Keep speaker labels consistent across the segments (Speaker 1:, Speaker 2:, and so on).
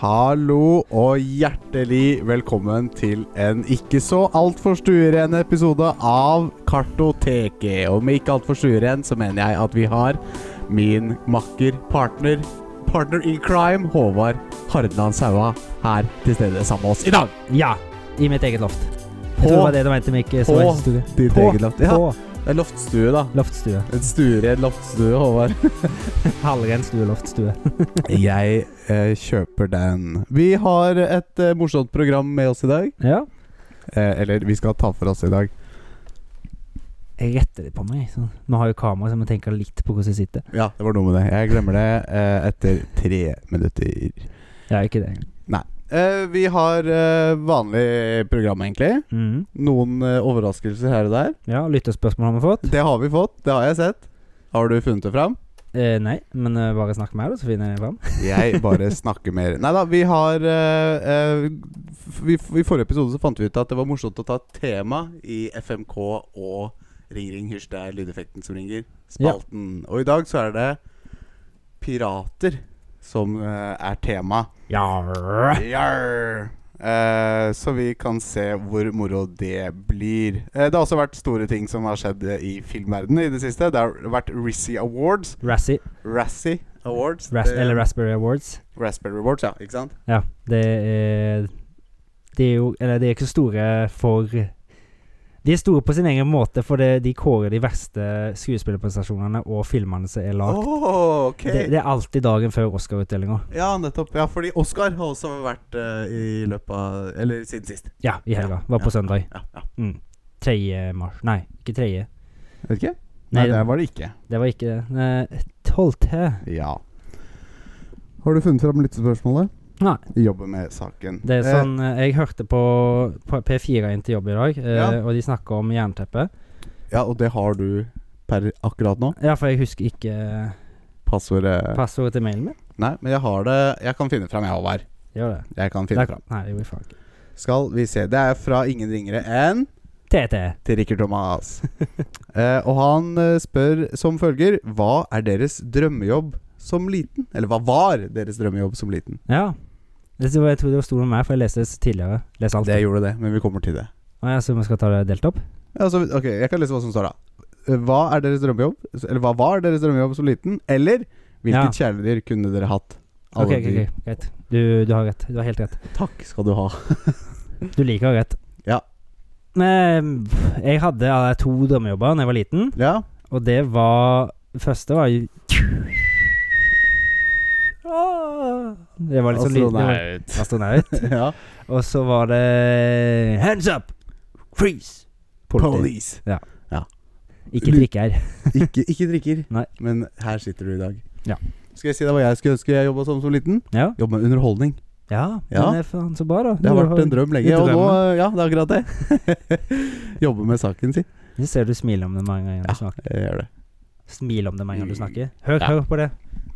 Speaker 1: Hallo og hjertelig velkommen til en ikke så altfor stueren episode av Kartoteket. Og med ikke altfor stueren så mener jeg at vi har min makker, partner, partner in crime, Håvard Hardland Saua, her til stede sammen med oss i dag.
Speaker 2: Ja, i mitt eget loft.
Speaker 1: På-
Speaker 2: Jeg tror det var det du mente med ikke
Speaker 1: på
Speaker 2: sveisestudio.
Speaker 1: ditt
Speaker 2: På-
Speaker 1: eget loft. Ja,
Speaker 2: På
Speaker 1: det er loftstue, da.
Speaker 2: loftstue.
Speaker 1: En stueredd loftstue, Håvard.
Speaker 2: Halvren stue, loftstue.
Speaker 1: Jeg eh, kjøper den. Vi har et eh, morsomt program med oss i dag.
Speaker 2: Ja.
Speaker 1: Eh, eller vi skal ta for oss i dag.
Speaker 2: Jeg retter det på meg. Så. Nå har jeg kamera, så jeg må tenke litt på hvordan jeg sitter.
Speaker 1: Ja, det var noe med det. Jeg glemmer det eh, etter tre minutter.
Speaker 2: Jeg er ikke det engang.
Speaker 1: Eh, vi har eh, vanlig program, egentlig.
Speaker 2: Mm.
Speaker 1: Noen eh, overraskelser her og der.
Speaker 2: Ja, lyttespørsmål har vi fått.
Speaker 1: Det har vi fått. Det har jeg sett. Har du funnet det fram?
Speaker 2: Eh, nei, men eh, bare snakk med meg, da, så finner jeg det fram.
Speaker 1: Jeg bare snakker mer. Nei da, vi har eh, eh, f- vi, I forrige episode så fant vi ut at det var morsomt å ta tema i FMK og Ring Ring Hysj. Det er lydeffekten som ringer.
Speaker 2: Ja.
Speaker 1: Spalten. Og i dag så er det pirater som eh, er tema.
Speaker 2: Ja.
Speaker 1: Jarr. Eh, så vi kan se hvor moro det blir. Eh, det har også vært store ting som har skjedd eh, i filmverdenen i det siste. Det har vært Rizzy Awards.
Speaker 2: Razzie.
Speaker 1: Razzie Awards.
Speaker 2: Ras
Speaker 1: Det-
Speaker 2: eller Raspberry Awards.
Speaker 1: Raspberry Awards, ja. Ikke sant?
Speaker 2: Ja, det er De er jo Eller de er ikke så store for De er store på sin egen måte, for det, de kårer de verste skuespillerprestasjonene og filmene som er lagd.
Speaker 1: Åh, ok
Speaker 2: Det, det er alltid dagen før Oscar-utdelinga.
Speaker 1: Ja, nettopp. Ja, fordi Oscar har også vært eh, i løpet av Eller siden sist.
Speaker 2: Ja, i helga. Var på
Speaker 1: Ja.
Speaker 2: søndag.
Speaker 1: Ja, ja.
Speaker 2: Mm. 3. mars Nei, ikke 3.
Speaker 1: Vet ikke?
Speaker 2: Nei, det,
Speaker 1: var det ikke.
Speaker 2: det var ikke det. Nei, 12.
Speaker 1: Ja. Har du funnet fram lyttespørsmålet?
Speaker 2: Nei.
Speaker 1: Jobber med saken.
Speaker 2: Det er sånn eh, Jeg hørte på på P4 inn til jobb i dag, eh,
Speaker 1: Ja.
Speaker 2: og de snakka om jernteppe.
Speaker 1: ja, og det har du per akkurat nå?
Speaker 2: Ja, for jeg husker ikke eh,
Speaker 1: Passordet
Speaker 2: passordet til mailen min.
Speaker 1: Nei, men jeg har det Jeg kan finne fram, jeg, Håvard.
Speaker 2: Gjør det.
Speaker 1: Jeg kan
Speaker 2: Nei,
Speaker 1: finne fram.
Speaker 2: nei, det gjorde jeg faen ikke.
Speaker 1: Skal vi se. Det er fra ingen ringere enn
Speaker 2: TT.
Speaker 1: til Rikard Thomas. eh, og han eh, spør som følger Hva er deres drømmejobb som liten? Eller hva var deres drømmejobb som liten?
Speaker 2: Ja. Det tror jeg jeg tror det sto noe mer, for jeg leste det tidligere. Les alt.
Speaker 1: Det gjorde det, men vi kommer til det.
Speaker 2: Å ja, så vi skal ta det delt opp?
Speaker 1: Ja, så, ok, Jeg kan lese hva som står da. Eh, Hva er deres drømmejobb? Eller hva var deres drømmejobb som liten? Eller hvilket kjæledyr kunne dere hatt? Alle
Speaker 2: Ok, ok,
Speaker 1: de-
Speaker 2: ok, greit. Du, du har rett. Du har helt rett.
Speaker 1: Takk skal du ha.
Speaker 2: Du liker å ha rett.
Speaker 1: Ja.
Speaker 2: Men jeg hadde eh, to drømmejobber da jeg var liten,
Speaker 1: Ja,
Speaker 2: og det var Første var jo Ah, Det var litt sånn lyd- det var- Astronaut.
Speaker 1: ja.
Speaker 2: Og så var det Hands up! Freeze! Politi.
Speaker 1: Police.
Speaker 2: Ikke drikker.
Speaker 1: Ikke, ikke drikker,
Speaker 2: Nei.
Speaker 1: men her sitter du i dag.
Speaker 2: Ja.
Speaker 1: Skal jeg si deg hva jeg skulle ønske jeg jobba som som liten?
Speaker 2: Ja.
Speaker 1: Jobbe med underholdning.
Speaker 2: ja,
Speaker 1: Ja.
Speaker 2: men det er faen så bra, da.
Speaker 1: Det har
Speaker 2: Du
Speaker 1: vært en drøm lenge.
Speaker 2: en
Speaker 1: Og nå, eh,
Speaker 2: drøm,
Speaker 1: ja, det er akkurat det. jobbe med saken, si.
Speaker 2: Jeg ser du smiler om det mange ganger
Speaker 1: Ja.
Speaker 2: du snakker.
Speaker 1: Jeg gjør det.
Speaker 2: Smil om det mange ganger du snakker. Hør,
Speaker 1: Ja.
Speaker 2: hør på det.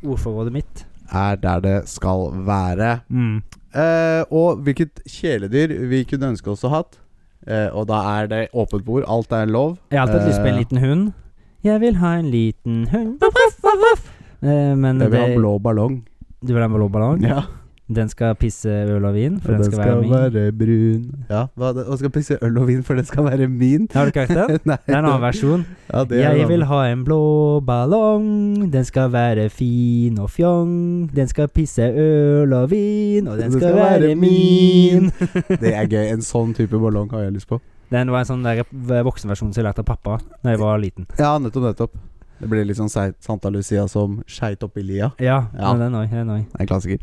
Speaker 2: Ordforrådet mitt.
Speaker 1: Er der det skal være.
Speaker 2: Mm.
Speaker 1: Eh, og hvilket kjæledyr vi kunne ønske oss å ha hatt. Eh, og da er det åpent bord. Alt er lov.
Speaker 2: Jeg har alltid hatt lyst på en
Speaker 1: Eh,
Speaker 2: liten hund. Jeg vil ha en liten hund. Voff, voff, voff, voff. Eh, Men
Speaker 1: Jeg vil ha en
Speaker 2: det,
Speaker 1: blå ballong.
Speaker 2: du vil ha en blå ballong?
Speaker 1: Ja,
Speaker 2: Den skal pisse øl og vin, for den, skal, være min.
Speaker 1: brun. Ja, hva, det- og skal pisse øl og vin, for den skal være min.
Speaker 2: Har du ikke hørt den?
Speaker 1: Nei,
Speaker 2: Det er en annen versjon.
Speaker 1: Ja, det er en
Speaker 2: Jeg
Speaker 1: annen
Speaker 2: vil ha en blå ballong, den skal være fin og fjong. Den skal pisse øl og vin, og den skal, være min.
Speaker 1: Det er gøy. En sånn type ballong har jeg lyst på.
Speaker 2: Den var en sånn der voksenversjon som jeg lærte av pappa da jeg var liten.
Speaker 1: Ja, nettopp, nettopp. Det blir litt sånn Sei- Santa Lucia som skeit oppi lia.
Speaker 2: Ja,
Speaker 1: Ja.
Speaker 2: men den òg. Den òg.
Speaker 1: Det er En klassiker.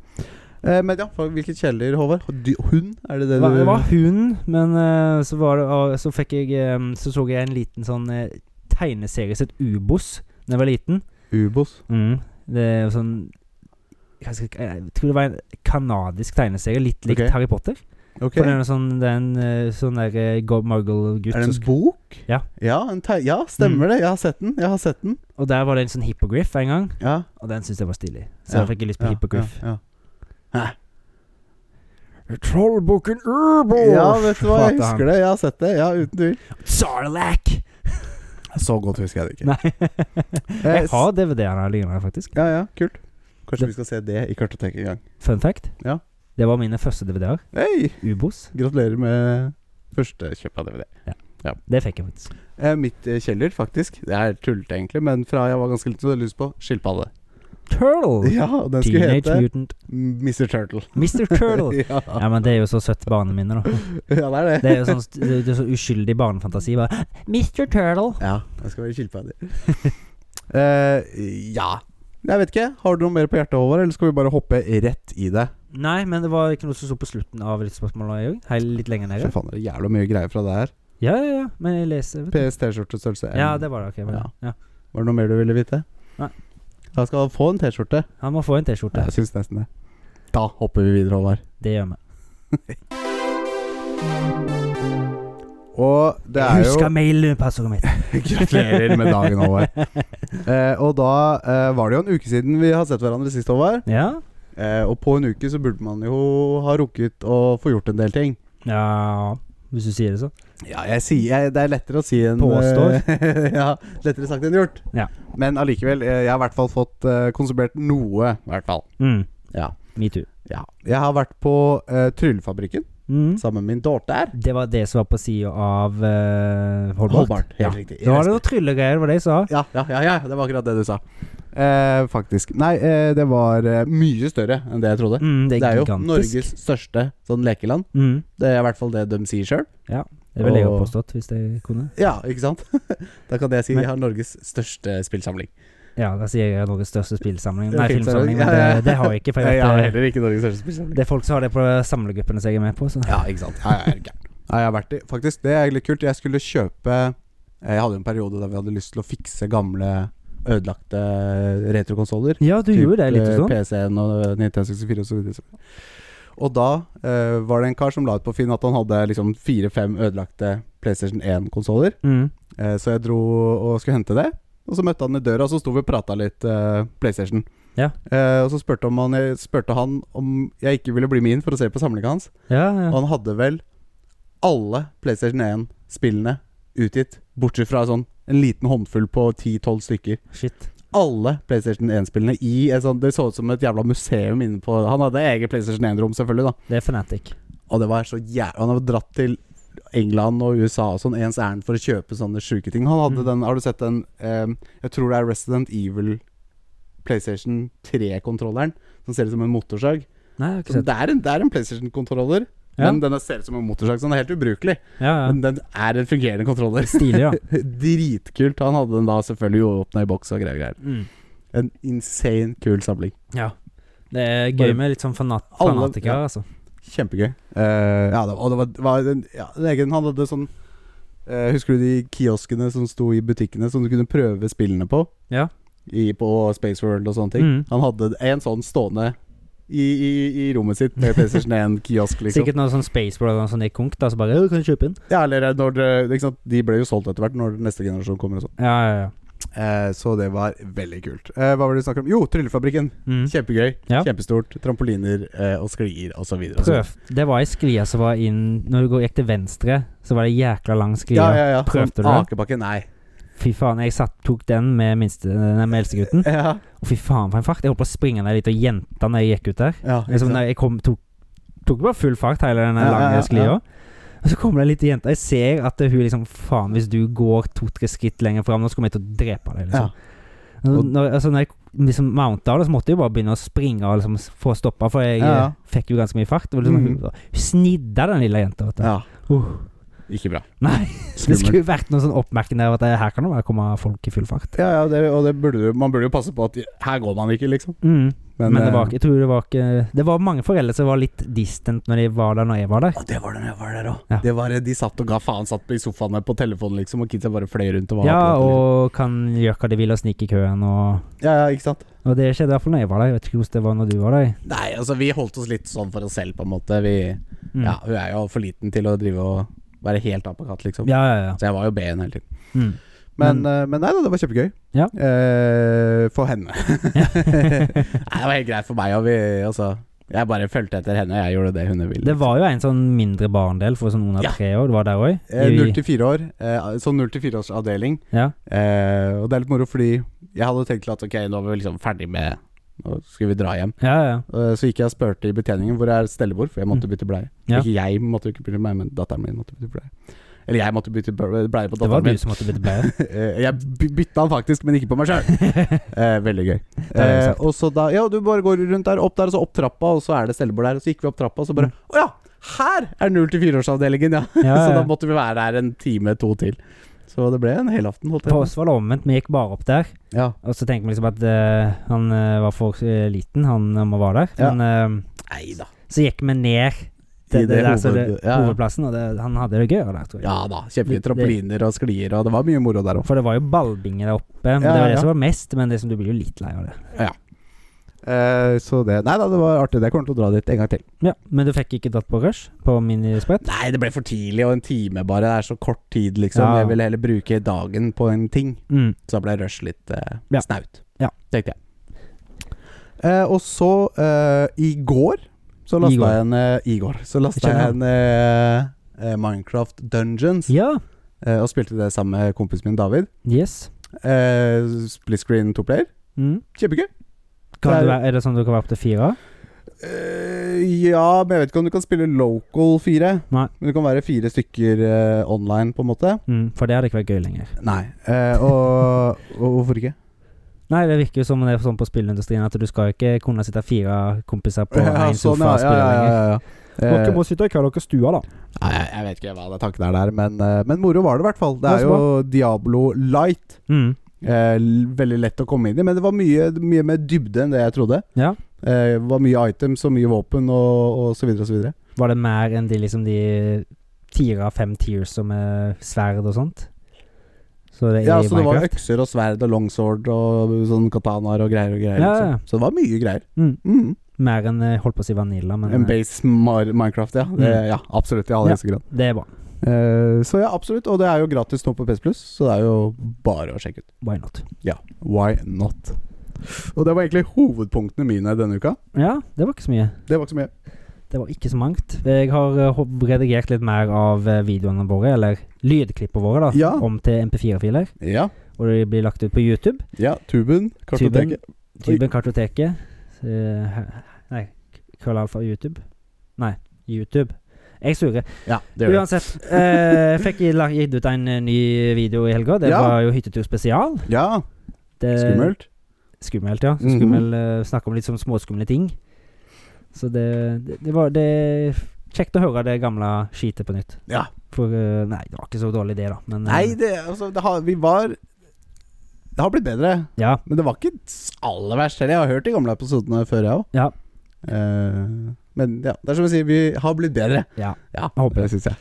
Speaker 1: Eh, men ja, for- hvilket kjæledyr, Håvard? Dy- Hund? Er det det
Speaker 2: Det var,
Speaker 1: du
Speaker 2: det var hunden, men eh, så, var det, ah, så fikk jeg eh, Så så jeg en liten sånn eh, tegneserie sitt Ubos da jeg var liten.
Speaker 1: Ubos.
Speaker 2: Det er jo sånn jeg, skal, ikke- jeg tror det var en kanadisk tegneserie, litt likt
Speaker 1: Ok.
Speaker 2: Harry Potter.
Speaker 1: Ok.
Speaker 2: For det er noe sånn Det er en eh, sånn der eh, go- muggle-gutt.
Speaker 1: Er det
Speaker 2: som
Speaker 1: en
Speaker 2: sk-
Speaker 1: bok?
Speaker 2: Ja.
Speaker 1: Ja, en tei ja stemmer
Speaker 2: Mm.
Speaker 1: det. Jeg har sett den. Jeg har sett den.
Speaker 2: Og der var det en sånn hippogriff en gang,
Speaker 1: Ja.
Speaker 2: og den syntes jeg var stilig. Så
Speaker 1: Ja,
Speaker 2: jeg fikk jeg lyst på
Speaker 1: ja,
Speaker 2: hippogriff.
Speaker 1: ja,
Speaker 2: Trollbukken
Speaker 1: ja.
Speaker 2: Urbo!
Speaker 1: ja, vet du hva, jeg husker det. Jeg har sett det. Ja, uten tvil.
Speaker 2: Sarlac!
Speaker 1: Så godt husker jeg det
Speaker 2: Nei.
Speaker 1: Eh,
Speaker 2: jeg har DVD-en her liggende, faktisk.
Speaker 1: Ja, ja, kult. Kanskje
Speaker 2: Det-
Speaker 1: vi skal se det i kartoteket en gang.
Speaker 2: Fun fact.
Speaker 1: Ja.
Speaker 2: Det var mine første DVD-er.
Speaker 1: Hei!
Speaker 2: Ubos.
Speaker 1: Gratulerer med første kjøp av DVD.
Speaker 2: Det fikk jeg faktisk.
Speaker 1: Eh, mitt eh, kjeller, faktisk. Det er tullete, egentlig, men fra jeg var ganske liten, så hadde jeg lyst på skilpadde.
Speaker 2: Turtle!
Speaker 1: Ja, og den skulle
Speaker 2: Teenage
Speaker 1: hete
Speaker 2: Mutant
Speaker 1: Mr. Turtle.
Speaker 2: Mr. Turtle.
Speaker 1: ja.
Speaker 2: Ja, men det er jo så søtt barneminne, da.
Speaker 1: ja, det er det.
Speaker 2: Det er jo sånn, det er så uskyldig barnefantasi. Bare Mr. Turtle.
Speaker 1: Ja, jeg skal være skilpadde. Eh, ja. Jeg vet ikke. Har du noe mer på hjertet, Håvard, eller skal vi bare hoppe rett i det?
Speaker 2: Nei, men det var ikke noe som sto på slutten av lyttspørsmålet òg. Litt lenger
Speaker 1: Fy
Speaker 2: nede.
Speaker 1: faen, det er jævla mye greier fra det her.
Speaker 2: Ja, ja, ja. Men jeg leser. Vet du.
Speaker 1: PS T-skjorte størrelse M.
Speaker 2: Ja, det var det. ok var det. Ja.
Speaker 1: Var det noe mer du ville vite?
Speaker 2: Nei.
Speaker 1: Da skal han få en T-skjorte.
Speaker 2: Han må få en T-skjorte.
Speaker 1: Jeg syns nesten det. Da hopper vi videre, Håvard.
Speaker 2: Det gjør vi.
Speaker 1: Og det er
Speaker 2: Jeg
Speaker 1: jo
Speaker 2: husker mailpassordet mitt.
Speaker 1: Gratulerer med dagen, Håvard. Eh, og da eh, var det jo en uke siden vi har sett hverandre sist, Håvard.
Speaker 2: Ja.
Speaker 1: Eh, og på en uke så burde man jo ha rukket å få gjort en del ting.
Speaker 2: ja Hvis du sier det sånn.
Speaker 1: Ja, jeg sier jeg, Det er lettere å si enn
Speaker 2: Påstår.
Speaker 1: eh, ja, lettere sagt enn gjort.
Speaker 2: Ja.
Speaker 1: Men allikevel, eh, jeg har i hvert fall fått eh, konsumert noe, i hvert fall.
Speaker 2: Mm.
Speaker 1: Ja.
Speaker 2: Metoo.
Speaker 1: Ja. Jeg har vært på eh, Tryllefabrikken
Speaker 2: Mm.
Speaker 1: sammen med min daughter.
Speaker 2: Det var det som var på sida av uh, Holbart.
Speaker 1: Ja.
Speaker 2: Ja. Nå var det noe tryllegreier, det var det jeg sa.
Speaker 1: Ja, ja, ja, ja, det var akkurat det du sa. Eh, faktisk. Nei, eh, det var eh, mye større enn det jeg trodde.
Speaker 2: Mm,
Speaker 1: Det
Speaker 2: det er,
Speaker 1: er, jo
Speaker 2: gigantisk.
Speaker 1: Norges største sånn lekeland.
Speaker 2: mm.
Speaker 1: Det er i hvert fall det de sier sjøl.
Speaker 2: Det ville jeg ha
Speaker 1: Og-
Speaker 2: påstått, hvis jeg kunne.
Speaker 1: Ja, ikke sant? da kan jeg si
Speaker 2: Men-
Speaker 1: jeg har Norges største spillsamling.
Speaker 2: Ja, da sier jeg Norges største spillsamling.
Speaker 1: Ja,
Speaker 2: Nei,
Speaker 1: filmsamling.
Speaker 2: filmsamling. Men
Speaker 1: Ja, ja.
Speaker 2: det, det har jeg ikke. For
Speaker 1: Nei,
Speaker 2: jeg
Speaker 1: jeg har
Speaker 2: vet, det,
Speaker 1: heller ikke Norges største spillsamling.
Speaker 2: det er folk som har det på samlegruppene som jeg er med på. Så.
Speaker 1: Ja, ikke sant. Ja, jeg er gæren. Nei, jeg har vært i Faktisk, det er litt kult. Jeg skulle kjøpe eh, Jeg hadde en periode der vi hadde lyst til å fikse gamle, ødelagte eh, retrokonsoller.
Speaker 2: Ja, du
Speaker 1: Typ,
Speaker 2: gjorde det litt
Speaker 1: eh,
Speaker 2: sånn.
Speaker 1: PC-en og Nintendo 64 og så videre. Og da eh, var det en kar som la ut på Finn at han hadde liksom fire-fem ødelagte PlayStation 1-konsoller.
Speaker 2: Mm.
Speaker 1: Eh, så jeg dro og skulle hente det. Og så møtte han i døra, og så sto vi og prata litt eh, PlayStation.
Speaker 2: Ja.
Speaker 1: Eh, og så spurte, om han, jeg spurte han om jeg ikke ville bli med inn for å se på samlinga hans.
Speaker 2: Ja,
Speaker 1: Og
Speaker 2: ja.
Speaker 1: han hadde vel alle PlayStation 1-spillene utgitt, bortsett fra sånn en liten håndfull på 10-12 stykker.
Speaker 2: Shit.
Speaker 1: Alle PlayStation 1-spillene i en sånn Det så ut som et jævla museum inne på Han hadde eget PlayStation 1-rom, selvfølgelig, da.
Speaker 2: Det er Fanatic.
Speaker 1: Og det var så jævla Han hadde dratt til England og USA og sånn ens ærend for å kjøpe sånne sjuke ting. Han hadde
Speaker 2: Mm.
Speaker 1: den Har du sett den eh, Jeg tror det er Resident Evil PlayStation 3-kontrolleren som ser ut som en motorsag.
Speaker 2: Nei, jeg har
Speaker 1: Så
Speaker 2: ikke sett
Speaker 1: Det er en, det er en PlayStation-kontroller.
Speaker 2: ja.
Speaker 1: Men den er- ser ut som en motorsag, så den er helt ubrukelig.
Speaker 2: ja, ja.
Speaker 1: Men den er en fungerende kontroller.
Speaker 2: Stilig, ja.
Speaker 1: Dritkult. Han hadde den da selvfølgelig uåpna i boks og greier. og greier.
Speaker 2: Mm.
Speaker 1: En insane kul samling.
Speaker 2: ja. Det er gøy med litt sånn fanat
Speaker 1: Alle-
Speaker 2: fanatikere,
Speaker 1: ja.
Speaker 2: altså.
Speaker 1: Kjempegøy. Eh, ja, det, og det var, var en, ja, en egen Han hadde sånn eh, Husker du de kioskene som sto i butikkene, som du kunne prøve spillene på?
Speaker 2: Ja.
Speaker 1: I, på Space World og sånne ting.
Speaker 2: Mm.
Speaker 1: Han hadde en sånn stående i, i, i rommet sitt med PlayStation 1-kiosk, liksom.
Speaker 2: Sikkert noe sånn Spaceball eller noe sånt i konk, da, så bare «Ja, du kan kjøpe inn.
Speaker 1: Ja, eller eh, når det, ikke sant? De ble jo solgt etter hvert, når neste generasjon kommer og sånn.
Speaker 2: Ja, ja, ja.
Speaker 1: Eh, så det var veldig kult. Eh, hva var det du snakket om? Jo, Tryllefabrikken.
Speaker 2: Mm.
Speaker 1: Kjempegøy.
Speaker 2: Ja.
Speaker 1: Kjempestort. Trampoliner eh, og sklier og så videre. og så videre.
Speaker 2: Prøv. Det var ei sklie som var inn Når du går- gikk til venstre, så var det jækla lang sklie.
Speaker 1: Ja, ja, ja.
Speaker 2: Prøvde
Speaker 1: Sånn
Speaker 2: du det?
Speaker 1: Akebakke, nei.
Speaker 2: Fy faen, jeg satt, tok den med, minste, nei, med eldstegutten.
Speaker 1: Ja,
Speaker 2: Og fy faen, for en fart. Jeg holdt på å springe ned dit og jente når jeg gikk ut der.
Speaker 1: ja, ikke
Speaker 2: Liksom,
Speaker 1: sant?
Speaker 2: når jeg kom, tok, tok bare full fart hele den
Speaker 1: Ja, ja,
Speaker 2: lange
Speaker 1: ja, ja.
Speaker 2: sklia. Og så kommer det ei lita jente. Jeg ser at hun liksom Faen, hvis du går to-tre skritt lenger fram, nå skal vi til å drepe deg, liksom.
Speaker 1: ja.
Speaker 2: Når,
Speaker 1: Og-
Speaker 2: når- altså, når jeg liksom mounta det, så måtte jeg jo bare begynne å springe og liksom få stoppa, for jeg
Speaker 1: Ja.
Speaker 2: eh, fikk jo ganske mye fart. Og liksom,
Speaker 1: Mhm.
Speaker 2: hun, hun snidda den lille jenta. Vet du.
Speaker 1: ja.
Speaker 2: Uh.
Speaker 1: Ikke bra.
Speaker 2: Nei, det
Speaker 1: Skummelt.
Speaker 2: skulle jo vært noe sånn oppmerking der at eh, her kan det bare komme folk i full fart.
Speaker 1: Ja, ja, det, og det burde du Man burde jo passe på at her går man ikke, liksom.
Speaker 2: Men, det
Speaker 1: eh,
Speaker 2: var, ikke- jeg tror det var ikke Det var mange foreldre som var litt distant når de var der når jeg var der.
Speaker 1: Å, det var det når jeg var der òg.
Speaker 2: Ja.
Speaker 1: Det var eh, De satt og ga faen, satt i sofaene på telefonen, liksom, og kidsa bare fløy rundt og var
Speaker 2: Ja,
Speaker 1: på dette,
Speaker 2: og kan gjøre hva de vil og snike i køen og
Speaker 1: liksom. ja, ja, ikke sant?
Speaker 2: Og det skjedde i hvert fall når jeg var der. Jeg vet ikke hvordan det var når du var der.
Speaker 1: Nei, altså, vi holdt oss litt sånn for oss selv, på en måte. Vi
Speaker 2: Mm.
Speaker 1: Ja, hun er jo for liten til å drive og være helt apekatt, liksom.
Speaker 2: ja, ja. ja.
Speaker 1: Så jeg var jo B-en hele tiden.
Speaker 2: Mm.
Speaker 1: Men, eh, men nei da, det var kjempegøy.
Speaker 2: Ja.
Speaker 1: Eh, for henne. nei, det var helt greit for meg. Og vi, altså, jeg bare fulgte etter henne, og jeg gjorde det hun ville.
Speaker 2: Det var jo en sånn mindre barndel for sånn under
Speaker 1: Ja.
Speaker 2: tre år. Du var der òg?
Speaker 1: Eh, 0 til 4 år. Eh, sånn 0 til 4 års avdeling.
Speaker 2: Ja.
Speaker 1: Eh, og det er litt moro, fordi jeg hadde tenkt til at ok, nå er vi liksom ferdig med nå skal vi dra hjem.
Speaker 2: Ja, ja.
Speaker 1: Eh, Så gikk jeg og spurte i betjeningen hvor er stellebord, for jeg måtte
Speaker 2: Mm.
Speaker 1: bytte bleie.
Speaker 2: Ja.
Speaker 1: Ikke jeg måtte ikke bytte bleie, men datteren min måtte bytte bleie. Eller jeg måtte bytte bleie på
Speaker 2: Det var
Speaker 1: datteren
Speaker 2: du
Speaker 1: min.
Speaker 2: som måtte bytte bleie.
Speaker 1: Eh, jeg by- bytta den faktisk, men ikke på meg sjøl. Eh, veldig gøy.
Speaker 2: har jeg
Speaker 1: Eh,
Speaker 2: sagt.
Speaker 1: og så da Ja, du bare går rundt der, opp der, og så opp trappa, og så er det stellebord der. Og så gikk vi opp trappa, og så bare
Speaker 2: Mm.
Speaker 1: Å ja! Her er 0-4-årsavdelingen, ja!
Speaker 2: Ja,
Speaker 1: så da
Speaker 2: ja.
Speaker 1: måtte vi være der en time, to til. Så det ble en helaften. holdt jeg
Speaker 2: På
Speaker 1: på.
Speaker 2: oss var det omvendt. Vi gikk bare opp der.
Speaker 1: Ja.
Speaker 2: Og så tenkte vi liksom at eh, han eh, var for eh, liten, han eh, må være der.
Speaker 1: Ja.
Speaker 2: Men
Speaker 1: Nei da.
Speaker 2: eh, så gikk vi ned til
Speaker 1: I
Speaker 2: det, der, så det,
Speaker 1: hoved- ja, ja.
Speaker 2: hovedplassen, og det, han hadde det gøyere der, tror jeg.
Speaker 1: ja da. Kjempefine
Speaker 2: Det- det-
Speaker 1: trampoliner og sklier, og det var mye moro der òg.
Speaker 2: For det var jo ballbinge der oppe. Men
Speaker 1: Ja,
Speaker 2: det var det
Speaker 1: ja.
Speaker 2: som var mest, men det som du blir jo litt lei av det.
Speaker 1: Eh, så det Nei da, det var artig. Jeg kommer til å dra dit en gang til.
Speaker 2: Ja, Men du fikk ikke dratt på rush? På eh, minisprett?
Speaker 1: Nei, det ble for tidlig, og en time bare. Det er så kort tid, liksom.
Speaker 2: Ja.
Speaker 1: Jeg ville heller bruke dagen på en ting.
Speaker 2: Mm.
Speaker 1: Så da ble rush litt eh,
Speaker 2: Ja.
Speaker 1: snaut,
Speaker 2: Ja.
Speaker 1: tenkte jeg. Eh, og så, eh, i går så lasta
Speaker 2: Igor.
Speaker 1: jeg en eh, Igor. Så lasta
Speaker 2: Jeg
Speaker 1: jeg
Speaker 2: kjenner
Speaker 1: en eh, eh, Minecraft Dungeons
Speaker 2: Ja.
Speaker 1: eh, og spilte det sammen med kompisen min David.
Speaker 2: Yes.
Speaker 1: Eh, split screen to player.
Speaker 2: Mm.
Speaker 1: Kjempegøy.
Speaker 2: Kan
Speaker 1: Det er-
Speaker 2: du være, er det sånn du kan være opp til fire?
Speaker 1: Eh, ja, men jeg vet ikke om du kan spille local fire.
Speaker 2: Nei.
Speaker 1: Men du kan være fire stykker eh, online, på en måte.
Speaker 2: Mm. For det hadde ikke vært gøy lenger.
Speaker 1: Nei. Eh, og, og hvorfor ikke?
Speaker 2: Nei, det virker jo som det er sånn på spillindustrien at du skal ikke kunne sitte fire kompiser på
Speaker 1: Ja,
Speaker 2: én
Speaker 1: sånn,
Speaker 2: sofa og spille lenger.
Speaker 1: ja, ja. Eh,
Speaker 2: sitte i hver deres stue, da.
Speaker 1: Nei, jeg, jeg vet ikke hva det tanken er der, men, eh, men moro var det i hvert fall. Det
Speaker 2: Det
Speaker 1: er
Speaker 2: var
Speaker 1: jo Diablo Light.
Speaker 2: Mm.
Speaker 1: Eh, l- veldig lett å komme inn i, men det var mye, mye mer dybde enn det jeg trodde.
Speaker 2: Ja.
Speaker 1: Eh, det var mye items og mye våpen og, og så videre og så videre.
Speaker 2: Var det mer enn de liksom de fire av fem tiers som er sverd og sånt? Så det er
Speaker 1: Ja,
Speaker 2: i
Speaker 1: så det var
Speaker 2: Minecraft?
Speaker 1: økser og sverd og longsword og sånn katanaer og greier og greier.
Speaker 2: Ja, ja.
Speaker 1: Liksom. Så det var mye greier.
Speaker 2: Mm.
Speaker 1: Mm.
Speaker 2: Mer enn eh, holdt på å si vanilla, men
Speaker 1: En
Speaker 2: eh,
Speaker 1: base mar Minecraft, ja. Det,
Speaker 2: Mm.
Speaker 1: ja. Absolutt, i aller høyeste grad.
Speaker 2: det er bra.
Speaker 1: Eh, så ja, absolutt. Og det er jo gratis nå på PS Plus, så det er jo bare å sjekke ut.
Speaker 2: Why not?
Speaker 1: Why not? Og det var egentlig hovedpunktene mine denne uka.
Speaker 2: Ja, det var ikke så mye.
Speaker 1: Det var ikke så mye.
Speaker 2: Det var ikke så mangt. Jeg har eh, hopp- redigert litt mer av eh, videoene våre, eller lydklippene våre, da,
Speaker 1: Ja.
Speaker 2: om til MP4-filer.
Speaker 1: Ah. Ja,
Speaker 2: Og de blir lagt ut på YouTube.
Speaker 1: ja tuben, kartoteket.
Speaker 2: Tuben Kartoteket. eh, he- nei, krøllalfa YouTube. Nei, YouTube. Jeg surrer.
Speaker 1: Ja, det gjør det.
Speaker 2: Uansett, eh, fikk jeg la- gitt ut en eh, ny video i helga. Det
Speaker 1: Ja.
Speaker 2: var jo hyttetur spesial.
Speaker 1: Ja,
Speaker 2: Det,
Speaker 1: skummelt.
Speaker 2: Eh, Skummelt, ja. Så
Speaker 1: Mhm.
Speaker 2: skummel, eh, Snakke om litt sånn småskumle ting. Så det, det, det var det Kjekt å høre det gamle skitet på nytt.
Speaker 1: Ja.
Speaker 2: For eh, Nei, det var ikke så dårlig, det, da. Men, eh,
Speaker 1: Nei, det, altså, det har, vi var Det har blitt bedre,
Speaker 2: Ja.
Speaker 1: men det var ikke aller verst heller. Jeg har hørt de gamle episodene før, jeg òg.
Speaker 2: Ja.
Speaker 1: men ja, det er som jeg sier, vi har blitt bedre.
Speaker 2: Ja,
Speaker 1: ja
Speaker 2: jeg håper
Speaker 1: det syns jeg.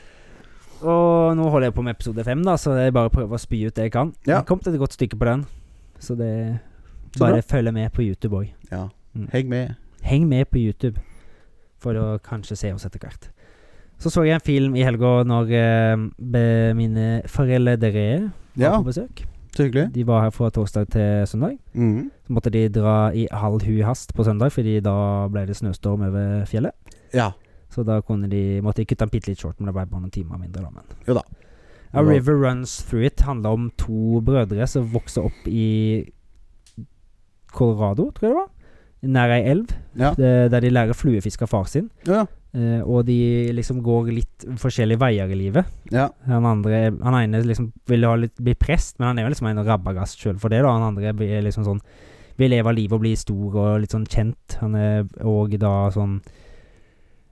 Speaker 2: Og nå holder jeg på med episode fem, da, så jeg bare prøver å spy ut det jeg kan.
Speaker 1: Ja.
Speaker 2: Jeg kom til et godt stykke på den, så det
Speaker 1: Så bra.
Speaker 2: Bare følg med på YouTube òg.
Speaker 1: Ja.
Speaker 2: Mm.
Speaker 1: Heng med.
Speaker 2: Heng med på YouTube for å kanskje se oss etter hvert. Så så jeg en film i helga når eh, be- mine foreldre var
Speaker 1: Ja,
Speaker 2: på besøk.
Speaker 1: så hyggelig.
Speaker 2: De var her fra torsdag til søndag.
Speaker 1: Mhm.
Speaker 2: Så måtte de dra i halv hui hast på søndag, fordi da ble det snøstorm over fjellet.
Speaker 1: Ja.
Speaker 2: Så da kunne de, måtte de kutte den bitte litt short, men det ble bare noen timer mindre. da, men.
Speaker 1: Jo da.
Speaker 2: A River Runs Through It handler om to brødre som vokser opp i Colorado, tror jeg det var. Nær ei elv,
Speaker 1: Ja.
Speaker 2: eh, der de lærer fluefiske av far sin.
Speaker 1: Ja.
Speaker 2: Eh, og de liksom går litt forskjellige veier i livet.
Speaker 1: ja.
Speaker 2: Han, andre, han ene liksom vil ha litt, bli prest, men han er jo liksom en rabagast sjøl for det. da Han andre blir liksom sånn vil leve livet og bli stor og litt sånn kjent. Han er òg da sånn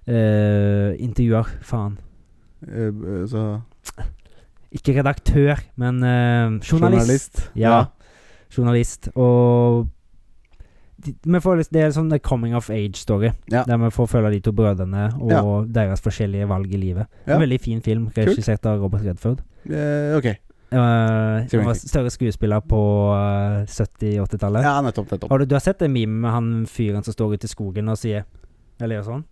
Speaker 2: eh, Intervjuer, faen.
Speaker 1: Eh, eh, så
Speaker 2: Ikke redaktør, men eh, journalist. Ja.
Speaker 1: Ja.
Speaker 2: Journalist. Og de, vi får, litt- det er sånn en coming of age-story.
Speaker 1: Ja.
Speaker 2: Der vi får følge de to brødrene og
Speaker 1: Ja.
Speaker 2: deres forskjellige valg i livet.
Speaker 1: Ja.
Speaker 2: En veldig fin film, regissert av Robert Redford.
Speaker 1: Eh, ok.
Speaker 2: Eh,
Speaker 1: Sier meg
Speaker 2: han var
Speaker 1: ingenting.
Speaker 2: større skuespiller på eh, 70-80-tallet.
Speaker 1: Ja, nettopp. nettopp.
Speaker 2: Har du, du har sett det meme med han fyren som står ute i skogen og sier Eller gjør sånn?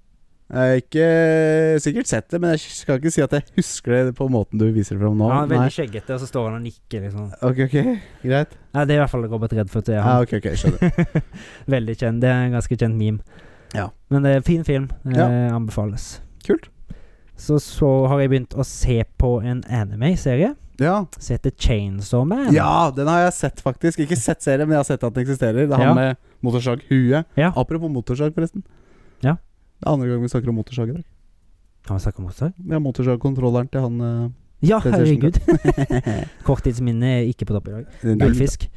Speaker 1: Jeg har ikke sikkert sett det, men jeg skal ikke si at jeg husker det på måten du viser det fram nå.
Speaker 2: han er
Speaker 1: Nei.
Speaker 2: veldig skjeggete, og så står han og nikker, liksom.
Speaker 1: Ok, ok, greit.
Speaker 2: Nei, det er i hvert fall Robert Redford. Det er
Speaker 1: Ja,
Speaker 2: han.
Speaker 1: ok, ok, skjønner.
Speaker 2: Veldig kjent. Det er en ganske kjent meme.
Speaker 1: Ja.
Speaker 2: Men det er en fin film. Eh,
Speaker 1: Ja.
Speaker 2: Anbefales.
Speaker 1: Kult.
Speaker 2: Så så har jeg begynt å se på en anime-serie
Speaker 1: Ja.
Speaker 2: som heter Chainsaw Man.
Speaker 1: ja, den har jeg sett, faktisk. Ikke sett serien, men jeg har sett at den eksisterer. Det er
Speaker 2: Ja.
Speaker 1: han med motorsaghuet.
Speaker 2: Ja.
Speaker 1: Apropos motorsag, forresten.
Speaker 2: Ja.
Speaker 1: Det er andre gang vi snakker om motorsag i dag.
Speaker 2: Kan vi snakke om motorsag?
Speaker 1: Vi har motorsagkontrolleren til han eh,
Speaker 2: Ja,
Speaker 1: PlayStation
Speaker 2: herregud. Korttidsminnet er ikke på topp i dag. Gullfisk.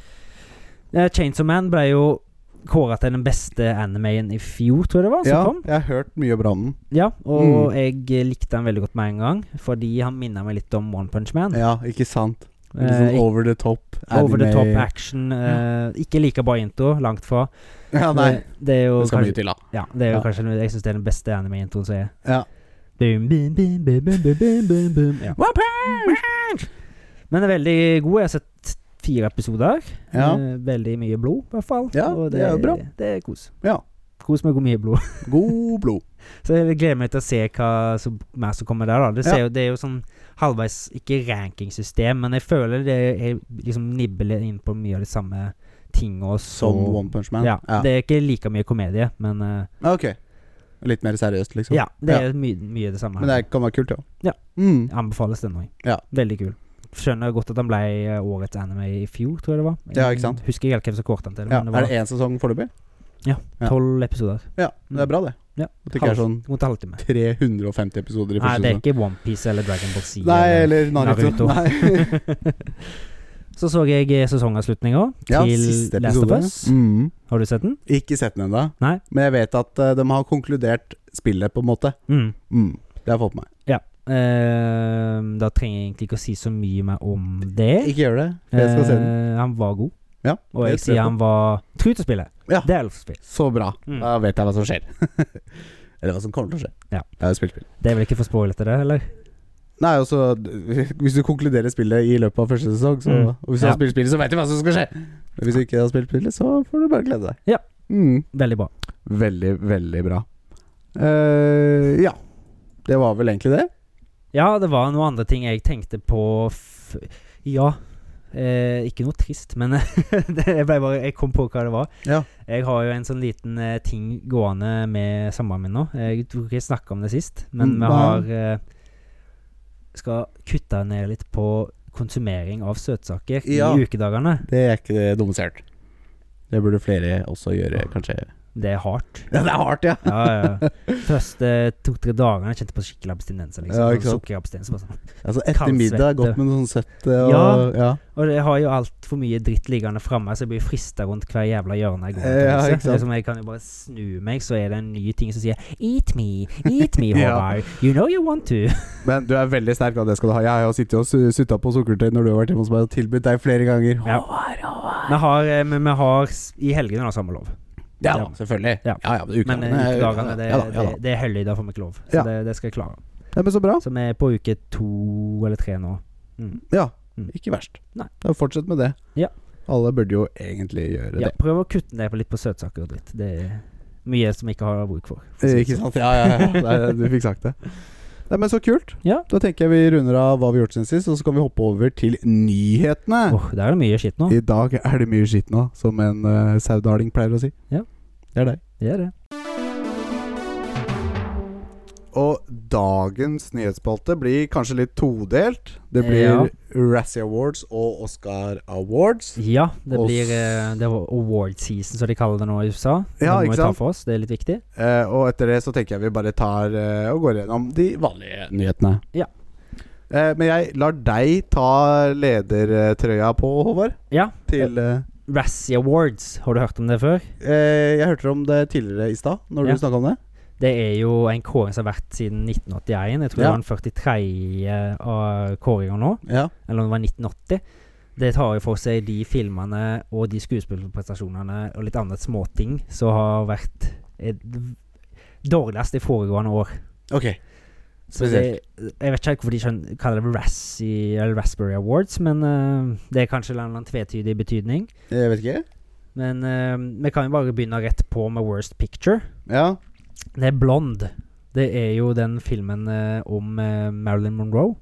Speaker 2: Eh, Chainsaw Man ble jo kåra til den beste animeen i fjor, tror jeg det var. Som
Speaker 1: Ja,
Speaker 2: altså,
Speaker 1: Mm.
Speaker 2: kom.
Speaker 1: jeg har hørt mye bra om den.
Speaker 2: Ja, og jeg likte den veldig godt med en gang, fordi han minner meg litt om One Punch Man.
Speaker 1: Ja, ikke sant? Litt
Speaker 2: Eh,
Speaker 1: sånn
Speaker 2: ikke-
Speaker 1: over the top.
Speaker 2: over the top
Speaker 1: anime.
Speaker 2: action. eh, ikke like bra intro, langt fra.
Speaker 1: Ja, nei.
Speaker 2: Det, det er jo
Speaker 1: Det skal mye
Speaker 2: kanskje,
Speaker 1: til, da.
Speaker 2: ja, det er jo
Speaker 1: Ja.
Speaker 2: kanskje den- Jeg syns det er den beste anime-introen som er.
Speaker 1: Ja.
Speaker 2: Boom, boom, boom, boom, boom, boom, boom, boom, boom. Ja. Men den er veldig god. Jeg har sett fire episoder.
Speaker 1: Ja.
Speaker 2: Eh, veldig mye blod, i hvert fall.
Speaker 1: Ja,
Speaker 2: og
Speaker 1: det er jo bra.
Speaker 2: Det er kos.
Speaker 1: Ja.
Speaker 2: Kos med hvor mye blod.
Speaker 1: God blod.
Speaker 2: Så jeg gleder meg til å se hva som, mer som kommer der. da Det, ser jo, det er jo sånn halvveis ikke rankingsystem, men jeg føler det er liksom nibler inn på mye av de samme tinga.
Speaker 1: Som One Punch Man.
Speaker 2: Ja, Det er ikke like mye komedie, men eh,
Speaker 1: Ok. Litt mer seriøst, liksom.
Speaker 2: ja, det er my mye det samme.
Speaker 1: Men det kan være kult, ja.
Speaker 2: Ja.
Speaker 1: Mm.
Speaker 2: Anbefales den òg.
Speaker 1: Ja.
Speaker 2: Veldig kul. Skjønner godt at han ble eh, årets anime i fjor, tror jeg det var.
Speaker 1: Ja, ikke sant?
Speaker 2: Husker ikke helt hvem som kårte han til.
Speaker 1: ja.
Speaker 2: Men det
Speaker 1: Er
Speaker 2: var
Speaker 1: det én sesong foreløpig? ja.
Speaker 2: tolv episoder.
Speaker 1: Ja, det er bra, det.
Speaker 2: Ja.
Speaker 1: At det ikke er
Speaker 2: Halv-
Speaker 1: sånn
Speaker 2: Mot en halvtime.
Speaker 1: 350 episoder i
Speaker 2: Nei,
Speaker 1: første
Speaker 2: det er
Speaker 1: sesong.
Speaker 2: ikke Onepiece eller Dragon Ball Z.
Speaker 1: Nei,
Speaker 2: eller-
Speaker 1: eller Naruto.
Speaker 2: Naruto.
Speaker 1: Nei.
Speaker 2: Så så jeg sesongavslutninga
Speaker 1: Ja,
Speaker 2: til
Speaker 1: siste
Speaker 2: Last of
Speaker 1: episode.
Speaker 2: Us.
Speaker 1: Mm.
Speaker 2: Har du sett den?
Speaker 1: Ikke sett den ennå,
Speaker 2: Nei.
Speaker 1: men jeg vet at eh, de har konkludert spillet, på en måte.
Speaker 2: Mm.
Speaker 1: Mm. Det har jeg fått med meg.
Speaker 2: Eh, da trenger jeg egentlig ikke å si så mye mer om det.
Speaker 1: Ikke gjør det. for Jeg skal se den.
Speaker 2: Eh, han var god,
Speaker 1: Ja,
Speaker 2: og jeg
Speaker 1: det tror
Speaker 2: sier
Speaker 1: jeg
Speaker 2: han var tru til spillet.
Speaker 1: Ja.
Speaker 2: Det er lov til å spille.
Speaker 1: Så bra.
Speaker 2: Mm.
Speaker 1: Da vet jeg hva som skjer. Eller hva som kommer til å skje.
Speaker 2: Ja.
Speaker 1: Jeg har jo spilt spill.
Speaker 2: Det er vel ikke for spoilete, det, eller?
Speaker 1: Nei, altså d- Hvis du konkluderer spillet i løpet av første sesong, så
Speaker 2: Mm.
Speaker 1: Og hvis du har
Speaker 2: Ja.
Speaker 1: spilt spillet, så vet du hva som skal skje! Men hvis du ikke har spilt spillet, så får du bare glede deg.
Speaker 2: Ja.
Speaker 1: Mm.
Speaker 2: Veldig bra.
Speaker 1: Veldig, veldig bra. eh ja. Det var vel egentlig det.
Speaker 2: Ja, det var noen andre ting jeg tenkte på f Ja. Eh, ikke noe trist, men det, jeg, ble bare, jeg kom på hva det var.
Speaker 1: Ja.
Speaker 2: Jeg har jo en sånn liten eh, ting gående med samboeren min nå. Jeg tror ikke jeg snakka om det sist, men
Speaker 1: Mm,
Speaker 2: vi
Speaker 1: hva?
Speaker 2: har eh, Skal kutte ned litt på konsumering av søtsaker
Speaker 1: Ja.
Speaker 2: i ukedagene.
Speaker 1: Det er ikke det dummeste. Det burde flere også gjøre, kanskje.
Speaker 2: Det er hardt.
Speaker 1: Ja, det er hardt, ja!
Speaker 2: Ja, ja, ja. Første to-tre dagene kjente jeg på skikkelig abstinenser. Liksom.
Speaker 1: Ja, ikke
Speaker 2: Sånn
Speaker 1: sant?
Speaker 2: Sukkerabstinens. bare sånn.
Speaker 1: Altså, etter middag er godt med noe sånn søtt eh, og
Speaker 2: Ja.
Speaker 1: ja.
Speaker 2: Og jeg har jo altfor mye dritt liggende framme, så jeg blir frista rundt hver jævla hjørne jeg går til.
Speaker 1: Ja,
Speaker 2: huset.
Speaker 1: ikke sant.
Speaker 2: Liksom, jeg kan jo bare snu meg, så er det en ny ting som sier 'Eat me, eat me,
Speaker 1: Ja.
Speaker 2: Håvard'. You know you want to.
Speaker 1: Men du er veldig sterk, da. Det skal du ha. Jeg har jo sittet og su- sutta på sukkertøy når du har vært hjemme hos meg og tilbudt deg flere ganger.
Speaker 2: Ja. Vi har, eh, men vi har s- i helgene har samme lov.
Speaker 1: Ja
Speaker 2: Ja.
Speaker 1: da, selvfølgelig.
Speaker 2: Ja.
Speaker 1: Ja, ja, men
Speaker 2: Men
Speaker 1: ukedagene
Speaker 2: eh,
Speaker 1: er-
Speaker 2: ukedagene, det,
Speaker 1: ja da, ja da.
Speaker 2: det, det er helligdager, får vi ikke lov. Så
Speaker 1: Ja.
Speaker 2: det, det skal jeg klare.
Speaker 1: Ja, men så bra.
Speaker 2: Så vi er på uke to eller tre nå. Mm.
Speaker 1: Ja,
Speaker 2: Mm.
Speaker 1: ikke verst.
Speaker 2: Nei.
Speaker 1: Da fortsett med det.
Speaker 2: Ja.
Speaker 1: Alle burde jo egentlig gjøre
Speaker 2: Ja,
Speaker 1: det.
Speaker 2: prøv å kutte ned på litt på søtsaker og dritt. Det er mye som jeg ikke har bruk for. for å si
Speaker 1: Eh,
Speaker 2: det
Speaker 1: Ikke
Speaker 2: sånn.
Speaker 1: sant? Ja, ja, ja. Nei, du fikk sagt det. Nei, men så kult.
Speaker 2: Ja.
Speaker 1: Da tenker jeg vi runder av hva vi har gjort siden sist, og så kan vi hoppe over til nyhetene.
Speaker 2: Åh, der er det mye skitt nå.
Speaker 1: I dag er det mye skitt nå, som en uh, saudaling pleier å si.
Speaker 2: Ja.
Speaker 1: Det er deg.
Speaker 2: Det er det.
Speaker 1: Og dagens nyhetsspalte blir kanskje litt todelt. Det blir
Speaker 2: Ja.
Speaker 1: Razzie Awards og Oscar Awards.
Speaker 2: Ja, det
Speaker 1: Og
Speaker 2: blir
Speaker 1: s-
Speaker 2: eh, Det var award season, som de kaller det nå i USA.
Speaker 1: Ja,
Speaker 2: det må
Speaker 1: ikke
Speaker 2: vi ta
Speaker 1: sant?
Speaker 2: for oss, det er litt viktig.
Speaker 1: Eh, og etter det så tenker jeg vi bare tar eh, og går gjennom de vanlige nyhetene.
Speaker 2: Ja.
Speaker 1: Eh, men jeg lar deg ta ledertrøya på, Håvard.
Speaker 2: Ja.
Speaker 1: Til eh,
Speaker 2: Razzie Awards, har du hørt om det før?
Speaker 1: eh, Jeg hørte om det tidligere i stad, når
Speaker 2: Ja.
Speaker 1: du snakka om det.
Speaker 2: Det er jo en kåring som har vært siden 1981. Jeg tror
Speaker 1: Ja.
Speaker 2: det var den 43. av kåringa nå,
Speaker 1: Ja.
Speaker 2: eller om det var 1980. Det tar jo for seg de filmene og de skuespillerprestasjonene og litt andre småting som har vært eh, d- dårligst i foregående år.
Speaker 1: Ok.
Speaker 2: Så det, jeg vet ikke helt hvorfor de skjønner, kaller det Razzie eller Raspberry Awards, men eh, det er kanskje en eller annen tvetydig betydning.
Speaker 1: Jeg vet ikke.
Speaker 2: Men eh, vi kan jo bare begynne rett på med Worst Picture.
Speaker 1: Ja.
Speaker 2: Det er Blond. Det er jo den filmen eh, om eh, Marilyn Monroe.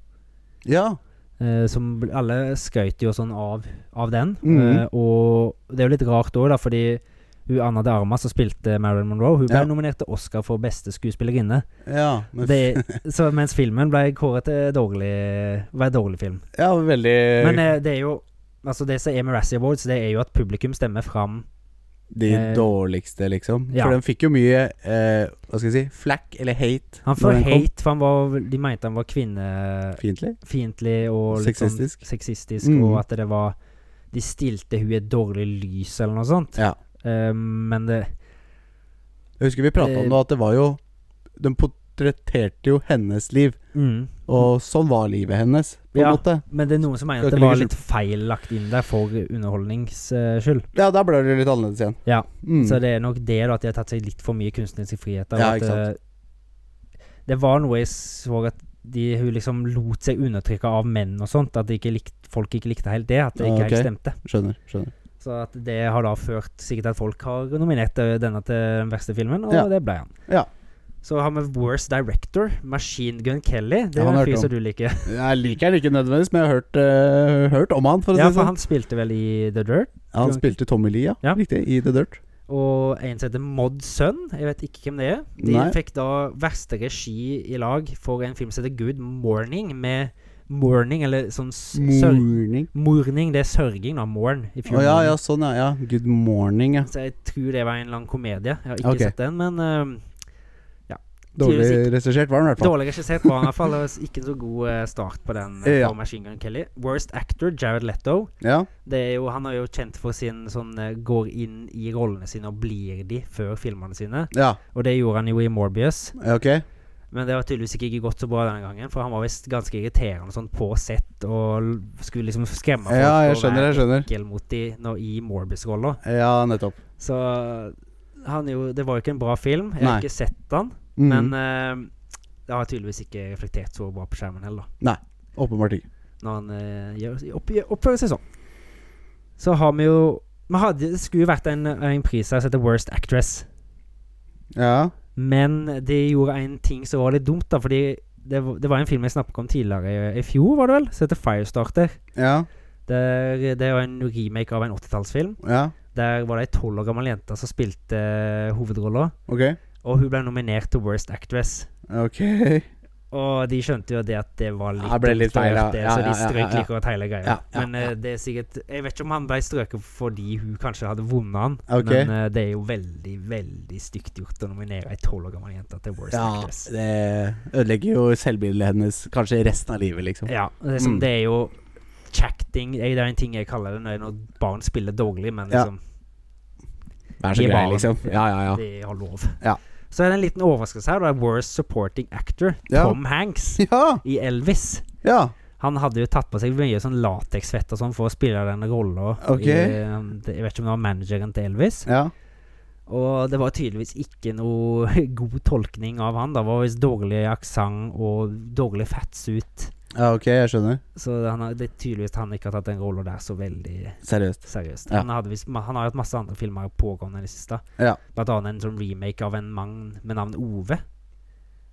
Speaker 1: Ja.
Speaker 2: eh, som bl- alle skøyt jo sånn av, av den.
Speaker 1: Mhm.
Speaker 2: Eh, og det er jo litt rart òg, da, fordi Hun Anna de Armas som spilte Marilyn Monroe, hun ble
Speaker 1: Ja.
Speaker 2: nominert til Oscar for beste skuespillerinne.
Speaker 1: Ja, men,
Speaker 2: Det, så mens filmen ble kåret til dårlig, var en dårlig film.
Speaker 1: ja veldig
Speaker 2: Men eh, det er jo Altså Det som er med Razzie Awards, det er jo at publikum stemmer fram
Speaker 1: De
Speaker 2: eh,
Speaker 1: dårligste, liksom.
Speaker 2: ja.
Speaker 1: For den fikk jo mye eh, Hva skal jeg si flack eller hate.
Speaker 2: Han
Speaker 1: når
Speaker 2: får
Speaker 1: den kom.
Speaker 2: hate, for han var, de mente han var kvinnefiendtlig
Speaker 1: Fiendtlig?
Speaker 2: og litt
Speaker 1: Sexistisk.
Speaker 2: Sånn sexistisk.
Speaker 1: Mm.
Speaker 2: Og at det var De stilte hun i et dårlig lys, eller noe sånt.
Speaker 1: Ja.
Speaker 2: Eh, men det
Speaker 1: Jeg husker vi prata
Speaker 2: Eh,
Speaker 1: om det, at det var jo De portretterte jo hennes liv.
Speaker 2: mm.
Speaker 1: Og sånn var livet hennes, på en
Speaker 2: Ja.
Speaker 1: måte.
Speaker 2: Men det er noen som mener
Speaker 1: Skal
Speaker 2: at det
Speaker 1: ikke
Speaker 2: var
Speaker 1: ligge
Speaker 2: litt feil lagt inn der for underholdnings eh, skyld.
Speaker 1: Ja, da ble det litt annerledes igjen.
Speaker 2: Ja,
Speaker 1: Mm.
Speaker 2: Så det er nok det da at de har tatt seg litt for mye kunstneriske friheter. og
Speaker 1: Ja,
Speaker 2: at,
Speaker 1: ikke sant.
Speaker 2: eh, det var noe jeg så at de, hun liksom lot seg undertrykke av menn og sånt. At de ikke likte, folk ikke likte helt det. At det ikke
Speaker 1: Ja, Ah, ok.
Speaker 2: helt stemte.
Speaker 1: Skjønner. skjønner
Speaker 2: Så at det har da ført sikkert at folk har nominert eh, denne til den verste filmen, og
Speaker 1: Ja.
Speaker 2: det ble han.
Speaker 1: Ja.
Speaker 2: Så har vi Worst Director, Machine Gun Kelly. Det
Speaker 1: Ja,
Speaker 2: er
Speaker 1: han
Speaker 2: en
Speaker 1: har
Speaker 2: fyr
Speaker 1: hørt
Speaker 2: som du liker.
Speaker 1: Jeg liker han ikke nødvendigvis, men jeg har hørt, eh, hørt om han. For å
Speaker 2: ja,
Speaker 1: si det
Speaker 2: for
Speaker 1: sånn.
Speaker 2: han spilte vel i The Dirt.
Speaker 1: Ja, han spilte Tommy Lee, ja.
Speaker 2: Ja.
Speaker 1: Riktig. I The Dirt.
Speaker 2: Og en som heter Mod Sun. Jeg vet ikke hvem det er. De
Speaker 1: Nei.
Speaker 2: fikk da verste regi i lag for en film som heter Good Morning, med Morning, eller sånn s- sør...
Speaker 1: Morning.
Speaker 2: Morning, det er sørging, da. Morn. If
Speaker 1: Å
Speaker 2: you
Speaker 1: ja,
Speaker 2: mourn.
Speaker 1: ja, sånn, ja, ja. Good morning, ja.
Speaker 2: Så jeg tror det var en lang komedie. Jeg har ikke
Speaker 1: Ok.
Speaker 2: sett den, men eh,
Speaker 1: Dårlig
Speaker 2: Tydeligvis
Speaker 1: regissert var han i hvert fall.
Speaker 2: Dårlig regissert var han i hvert fall. Det var Ikke så god eh, start på den. eh,
Speaker 1: Ja.
Speaker 2: for Machine Gun Kelly Worst actor, Jared Letto.
Speaker 1: Ja.
Speaker 2: Det er jo, han er jo kjent for sin sånn eh, går inn i rollene sine og blir de før filmene sine.
Speaker 1: ja,
Speaker 2: Og det gjorde han jo i Morbius.
Speaker 1: ja, ok.
Speaker 2: Men det har tydeligvis ikke gått så bra denne gangen, for han var visst ganske irriterende sånn på sett og l- skulle liksom skremme folk.
Speaker 1: Ja, jeg
Speaker 2: og
Speaker 1: skjønner,
Speaker 2: være
Speaker 1: jeg skjønner.
Speaker 2: ekkel mot de når, i Morbius-rolla.
Speaker 1: Ja, nettopp.
Speaker 2: Så han jo Det var jo ikke en bra film. Jeg
Speaker 1: Nei.
Speaker 2: har ikke sett den,
Speaker 1: Mm.
Speaker 2: men eh, det har tydeligvis ikke reflektert så bra på skjermen heller, da.
Speaker 1: Åpenbart ikke.
Speaker 2: Når han eh, gjør, opp, gjør- oppfører seg sånn. Så har vi jo vi hadde, Det skulle jo vært en, en pris her som heter Worst Actress.
Speaker 1: Ja.
Speaker 2: Men de gjorde en ting som var litt dumt, da. Fordi det, var- det var en film jeg snakket om tidligere i, i fjor, var det vel? Som heter Firestarter.
Speaker 1: Ja.
Speaker 2: Der, det var en remake av en 80-tallsfilm.
Speaker 1: Ja.
Speaker 2: Der var det ei tolv år gammel jente som spilte eh, hovedrolla.
Speaker 1: Ok.
Speaker 2: Og hun ble nominert til Worst Actress.
Speaker 1: Ok.
Speaker 2: Og de skjønte jo det at det var litt
Speaker 1: Ja, det ble
Speaker 2: dumt
Speaker 1: litt
Speaker 2: å gjøre
Speaker 1: feil, ja.
Speaker 2: det,
Speaker 1: Ja,
Speaker 2: så
Speaker 1: ja,
Speaker 2: de
Speaker 1: ja,
Speaker 2: strøk
Speaker 1: ja, ja.
Speaker 2: like godt hele greia.
Speaker 1: Ja, ja,
Speaker 2: Men eh, det er sikkert Jeg vet ikke om han ble strøket fordi hun kanskje hadde vunnet han.
Speaker 1: Ok.
Speaker 2: Men eh, det er jo veldig, veldig stygt gjort å nominere ei tolv år gammel jente til Worst
Speaker 1: Ja,
Speaker 2: Actress.
Speaker 1: det ødelegger jo selvbildet hennes kanskje resten av livet, liksom.
Speaker 2: Ja, det er, som,
Speaker 1: Mm.
Speaker 2: det er jo Chacting Det er en ting jeg kaller det når- når barn spiller dårlig, men
Speaker 1: Ja.
Speaker 2: liksom,
Speaker 1: Vær så
Speaker 2: Gi
Speaker 1: grei,
Speaker 2: barn.
Speaker 1: liksom. Ja, ja, ja.
Speaker 2: de har lov.
Speaker 1: Ja.
Speaker 2: Så er det en liten overraskelse her. Det er Worst Supporting Actor,
Speaker 1: Ja.
Speaker 2: Tom Hanks,
Speaker 1: Ja!
Speaker 2: i Elvis.
Speaker 1: Ja!
Speaker 2: Han hadde jo tatt på seg mye sånn lateksfett og sånn for å spille den rolla.
Speaker 1: Ok.
Speaker 2: Jeg vet ikke om um, det var manageren til Elvis.
Speaker 1: ja.
Speaker 2: Og det var tydeligvis ikke noe god tolkning av han. da. Det var visst dårlig aksent og dårlig fatsuit.
Speaker 1: ja ok, jeg skjønner.
Speaker 2: Så han har, det er tydeligvis han ikke har tatt den rolla der så veldig
Speaker 1: Seriøst.
Speaker 2: Seriøst.
Speaker 1: Ja.
Speaker 2: Han, hadde visst- ma- han har jo hatt masse andre filmer pågående i det siste.
Speaker 1: Ja.
Speaker 2: Blant annet en sånn remake av en mann med navn Ove.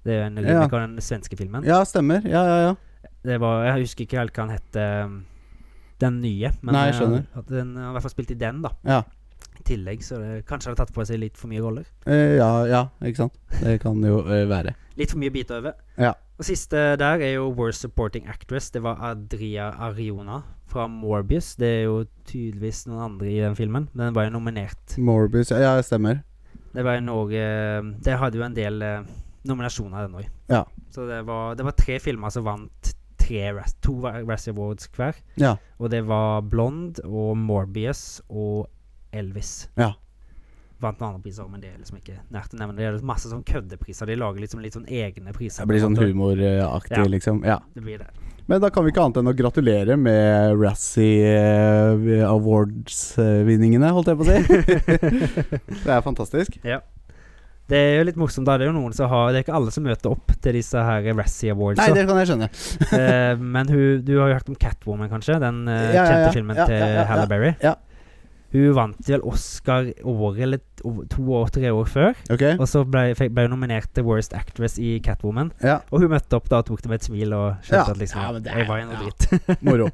Speaker 2: Det er jo en
Speaker 1: Ja.
Speaker 2: remake av den svenske filmen.
Speaker 1: Ja, stemmer. Ja, ja, ja.
Speaker 2: Det var, jeg husker ikke helt hva han het, um, den nye. Men
Speaker 1: Nei, jeg
Speaker 2: eh,
Speaker 1: skjønner.
Speaker 2: at den, han har i hvert fall spilt i den, da.
Speaker 1: Ja.
Speaker 2: I tillegg, så det, kanskje han har tatt på seg litt for mye roller.
Speaker 1: Eh, ja, ja, ikke sant. Det kan jo eh, være.
Speaker 2: Litt for mye å bite over.
Speaker 1: Ja.
Speaker 2: Og siste der er jo Worst Supporting Actress. Det var Adria Ariona fra Morbius. Det er jo tydeligvis noen andre i den filmen, men den var jo nominert
Speaker 1: Morbius Ja, ja, stemmer.
Speaker 2: Det var en år eh, Det hadde jo en del eh, nominasjoner den òg.
Speaker 1: Ja.
Speaker 2: Så det var, det var tre filmer som vant tre, Raz- to Razzie Awards hver.
Speaker 1: Ja.
Speaker 2: Og det var Blond og Morbius og Elvis.
Speaker 1: Ja.
Speaker 2: Vant noen andre priser, men det er liksom ikke nært å nevne. Det er masse sånn køddepriser. De lager liksom litt sånn egne priser.
Speaker 1: Det blir sånn
Speaker 2: på en måte.
Speaker 1: humoraktig,
Speaker 2: Ja.
Speaker 1: liksom. Ja.
Speaker 2: Det blir det.
Speaker 1: Men da kan vi ikke annet enn å gratulere med Razzie eh, Awards-vinningene, holdt jeg på å si. det er fantastisk.
Speaker 2: Det er jo litt morsomt. da Det er jo noen som har Det er ikke alle som møter opp til disse her Razzie Awards.
Speaker 1: Nei, det kan jeg skjønne.
Speaker 2: Eh, men hun, du har jo hørt om Catwoman, kanskje? Den eh,
Speaker 1: Ja, ja,
Speaker 2: kjente
Speaker 1: ja.
Speaker 2: filmen
Speaker 1: Ja,
Speaker 2: til
Speaker 1: ja, ja, ja.
Speaker 2: Halle Berry.
Speaker 1: Ja.
Speaker 2: Hun vant vel Oscar året eller t- o- to år, tre år før.
Speaker 1: Ok?
Speaker 2: Og så ble, fikk- ble hun nominert til Worst Actress i Catwoman.
Speaker 1: Ja.
Speaker 2: Og hun møtte opp da og tok det med et smil og skjønte
Speaker 1: Ja.
Speaker 2: at liksom
Speaker 1: Ja, men det er-
Speaker 2: Jeg var jo noe
Speaker 1: ja.
Speaker 2: dritt.
Speaker 1: Moro.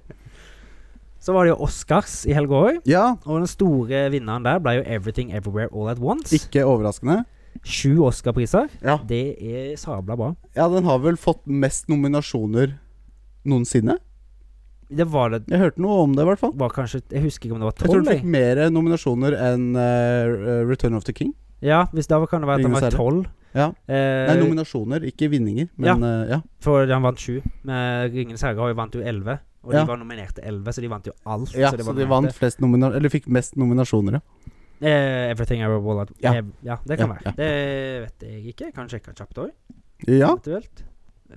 Speaker 2: Så var det jo Oscars i helga òg.
Speaker 1: Ja,
Speaker 2: Og den store vinneren der ble jo 'Everything Everywhere All At Once'.
Speaker 1: ikke overraskende.
Speaker 2: Sju Oscar-priser.
Speaker 1: Ja.
Speaker 2: Det er sabla bra.
Speaker 1: ja, den har vel fått mest nominasjoner noensinne?
Speaker 2: Det var det
Speaker 1: Jeg hørte noe om det, i hvert fall.
Speaker 2: var kanskje Jeg husker ikke om det var
Speaker 1: Jeg tror den fikk
Speaker 2: tolv.
Speaker 1: mer nominasjoner enn eh, Return of the King.
Speaker 2: Ja, hvis det var, kan det være at den
Speaker 1: Ringenes
Speaker 2: var
Speaker 1: herre.
Speaker 2: tolv.
Speaker 1: Ja. Nei,
Speaker 2: Eh,
Speaker 1: nominasjoner, ikke vinninger. Men eh, ja.
Speaker 2: for han vant sju. Men Ringenes herre har jo vant jo elleve. Og
Speaker 1: Ja.
Speaker 2: de var nominert til elleve, så de vant jo alt.
Speaker 1: ja.
Speaker 2: så det
Speaker 1: Så
Speaker 2: var
Speaker 1: de
Speaker 2: nominert
Speaker 1: vant flest nomina Eller fikk mest nominasjoner, ja.
Speaker 2: til- Eh, 'Everything Everywhere All At
Speaker 1: Ja.
Speaker 2: eh, ja, det kan
Speaker 1: Ja,
Speaker 2: være.
Speaker 1: ja.
Speaker 2: Det vet jeg ikke. Jeg Kan sjekke kjapt òg,
Speaker 1: Ja,
Speaker 2: eventuelt. Eh,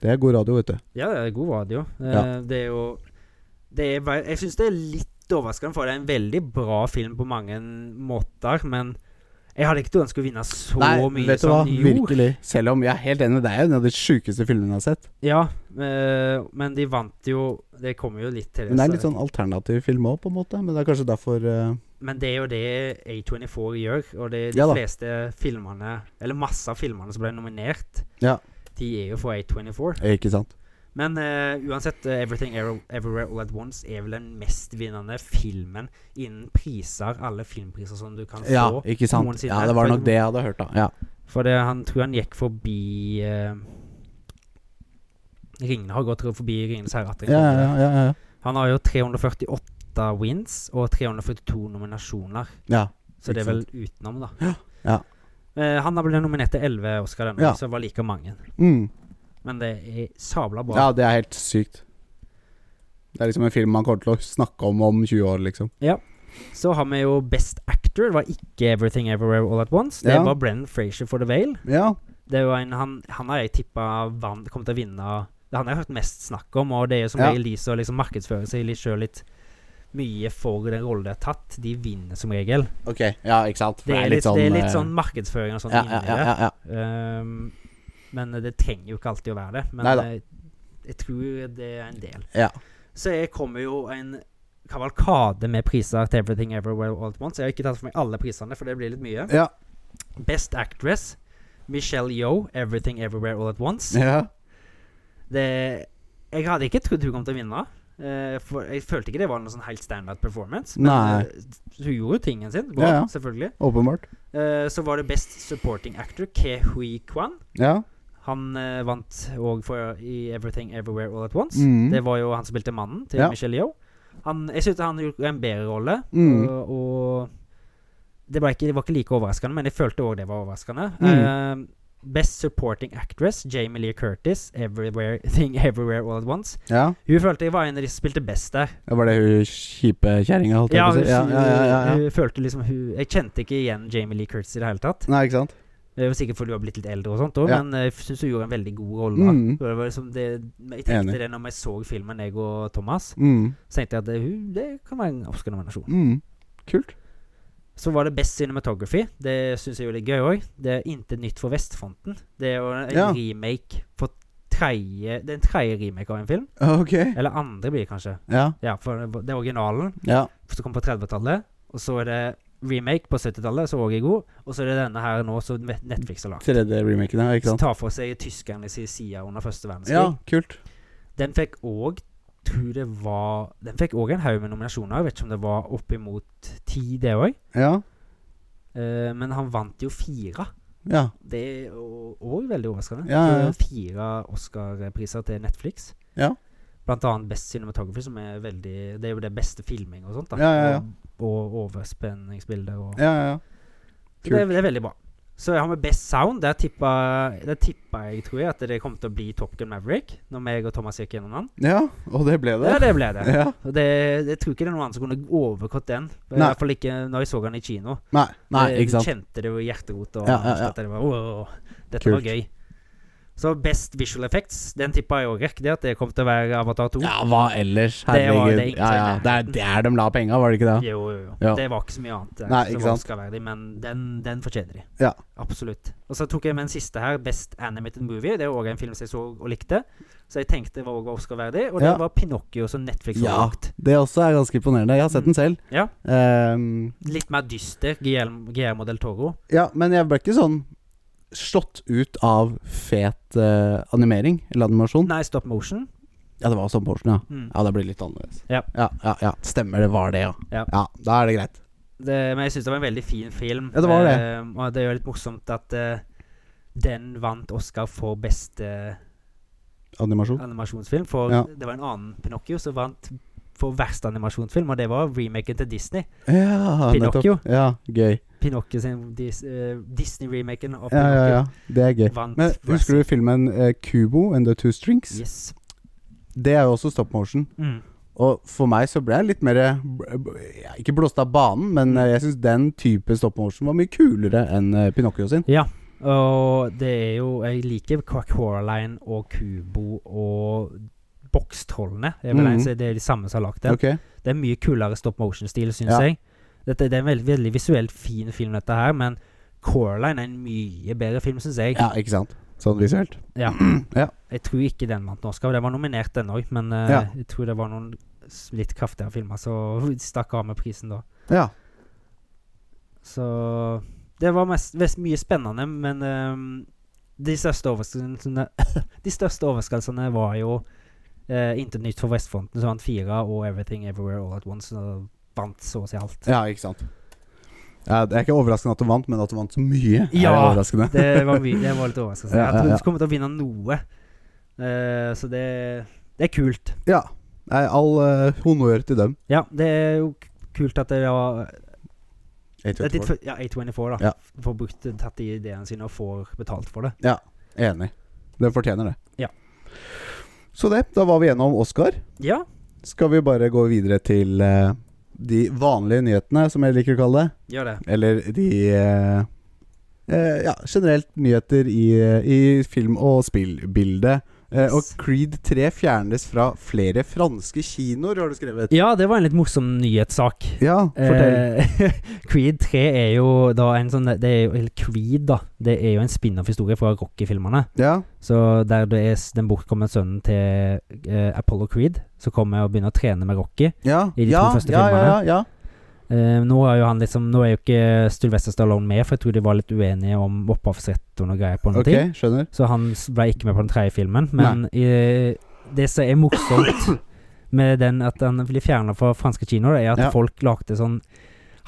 Speaker 1: det er god radio, vet du.
Speaker 2: Ja, det er god radio. Eh,
Speaker 1: Ja.
Speaker 2: Det er jo det er, ve- Jeg syns det er litt overraskende, for det er en veldig bra film på mange måter, men jeg hadde ikke trodd den skulle vinne så mye
Speaker 1: vet du hva?
Speaker 2: som den gjorde.
Speaker 1: Virkelig. Selv om jeg er helt enig, det er jo en av de sjukeste filmene jeg har sett.
Speaker 2: Ja, eh, men de vant jo Det kommer jo litt til
Speaker 1: Men det er
Speaker 2: så-
Speaker 1: litt sånn alternativ film òg, på en måte. Men det er kanskje derfor eh,
Speaker 2: Men det er jo det A24 gjør, og det er de
Speaker 1: Ja da.
Speaker 2: fleste filmene, eller masse av filmene som ble nominert,
Speaker 1: Ja.
Speaker 2: de er jo fra A24.
Speaker 1: Ikke sant?
Speaker 2: Men eh, uansett, eh, 'Everything Every- Everywhere All At Once' er vel den mestvinnende filmen innen priser, alle filmpriser som du kan
Speaker 1: Ja,
Speaker 2: få.
Speaker 1: ikke sant?
Speaker 2: noensinne.
Speaker 1: Ja, det var
Speaker 2: For-
Speaker 1: nok det jeg hadde hørt, da. Ja.
Speaker 2: For det, han tror han gikk forbi eh, Ringene har gått forbi Ringenes herre. atter en
Speaker 1: Ja,
Speaker 2: gang.
Speaker 1: ja, ja, ja,
Speaker 2: Han har jo 348 wins og 342 nominasjoner,
Speaker 1: ja.
Speaker 2: så det er
Speaker 1: Ikke
Speaker 2: vel utenom, da.
Speaker 1: ja.
Speaker 2: Eh, han har blitt nominert til 11 Oscar denne,
Speaker 1: Ja.
Speaker 2: så det var like mange.
Speaker 1: Ja. Mm.
Speaker 2: Men det er sabla bra.
Speaker 1: ja, det er helt sykt. Det er liksom en film man kommer til å snakke om om 20 år, liksom.
Speaker 2: Så har vi jo Best Actor. Det var ikke Everything Everywhere All At Once. Det
Speaker 1: Ja.
Speaker 2: var Brennan Frazier for The Vale.
Speaker 1: Ja.
Speaker 2: Det er jo en, han, han har jeg tippa vann kom til å vinne Det er han jeg har hørt mest snakk om, og det er jo som
Speaker 1: Ja.
Speaker 2: regel de som liksom markedsfører seg litt sjøl litt mye for den rollen de har tatt. De vinner som regel.
Speaker 1: Ok, ja, ikke sant? For
Speaker 2: Det er, litt, det er
Speaker 1: eh,
Speaker 2: litt sånn markedsføring og sånn
Speaker 1: ja,
Speaker 2: inni
Speaker 1: ja, ja, ja, ja.
Speaker 2: det. Um, men det trenger jo ikke alltid å være det. Men
Speaker 1: Neida.
Speaker 2: jeg, jeg tror det er en del.
Speaker 1: Ja.
Speaker 2: Så jeg kommer jo en kavalkade med priser til Everything Everywhere All At Once. Jeg har ikke tatt for meg alle prisene, for det blir litt mye.
Speaker 1: Ja.
Speaker 2: Best Actress, Michelle Yo, Everything Everywhere All At Once.
Speaker 1: ja.
Speaker 2: Det, jeg hadde ikke trodd hun kom til å vinne. Eh, for jeg følte ikke det var noen sånn helt standard performance. Men
Speaker 1: Nei.
Speaker 2: eh, hun gjorde jo tingen sin bra,
Speaker 1: Ja, ja.
Speaker 2: selvfølgelig.
Speaker 1: Åpenbart.
Speaker 2: Eh, så var det Best Supporting Actor, Ke Hui Kwan.
Speaker 1: Ja.
Speaker 2: Han eh, vant òg for i Everything Everywhere All At Once.
Speaker 1: Mm.
Speaker 2: Det var jo han som spilte mannen til
Speaker 1: Ja.
Speaker 2: Michelle Yeoh. Han, jeg syntes han gjorde en bedre rolle,
Speaker 1: Mm.
Speaker 2: og, og det, ble ikke, det var ikke like overraskende, men jeg følte òg det var overraskende.
Speaker 1: Mm.
Speaker 2: Eh, best Supporting Actress, Jamie Lee Curtis, Everywhere Thing Everywhere All At Once.
Speaker 1: ja.
Speaker 2: Hun følte jeg var en av de som spilte best der.
Speaker 1: Det var det hun kjipe kjerringa holdt jeg
Speaker 2: Ja,
Speaker 1: på å
Speaker 2: hun,
Speaker 1: si? Ja, ja, ja, ja, ja.
Speaker 2: hun følte liksom hun, Jeg kjente ikke igjen Jamie Lee Curtis i det hele tatt.
Speaker 1: Nei, ikke sant?
Speaker 2: Det er jo Sikkert fordi hun har blitt litt eldre, og sånt også,
Speaker 1: Ja.
Speaker 2: men eh, jeg syns hun gjorde en veldig god rolle. da.
Speaker 1: Mm.
Speaker 2: Så Det var liksom det, jeg tenkte
Speaker 1: Enig.
Speaker 2: det når jeg så filmen, jeg og Thomas.
Speaker 1: Mm.
Speaker 2: Så tenkte jeg at det, hun, det kan være en Oscar-nominasjon.
Speaker 1: Mm. Kult.
Speaker 2: Så var det Best Cinematography. Det syns jeg er veldig gøy òg. Det er intet nytt for Vestfronten. Det er jo en
Speaker 1: Ja.
Speaker 2: remake for tredje Det er en tredje remake av en film.
Speaker 1: Ok.
Speaker 2: Eller andre blir det kanskje.
Speaker 1: Ja.
Speaker 2: Ja, for det var- det er originalen
Speaker 1: Ja.
Speaker 2: som kom på 30-tallet. Og så er det remake på 70-tallet, som òg er god. Og så er det denne her nå, som Netflix har lagd.
Speaker 1: Tredje remaken, ja. Ikke
Speaker 2: Som
Speaker 1: sant?
Speaker 2: tar for seg tyskerne sin side under første verdenskrig.
Speaker 1: Ja, kult.
Speaker 2: Den fikk òg Tror det var Den fikk òg en haug med nominasjoner. Jeg vet ikke om det var oppimot ti, det òg.
Speaker 1: Ja.
Speaker 2: Eh, men han vant jo fire.
Speaker 1: Ja.
Speaker 2: Det er jo òg veldig overraskende.
Speaker 1: Ja, ja, ja.
Speaker 2: Så Fire Oscar-priser til Netflix.
Speaker 1: Ja.
Speaker 2: Blant annet Best Cinematography, som er veldig Det er jo det beste filming og sånt. da
Speaker 1: Ja, ja, ja.
Speaker 2: Og, og overspenningsbilder og
Speaker 1: Ja, ja, ja.
Speaker 2: Så det, er- det er veldig bra. Så jeg har med Best Sound. Der tippa, der tippa jeg, tror jeg, at det kom til å bli Top Gun Maverick. Når meg og Thomas gikk gjennom den.
Speaker 1: Ja, og det ble det.
Speaker 2: Ja, det ble det.
Speaker 1: Ja.
Speaker 2: Og Det, jeg tror ikke det er noen andre som kunne overgått den. I
Speaker 1: Nei.
Speaker 2: hvert fall ikke når jeg så den i kino.
Speaker 1: Nei, nei,
Speaker 2: Jeg
Speaker 1: ikke sant.
Speaker 2: Kjente det jo i hjerterota. og
Speaker 1: Ja, ja, ja.
Speaker 2: at Det var, «Åh, dette
Speaker 1: Kult.
Speaker 2: var gøy. Så Best Visual Effects, den tippa jeg òg rekker. Det at det kom til å være Avatar 2.
Speaker 1: Ja, hva ellers?
Speaker 2: var det
Speaker 1: Herregud.
Speaker 2: egentlig
Speaker 1: Ja, ja. Det er der de la penga, var det ikke det?
Speaker 2: Jo, jo, jo.
Speaker 1: Ja.
Speaker 2: Det var ikke så mye annet der,
Speaker 1: Nei,
Speaker 2: som
Speaker 1: ikke
Speaker 2: var
Speaker 1: sant.
Speaker 2: Oscar-verdig, men den, den fortjener de.
Speaker 1: Ja.
Speaker 2: Absolutt. Og så tok jeg med en siste her, Best Animated Movie. Det er òg en film som jeg så og likte. Så jeg tenkte det var også Oscar-verdig. Og det
Speaker 1: Ja.
Speaker 2: var Pinocchio, som Netflix har
Speaker 1: Ja.
Speaker 2: lagt.
Speaker 1: Det også er ganske imponerende. Jeg har sett den selv.
Speaker 2: Mm. Ja.
Speaker 1: Ehm,
Speaker 2: Litt mer dyster, Guillermo Guillermo del Toro.
Speaker 1: Ja, men jeg ble ikke sånn slått ut av fet eh, animering eller animasjon.
Speaker 2: Nei, stop motion.
Speaker 1: Ja, det var Aston Porsen, ja.
Speaker 2: Mm.
Speaker 1: Ja, det blir litt annerledes.
Speaker 2: Ja.
Speaker 1: ja, ja, ja. Stemmer, det var det, ja.
Speaker 2: Ja.
Speaker 1: Da er det greit.
Speaker 2: Det, men jeg syns det var en veldig fin film.
Speaker 1: Ja, det var det.
Speaker 2: Eh, og det er jo litt morsomt at eh, den vant Oscar for beste
Speaker 1: Animasjon.
Speaker 2: animasjonsfilm. For
Speaker 1: Mm. Ja.
Speaker 2: det var en annen Pinocchio som vant for verste animasjonsfilm, og det var remaken til Disney.
Speaker 1: Ja,
Speaker 2: Pinocchio.
Speaker 1: nettopp. Ja, gøy.
Speaker 2: Pinocchio sin dis, eh, Disney-remaken av
Speaker 1: Ja, ja,
Speaker 2: Pinocchio
Speaker 1: ja. Det er gøy.
Speaker 2: vant
Speaker 1: Men
Speaker 2: for
Speaker 1: husker du filmen eh, Kubo and the Two Strings?
Speaker 2: Yes.
Speaker 1: Det er jo også stop motion.
Speaker 2: Mm.
Speaker 1: Og for meg så ble jeg litt mer eh, b- b- ja, Ikke blåst av banen, men eh, jeg syns den type stop motion var mye kulere enn eh, Pinocchio sin.
Speaker 2: Og det er jo Jeg liker Quack Coraline og Kubo og Bokstrålene. Det er, vel
Speaker 1: Mhm.
Speaker 2: en, så det er de samme som har lagd den.
Speaker 1: Ok
Speaker 2: Det er mye kulere stop motion-stil, syns
Speaker 1: Ja.
Speaker 2: jeg. Dette, det er en veldig, veldig visuelt fin film, dette her, men Coraline er en mye bedre film, syns jeg.
Speaker 1: Ja, ikke sant? Sånn visuelt.
Speaker 2: Ja.
Speaker 1: Ja.
Speaker 2: Jeg tror ikke den vant en Oscar. Den var nominert, den òg, men eh,
Speaker 1: Ja.
Speaker 2: jeg tror det var noen s- litt kraftigere filmer som stakk av med prisen da.
Speaker 1: Ja.
Speaker 2: Så det var mest, mest mye spennende, men ehm, de største overraskelsene De største overraskelsene var jo eh, Intet nytt for Vestfronten, som vant fire, og Everything Everywhere All At Once, som vant så å si alt.
Speaker 1: ja, ikke sant. Ja, det er ikke overraskende at hun vant, men at hun vant så mye, er
Speaker 2: Ja.
Speaker 1: overraskende.
Speaker 2: Det var, mye, det var litt overraskende.
Speaker 1: Ja,
Speaker 2: Jeg
Speaker 1: ja,
Speaker 2: trodde
Speaker 1: ja.
Speaker 2: hun kom til å vinne noe, Eh, så det, det er kult.
Speaker 1: Ja. Nei, all eh, honnør til dem.
Speaker 2: Ja, det er jo k- kult at det var Det er ditt,
Speaker 1: A24.
Speaker 2: fø- ja, A24, da.
Speaker 1: Ja.
Speaker 2: Får brukt tatt de ideene sine og får betalt for det.
Speaker 1: Enig. Den fortjener det.
Speaker 2: Ja.
Speaker 1: Så det, da var vi gjennom Oscar.
Speaker 2: Ja.
Speaker 1: Skal vi bare gå videre til eh, de vanlige nyhetene, som jeg liker å kalle det.
Speaker 2: Gjør det.
Speaker 1: Eller de eh, eh, Ja, generelt nyheter i, eh, i film- og spillbildet. Eh, og
Speaker 2: Yes.
Speaker 1: Creed 3 fjernes fra flere franske kinoer, har du skrevet.
Speaker 2: Ja, det var en litt morsom nyhetssak.
Speaker 1: Ja, fortell.
Speaker 2: Eh, Creed 3 er jo da en sånn det er jo, Eller Creed, da. Det er jo en spin-off-historie fra Rocky-filmene.
Speaker 1: Ja,
Speaker 2: Så der det er s- den bortkomne sønnen til eh, Apollo Creed, som kommer og begynner å trene med Rocky.
Speaker 1: ja,
Speaker 2: I de to
Speaker 1: ja,
Speaker 2: første
Speaker 1: ja, ja, ja,
Speaker 2: filmene.
Speaker 1: ja.
Speaker 2: Eh, nå er jo han liksom Nå er jo ikke Sylvester Stallone med, for jeg tror de var litt uenige om opphavsrett og noe greier på noe
Speaker 1: Ok,
Speaker 2: ting.
Speaker 1: skjønner.
Speaker 2: Så han s- ble ikke med på den tredje filmen. Men eh, det som er morsomt med den at den blir fjerna fra franske kinoer, er at
Speaker 1: Ja.
Speaker 2: folk lagde sånn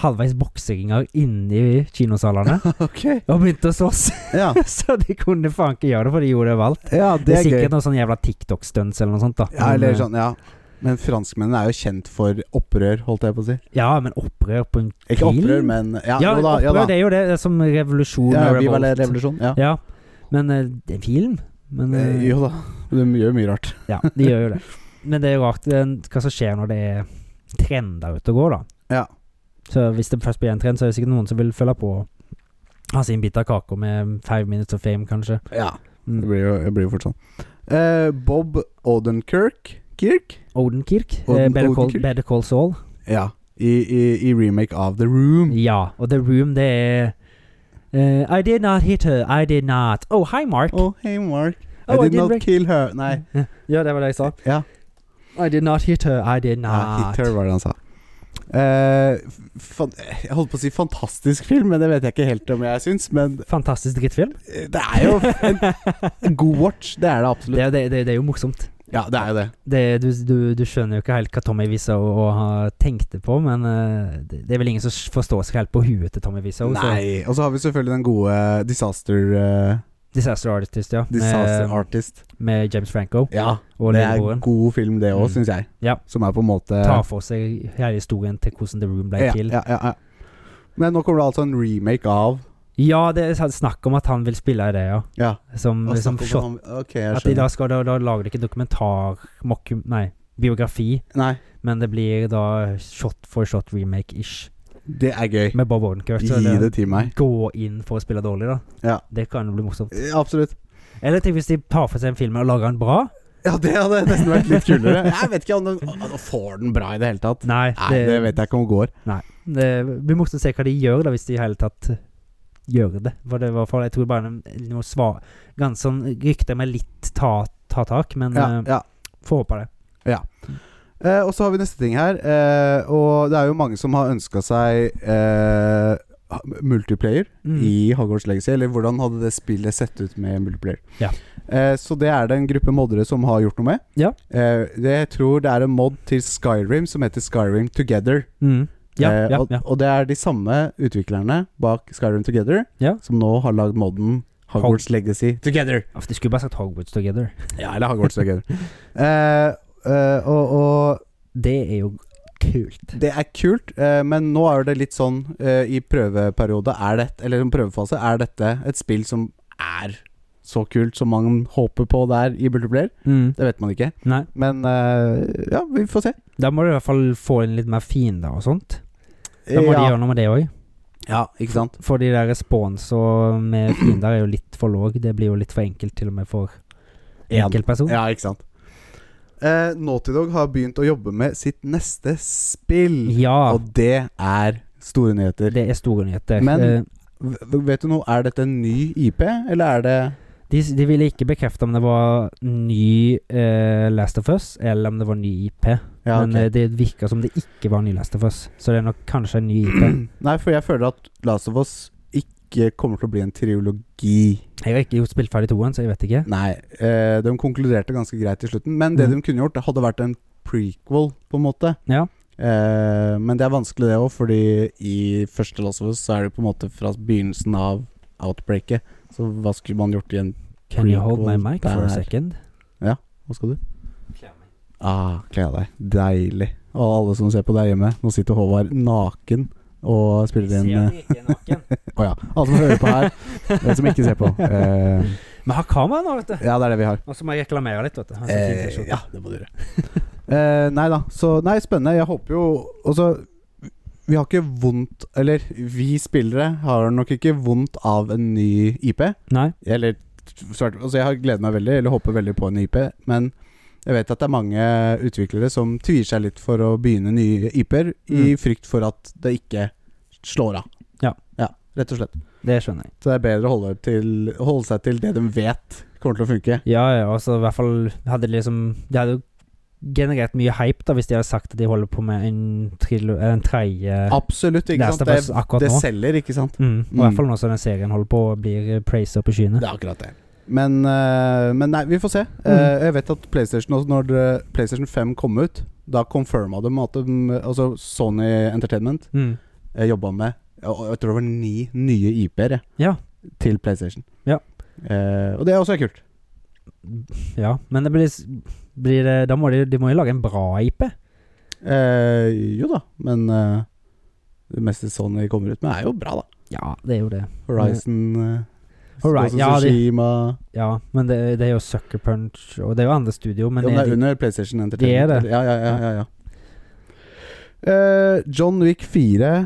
Speaker 2: halvveis bokseringer inni kinosalene
Speaker 1: Ok,
Speaker 2: og begynte å slåss.
Speaker 1: ja,
Speaker 2: så de kunne faen ikke gjøre det, for de gjorde det overalt.
Speaker 1: ja
Speaker 2: Det
Speaker 1: det
Speaker 2: er
Speaker 1: er gøy.
Speaker 2: sikkert noen sånn jævla TikTok-stunts eller noe sånt. da
Speaker 1: Ja,
Speaker 2: Men,
Speaker 1: eller
Speaker 2: eh,
Speaker 1: sånn, ja. Men franskmennene er jo kjent for opprør, holdt jeg på å si.
Speaker 2: eh, ja, men opprør på en
Speaker 1: Ikke
Speaker 2: grill?
Speaker 1: opprør, men Ja,
Speaker 2: Ja,
Speaker 1: jo da.
Speaker 2: opprør
Speaker 1: Ja, da.
Speaker 2: det er jo det. Det er som revolusjon.
Speaker 1: Ja,
Speaker 2: og
Speaker 1: vi var
Speaker 2: revolt.
Speaker 1: revolusjon. Ja.
Speaker 2: Ja. Men eh, det er film. Men
Speaker 1: Eh,
Speaker 2: eh,
Speaker 1: Jo da. De gjør mye rart.
Speaker 2: Ja, de gjør jo det. Men det er jo rart eh, hva som skjer når det er trender ute og går, da.
Speaker 1: Ja.
Speaker 2: Så hvis det først blir en trend, så er det sikkert noen som vil følge på og ha sin bit av kaka med five minutes of fame, kanskje.
Speaker 1: ja. Det
Speaker 2: Mm.
Speaker 1: blir jo, det blir jo fort sånn. Eh, Bob Odenkirk Kirk?
Speaker 2: Odenkirk. eh,
Speaker 1: Oden-
Speaker 2: Better, Call,
Speaker 1: Odenkirk.
Speaker 2: Better Call Saul.
Speaker 1: Ja. I, i, I remake av The Room.
Speaker 2: Ja. Og The Room, det er eh, I did not hit her. I did not. Oh, hi, Mark.
Speaker 1: Oh, hey, Mark. I
Speaker 2: Oh,
Speaker 1: did
Speaker 2: didn't
Speaker 1: not
Speaker 2: break-
Speaker 1: kill her. Nei.
Speaker 2: Ja, det var det jeg sa.
Speaker 1: Ja.
Speaker 2: I did not hit her. I did
Speaker 1: Ja,
Speaker 2: not.
Speaker 1: Ah, hit her, var det han sa. Eh, fan, jeg holdt på å si fantastisk film, men det vet jeg ikke helt om jeg syns. Men
Speaker 2: Fantastisk drittfilm.
Speaker 1: eh, det er jo en, en god watch. Det er det absolutt.
Speaker 2: Det, er- det, det, det er jo morsomt.
Speaker 1: Ja, det er jo det.
Speaker 2: det, du, du, du skjønner jo ikke helt hva Tommy Wiseau og han tenkte på, men eh, det, det er vel ingen som s- forstår seg helt på huet til Tommy Wiseau. Så
Speaker 1: Nei. Og så har vi selvfølgelig den gode disaster, eh,
Speaker 2: Disaster Artist, ja.
Speaker 1: disaster
Speaker 2: med,
Speaker 1: Artist.
Speaker 2: med James Franco
Speaker 1: Ja,
Speaker 2: og
Speaker 1: det er en
Speaker 2: lillebroren.
Speaker 1: god film, det òg,
Speaker 2: Mm.
Speaker 1: syns jeg.
Speaker 2: Ja.
Speaker 1: Som er på en måte
Speaker 2: Tar for seg hele historien til hvordan The Room ble
Speaker 1: ja,
Speaker 2: til. Ja,
Speaker 1: ja, ja, ja. Men nå kommer det altså en remake av
Speaker 2: det er snakk om at han vil spille i det, ja.
Speaker 1: Ja.
Speaker 2: Som,
Speaker 1: og
Speaker 2: som
Speaker 1: snakker om
Speaker 2: shot.
Speaker 1: han- Ok, jeg
Speaker 2: At de da
Speaker 1: skjønner.
Speaker 2: skal da, da lager de ikke dokumentar mockum- Nei, biografi,
Speaker 1: Nei,
Speaker 2: men det blir da shot for shot remake-ish.
Speaker 1: det er gøy.
Speaker 2: Med Bob Odenkirk. så
Speaker 1: Gi det til meg.
Speaker 2: Gå inn for å spille dårlig, da.
Speaker 1: Ja.
Speaker 2: Det kan jo bli morsomt.
Speaker 1: Eh, Absolutt.
Speaker 2: Eller tenk hvis de tar for seg en film og lager den bra?
Speaker 1: Ja, det hadde nesten vært litt kulere. Jeg vet ikke om den om den får den bra i det hele tatt.
Speaker 2: Nei,
Speaker 1: Nei, det vet jeg ikke om det går.
Speaker 2: Det blir morsomt å se hva de gjør, da, hvis de i hele tatt gjør det. For det var for, jeg tror bare noen- noe svar Ganske sånn rykter med litt ta, ta tak, men
Speaker 1: Ja,
Speaker 2: eh,
Speaker 1: ja.
Speaker 2: får håpe det.
Speaker 1: Eh, og så har vi neste ting her. eh, og det er jo mange som har ønska seg eh, ha- multiplayer
Speaker 2: Mm.
Speaker 1: i Hogwarts Legacy, eller hvordan hadde det spillet sett ut med multiplayer.
Speaker 2: Ja.
Speaker 1: Eh, så det er det en gruppe moddere som har gjort noe med.
Speaker 2: Ja.
Speaker 1: Eh, det, jeg tror det er en mod til Skyrim som heter Skyrim Together.
Speaker 2: Mm. Ja,
Speaker 1: Eh,
Speaker 2: ja,
Speaker 1: og,
Speaker 2: ja.
Speaker 1: og det er de samme utviklerne bak Skyrim Together
Speaker 2: Ja.
Speaker 1: som nå har lagd moden Hogwarts Legacy Together.
Speaker 2: Ja, for De skulle bare sagt Hogwarts Together.
Speaker 1: Ja, eller Hogwarts Together. eh, eh, og, og
Speaker 2: Det er jo kult.
Speaker 1: Det er kult, eh, men nå er det litt sånn eh, i prøveperiode er det, Eller som prøvefase er dette et spill som er så kult som man håper på der i multiplayer.
Speaker 2: Mm.
Speaker 1: Det vet man ikke.
Speaker 2: Nei,
Speaker 1: Men eh, ja, vi får se.
Speaker 2: da må du i hvert fall få inn litt mer fiender og sånt. Da må de
Speaker 1: ja.
Speaker 2: gjøre noe med det òg.
Speaker 1: ja, ikke sant?
Speaker 2: For de der respons og med fiender er jo litt for låg. Det blir jo litt for enkelt til og med for
Speaker 1: En.
Speaker 2: enkeltperson.
Speaker 1: Ja, ikke sant. Eh, Naughty Dog har begynt å jobbe med sitt neste spill,
Speaker 2: Ja,
Speaker 1: og det er store nyheter.
Speaker 2: det er store nyheter.
Speaker 1: Men-
Speaker 2: Eh,
Speaker 1: V vet du noe, er dette en ny IP, eller er det
Speaker 2: de, de ville ikke bekrefte om det var ny eh, Last of Us, eller om det var ny IP.
Speaker 1: ja,
Speaker 2: Men
Speaker 1: ok.
Speaker 2: eh, det virker som det ikke var ny Last of Us, så det er nok kanskje en ny IP.
Speaker 1: Nei, for jeg føler at Last of Us ikke kommer til å bli en triologi.
Speaker 2: Jeg har ikke gjort spilt ferdig toen, så jeg vet ikke.
Speaker 1: Nei, eh, de konkluderte ganske greit til slutten, men det
Speaker 2: Mm.
Speaker 1: de kunne gjort, det hadde vært en prequel, på en måte.
Speaker 2: Ja.
Speaker 1: Eh, men det er vanskelig, det òg, fordi i første Last of Us så er det på en måte fra begynnelsen av outbreaket. Så hva skulle man gjort i en
Speaker 2: Can you hold my
Speaker 1: Prequel
Speaker 2: mic for
Speaker 1: der.
Speaker 2: a second?
Speaker 1: Hva skal du? Ah, Kle av deg. Deilig. Og alle som ser på der hjemme, nå sitter Håvard naken og spiller inn eh, Å ja. Alle som hører på her, eh, som ikke ser på. Eh,
Speaker 2: Vi har kamera nå, vet du.
Speaker 1: ja, det er det vi har.
Speaker 2: Og så må jeg reklamere litt, vet du. Han sitter i
Speaker 1: Eh,
Speaker 2: T-skjorte.
Speaker 1: ja, det må du gjøre. eh, nei da. Så Nei, spennende. Jeg håper jo Altså, vi har ikke vondt Eller vi spillere har nok ikke vondt av en ny IP.
Speaker 2: Nei.
Speaker 1: Eller svært Altså, jeg har gleder meg veldig, eller håper veldig på en ny IP, men jeg vet at det er mange utviklere som tvier seg litt for å begynne nye IP-er, i frykt for at det ikke slår av.
Speaker 2: Ja.
Speaker 1: Mm. ja. Rett og slett.
Speaker 2: Det skjønner jeg.
Speaker 1: Så det er bedre å holde, til, holde seg til det de vet kommer til å funke.
Speaker 2: Ja, ja, og så i hvert fall hadde de liksom De hadde jo generert mye hype da hvis de hadde sagt at de holder på med en, trilo, eh, en tredje
Speaker 1: Absolutt, ikke
Speaker 2: Last
Speaker 1: sant?
Speaker 2: of Us
Speaker 1: Det,
Speaker 2: akkurat
Speaker 1: det
Speaker 2: nå.
Speaker 1: selger, ikke sant?
Speaker 2: Mm. Og i
Speaker 1: Mm.
Speaker 2: hvert fall nå som den serien holder på og blir eh, praisa på skyene.
Speaker 1: Det er akkurat det. Men, eh, men nei, vi får se.
Speaker 2: Mm.
Speaker 1: Eh, jeg vet at PlayStation også, når eh, PlayStation 5 kom ut, da confirma de at de, altså Sony Entertainment
Speaker 2: Mm.
Speaker 1: uh, jobba med og jeg tror det var ni nye IP-er jeg,
Speaker 2: Ja.
Speaker 1: til PlayStation.
Speaker 2: Ja.
Speaker 1: Eh, og det er også kult.
Speaker 2: Ja, men det blir, blir det, da må de, de må jo lage en bra IP.
Speaker 1: Eh, jo da, men eh, det meste Sony kommer ut med, er jo bra, da.
Speaker 2: Ja, det er jo det.
Speaker 1: Horizon, eh,
Speaker 2: Hori-
Speaker 1: Ghost of
Speaker 2: ja, de-
Speaker 1: Tsushima
Speaker 2: Ja, men det, det er jo Sucker Punch, og det er jo andre studio, men
Speaker 1: jo, men det
Speaker 2: er
Speaker 1: er
Speaker 2: de,
Speaker 1: under PlayStation Entertainment.
Speaker 2: Det er det.
Speaker 1: Ja, ja, ja. ja, ja. Eh, John Wick 4 eh,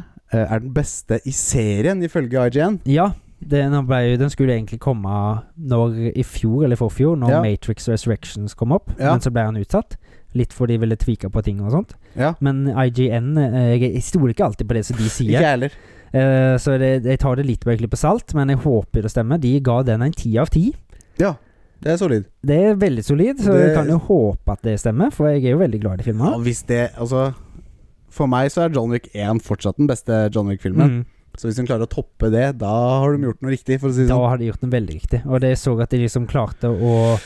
Speaker 1: er den beste i serien, ifølge IGN.
Speaker 2: Ja, det, den, ble, jo- den skulle egentlig komme når, i fjor eller i forfjor, når
Speaker 1: Ja.
Speaker 2: Matrix Resurrections kom opp,
Speaker 1: Ja.
Speaker 2: men så ble han utsatt. Litt fordi de ville tvike på ting og sånt.
Speaker 1: Ja.
Speaker 2: Men IGN eh, Jeg jeg stoler ikke alltid på det som de
Speaker 1: Ikke
Speaker 2: sier,
Speaker 1: jeg heller.
Speaker 2: Eh, så det, jeg tar det litt med en klype salt, men jeg håper det stemmer. De ga den en ti av ti.
Speaker 1: Ja, det er solid.
Speaker 2: Det er veldig solid, så
Speaker 1: Det-
Speaker 2: jeg kan jo håpe at det stemmer, for jeg er jo veldig glad i
Speaker 1: Ja,
Speaker 2: filmen.
Speaker 1: hvis det Altså, for meg så er John Wick 1 fortsatt den beste John Wick-filmen.
Speaker 2: Mm.
Speaker 1: Så hvis hun klarer å toppe det, da har de gjort noe riktig, for å si det
Speaker 2: Da
Speaker 1: sånn.
Speaker 2: har de gjort den veldig riktig. Og det jeg så at de liksom klarte å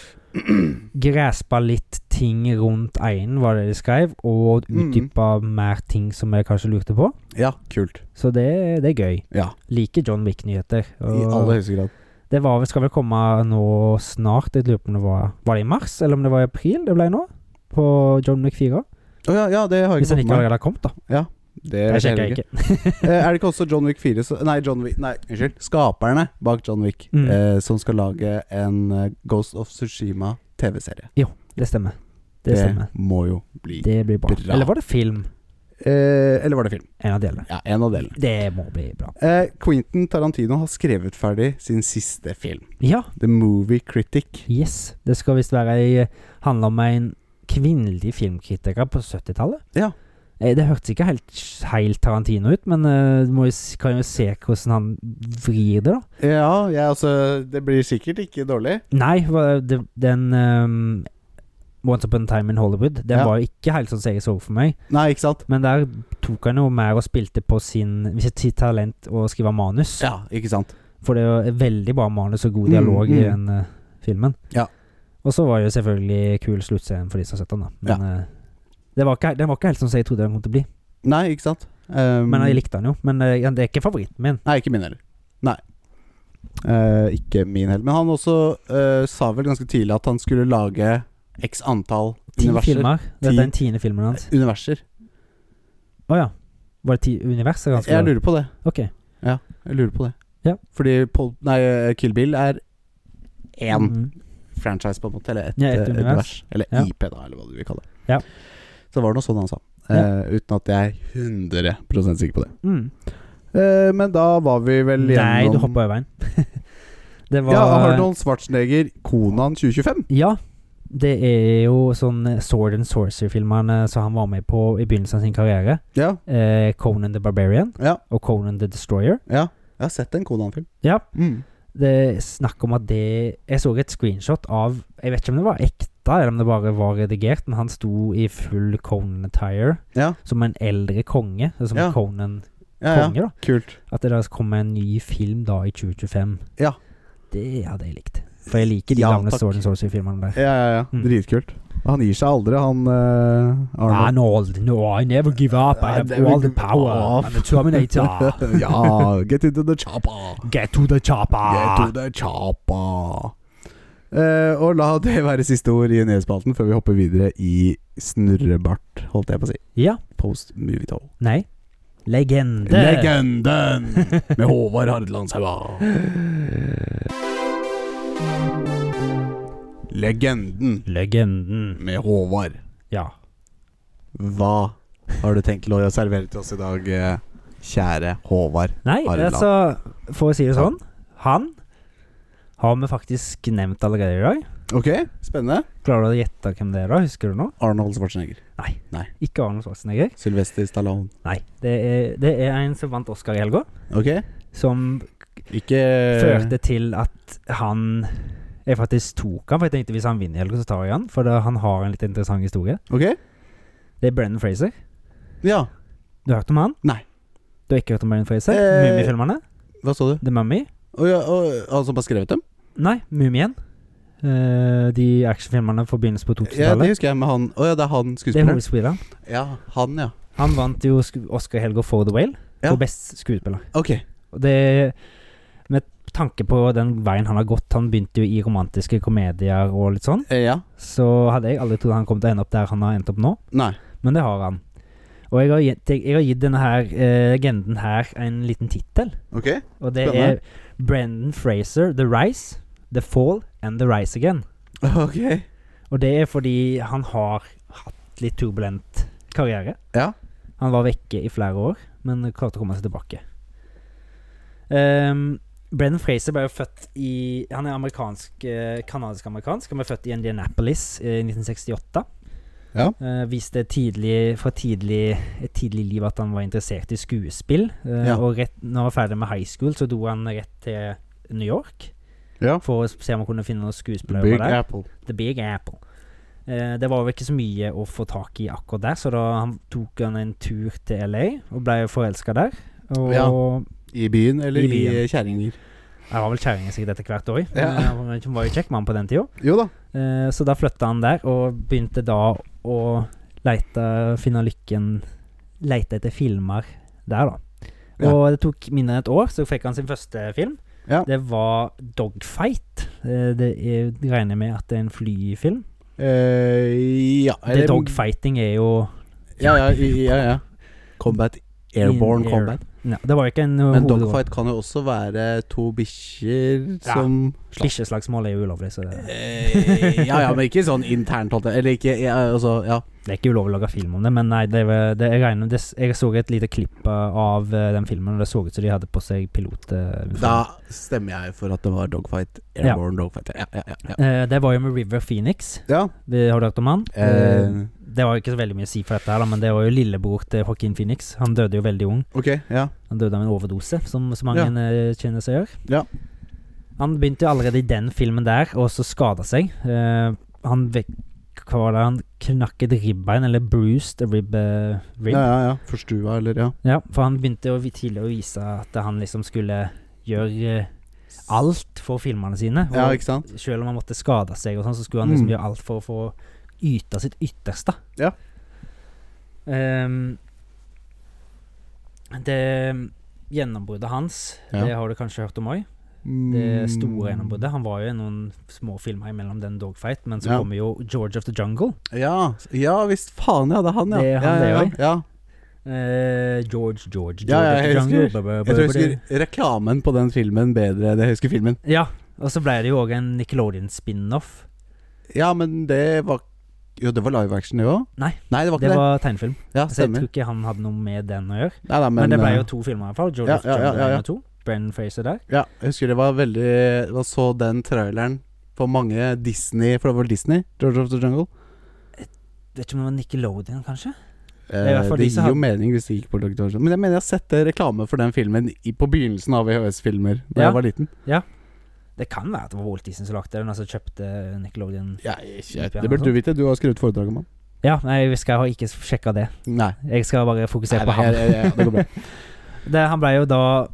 Speaker 2: graspe litt ting rundt einen, var det de skrev, og
Speaker 1: Mm.
Speaker 2: utdype mer ting som jeg kanskje lurte på.
Speaker 1: Ja, kult.
Speaker 2: Så det, det er gøy.
Speaker 1: Ja,
Speaker 2: Liker John Wick-nyheter.
Speaker 1: i
Speaker 2: og
Speaker 1: aller høyeste grad.
Speaker 2: Det var, vel- skal vel komme nå snart. Jeg lurer på om det var Var det i mars, eller om det var i april det ble nå? På John Wick 4?
Speaker 1: Å ja, ja, det har jeg
Speaker 2: Hvis
Speaker 1: ikke fått
Speaker 2: han ikke
Speaker 1: med meg.
Speaker 2: allerede har kommet, da.
Speaker 1: Det
Speaker 2: Jeg
Speaker 1: vet jeg
Speaker 2: sjekker
Speaker 1: heller ikke.
Speaker 2: ikke.
Speaker 1: Eh, er det ikke også John Wick 4 så, Nei, John Wick, nei unnskyld. Skaperne bak John Wick
Speaker 2: Mm.
Speaker 1: eh, som skal lage en eh, Ghost of Tsushima TV-serie.
Speaker 2: Det stemmer. Det, stemmer.
Speaker 1: må jo bli
Speaker 2: Det blir bra.
Speaker 1: Bra.
Speaker 2: Eller var det film?
Speaker 1: eh, Eller var det film?
Speaker 2: En av delene.
Speaker 1: Ja, en av delene.
Speaker 2: Det må bli bra.
Speaker 1: Eh, Quentin Tarantino har skrevet ferdig sin siste film,
Speaker 2: Ja,
Speaker 1: The Movie Critic.
Speaker 2: Yes. Det skal visst være ei Handler om en kvinnelig filmkritiker på 70-tallet.
Speaker 1: Ja.
Speaker 2: Eh, Det hørtes ikke helt, helt Tarantino ut, men eh, du må jo, s- kan jo se hvordan han vrir det, da.
Speaker 1: Ja, jeg, altså Det blir sikkert ikke dårlig.
Speaker 2: Nei, hva- det, den ehm, Once Upon a Time in Hollywood. Den
Speaker 1: Ja.
Speaker 2: var jo ikke helt sånn som jeg så for meg,
Speaker 1: Nei, ikke sant?
Speaker 2: men der tok han jo mer og spilte på sin, sitt talent å skrive manus.
Speaker 1: Ja, ikke sant?
Speaker 2: For det er jo et veldig bra manus og god
Speaker 1: Mm,
Speaker 2: dialog i
Speaker 1: mm.
Speaker 2: den eh, filmen.
Speaker 1: Ja.
Speaker 2: Og så var det jo selvfølgelig kul sluttscene for de som har sett den, da. Men eh, det var ikke, den var ikke helt sånn som jeg trodde den kom til å bli.
Speaker 1: Nei, ikke sant? Um,
Speaker 2: Men jeg likte den jo. Men eh, det er ikke favoritten min.
Speaker 1: Nei, ikke min heller. Nei. Eh, ikke min heller. Men han også eh, sa vel ganske tidlig at han skulle lage x antall
Speaker 2: Ti
Speaker 1: universer.
Speaker 2: filmer. Dette
Speaker 1: Ti.
Speaker 2: er den tiende filmen hans.
Speaker 1: Universer.
Speaker 2: Å ja. Var det ti universer han skulle
Speaker 1: Jeg lurer på det.
Speaker 2: Ok.
Speaker 1: Jeg lurer på det.
Speaker 2: Ja.
Speaker 1: Fordi Pol nei, eh, Kill Bill er én
Speaker 2: Mhm.
Speaker 1: franchise, på en måte. Eller et,
Speaker 2: Ja, et
Speaker 1: eh,
Speaker 2: univers.
Speaker 1: univers. Eller
Speaker 2: Ja.
Speaker 1: IP, da, eller hva du vil kalle det.
Speaker 2: Ja.
Speaker 1: Så var det noe sånn han sa.
Speaker 2: Ja.
Speaker 1: Eh, uten at jeg er 100 sikker på det.
Speaker 2: Mm.
Speaker 1: Eh, men da var vi vel gjennom
Speaker 2: Nei, du hoppa over veien. det var
Speaker 1: Ja, Arnold Schwarzenegger, Konan 2025.
Speaker 2: Ja, det er jo sånn Sword and Sorcery-filmene som han var med på i begynnelsen av sin karriere.
Speaker 1: Ja,
Speaker 2: Eh, Conan the Barbarian
Speaker 1: Ja.
Speaker 2: og Conan the Destroyer.
Speaker 1: ja. Jeg har sett en Konan-film.
Speaker 2: Ja.
Speaker 1: Mm.
Speaker 2: Det er snakk om at det Jeg så et screenshot av Jeg vet ikke om det var ekte, eller om det bare var redigert, men han sto i full Conan-attire
Speaker 1: Ja.
Speaker 2: som en eldre konge. eller Som
Speaker 1: Ja.
Speaker 2: en Conan-konge,
Speaker 1: Ja, ja.
Speaker 2: da.
Speaker 1: Kult.
Speaker 2: At det da kommer en ny film da i 2025.
Speaker 1: Ja.
Speaker 2: Det hadde jeg likt. For jeg liker de
Speaker 1: Ja,
Speaker 2: gamle
Speaker 1: takk.
Speaker 2: Sword and Sorcery-filmene der.
Speaker 1: Ja, ja, ja.
Speaker 2: Mm.
Speaker 1: Dritkult. Han gir seg aldri, han eh, Arnold.
Speaker 2: Arnold, Ah, no, I never give up. I
Speaker 1: I
Speaker 2: have
Speaker 1: never
Speaker 2: all the
Speaker 1: give
Speaker 2: power.
Speaker 1: up.
Speaker 2: I'm a Terminator.
Speaker 1: ja, get into the chopper.
Speaker 2: Get to the
Speaker 1: Get
Speaker 2: chopper.
Speaker 1: to the chopper. Eh, og la det være siste ord i nyhetsspalten før vi hopper videre i snurrebart, holdt jeg på å si.
Speaker 2: Ja.
Speaker 1: Post movie toll.
Speaker 2: Nei. Legende.
Speaker 1: Legenden med Håvard Hardelandshaua. Legenden
Speaker 2: Legenden.
Speaker 1: med Håvard.
Speaker 2: Ja.
Speaker 1: Hva har du tenkt å servere til oss i dag, eh, kjære Håvard?
Speaker 2: Nei,
Speaker 1: Arla.
Speaker 2: altså, for å si det sånn, han har vi faktisk nevnt allerede i dag.
Speaker 1: Ok, spennende.
Speaker 2: Klarer du å gjette hvem det er, da? Husker du nå?
Speaker 1: Arnold Schwarzenegger.
Speaker 2: Ikke Arnold Schwarzenegger.
Speaker 1: Sylvester Stallone.
Speaker 2: Nei. Det er, det er en som vant Oscar i helga,
Speaker 1: Ok,
Speaker 2: som
Speaker 1: ikke
Speaker 2: førte til at han Jeg faktisk tok han, for jeg tenkte hvis han vinner i helga, så tar jeg han. For da, han har en litt interessant historie.
Speaker 1: Ok,
Speaker 2: Det er Brennan Fraser.
Speaker 1: ja.
Speaker 2: Du har hørt om han?
Speaker 1: Nei.
Speaker 2: Du har ikke hørt om Brennan Fraser?
Speaker 1: Eh.
Speaker 2: Mummifilmerne?
Speaker 1: Hva så du?
Speaker 2: The Mummy?
Speaker 1: Å ja, å, han som har skrevet dem?
Speaker 2: Nei, Mumien. Eh, de actionfilmerne for begynnelsen på
Speaker 1: Ja, det
Speaker 2: 2000-tallet.
Speaker 1: husker jeg med han. Å ja, det er han
Speaker 2: det er
Speaker 1: skuespilleren.
Speaker 2: Holy Sweden.
Speaker 1: Ja, han, ja.
Speaker 2: Han vant jo sku- Oscar Helga for The Whale
Speaker 1: Ja.
Speaker 2: for best skuespiller.
Speaker 1: Ok. eh,
Speaker 2: Og det Med tanke på den veien han har gått Han begynte jo i romantiske komedier og litt sånn.
Speaker 1: Eh, Ja.
Speaker 2: Så hadde jeg aldri trodd han kom til å ende opp der han har endt opp nå.
Speaker 1: Nei.
Speaker 2: Men det har han. Og jeg har gitt, jeg har gitt denne her eh, legenden her en liten tittel.
Speaker 1: Ok.
Speaker 2: Og det
Speaker 1: Spennende.
Speaker 2: er Brendan Fraser, The Rise, The Fall and The Rise Again.
Speaker 1: Ok.
Speaker 2: Og det er fordi han har hatt litt turbulent karriere.
Speaker 1: Ja.
Speaker 2: Han var vekke i flere år, men klarte å komme seg tilbake. Um, Brendan Fraser ble jo født i Han er amerikansk eh, kanadisk-amerikansk. Han ble født i Indianapolis eh, i 1968.
Speaker 1: Ja.
Speaker 2: Eh, viste tidlig, fra tidlig, et tidlig liv at han var interessert i skuespill. eh,
Speaker 1: Ja.
Speaker 2: Og rett, når han var ferdig med high school, så dro han rett til New York
Speaker 1: Ja.
Speaker 2: for å se om han kunne finne noen skuespillere
Speaker 1: Big
Speaker 2: der.
Speaker 1: Apple.
Speaker 2: The Big Apple. Eh, det var jo ikke så mye å få tak i akkurat der, så da han tok han en tur til LA og ble forelska der. Og
Speaker 1: Ja. I byen eller
Speaker 2: I
Speaker 1: i,
Speaker 2: byen.
Speaker 1: kjerringer?
Speaker 2: jeg var vel kjerringa sikkert etter hvert år.
Speaker 1: Ja.
Speaker 2: Eh, Han var jo kjekk mann på den tida.
Speaker 1: Jo da.
Speaker 2: Eh, så da flytta han der, og begynte da å leite finne lykken Leite etter filmer der, da.
Speaker 1: Ja.
Speaker 2: Og det tok mindre enn et år, så fikk han sin første film.
Speaker 1: Ja.
Speaker 2: Det var Dogfight. Eh, det er, regner jeg med at det er en flyfilm.
Speaker 1: Eh, ja
Speaker 2: Det dogfighting er jo
Speaker 1: Ja, ja, i- ja, ja. Combat. Airborne
Speaker 2: In air.
Speaker 1: combat.
Speaker 2: Nei, det var jo ikke en uh,
Speaker 1: Men
Speaker 2: hovedrolle.
Speaker 1: dogfight kan jo også være to bikkjer
Speaker 2: Ja.
Speaker 1: som
Speaker 2: Bikkjeslagsmål er jo ulovlig, så det,
Speaker 1: Eh, ja, ja, men ikke sånn internt, holdt jeg Eller ikke ja, altså, ja.
Speaker 2: det er ikke ulovlig å lage film om det. Men nei, det, var- det, jeg, regner, det, jeg så et lite klipp uh, av uh, den filmen, og det så ut som de hadde på seg pilot... Uh,
Speaker 1: Da stemmer jeg for at det var dogfight. Airborne dogfight. Ja, ja, ja. ja.
Speaker 2: Eh, det var jo med River Phoenix.
Speaker 1: ja.
Speaker 2: Det, har du hørt om han?
Speaker 1: Eh.
Speaker 2: Eh, det var jo ikke så veldig mye å si for dette, her da, men det var jo lillebror til Joaquin Phoenix. Han døde jo veldig ung.
Speaker 1: Ok, ja.
Speaker 2: Han døde av en overdose, som så mange eh, kjenner seg gjør.
Speaker 1: Ja.
Speaker 2: Han begynte jo allerede i den filmen der, og så skada seg. Eh, han vek hva var det, han knakk et ribbein, eller bruised a rib, eh, rib.
Speaker 1: Ja,
Speaker 2: Ja.
Speaker 1: ja, ja. Forstua, eller ja.
Speaker 2: for han begynte jo vi- tidlig å vise at han liksom skulle gjøre eh, alt for filmene sine.
Speaker 1: Ja,
Speaker 2: Og
Speaker 1: ikke sant?
Speaker 2: selv om han måtte skade seg, og sånn, så skulle han liksom
Speaker 1: Mm.
Speaker 2: gjøre alt for å få yte sitt ytterste.
Speaker 1: Ja.
Speaker 2: Ehm, det gjennombruddet hans,
Speaker 1: Ja.
Speaker 2: det har du kanskje hørt om òg.
Speaker 1: Mm.
Speaker 2: Det store gjennombruddet. Han var jo i noen små filmer imellom den Dogfight, men så
Speaker 1: Ja.
Speaker 2: kommer jo George of the Jungle.
Speaker 1: Ja, ja visst. Faen, ja. Det er han, ja.
Speaker 2: Det er han,
Speaker 1: ja, ja,
Speaker 2: det
Speaker 1: ja. ja.
Speaker 2: Eh, George, George, George
Speaker 1: Ja, ja,
Speaker 2: of the
Speaker 1: jeg
Speaker 2: Jungle.
Speaker 1: husker- Jeg tror jeg husker reklamen på den filmen bedre enn jeg husker filmen.
Speaker 2: Ja, og så ble det jo òg en Nickelodeon-spin-off.
Speaker 1: Ja, men det var Jo, det var live action, det òg?
Speaker 2: Nei,
Speaker 1: Nei, det var
Speaker 2: Det
Speaker 1: ikke det.
Speaker 2: var tegnefilm,
Speaker 1: Ja,
Speaker 2: så jeg
Speaker 1: stemmer.
Speaker 2: tror ikke han hadde noe med den å gjøre.
Speaker 1: Nei, nei,
Speaker 2: Men, det ble
Speaker 1: eh,
Speaker 2: jo to filmer i hvert fall. George
Speaker 1: ja,
Speaker 2: of the
Speaker 1: ja, ja,
Speaker 2: Jungle
Speaker 1: ja, ja.
Speaker 2: 1 og 2. Brennan Fraser der.
Speaker 1: Ja, jeg husker det var veldig Man så den traileren på mange Disney For det var vel Disney? George of the Jungle?
Speaker 2: Vet ikke om det var Nickelodeon, kanskje? er i
Speaker 1: Eh,
Speaker 2: hvert fall
Speaker 1: det
Speaker 2: de som
Speaker 1: gir jo
Speaker 2: har-
Speaker 1: mening hvis det gikk på Dr. Jones. Men jeg mener jeg har sett det reklame for den filmen i, på begynnelsen av VHS-filmer da
Speaker 2: Ja.
Speaker 1: jeg var liten.
Speaker 2: Det kan være at det var Walt Disney som lagde den, altså kjøpte Nickelodeon
Speaker 1: Ja, jeg,
Speaker 2: jeg-
Speaker 1: det burde du vite. Du har skrevet foredrag om han.
Speaker 2: Ja, nei, jeg skal ikke sjekke det.
Speaker 1: Nei.
Speaker 2: Jeg skal bare fokusere
Speaker 1: Nei,
Speaker 2: på
Speaker 1: nei,
Speaker 2: han.
Speaker 1: ja, ja, ja, det går bra.
Speaker 2: Det, han ble jo da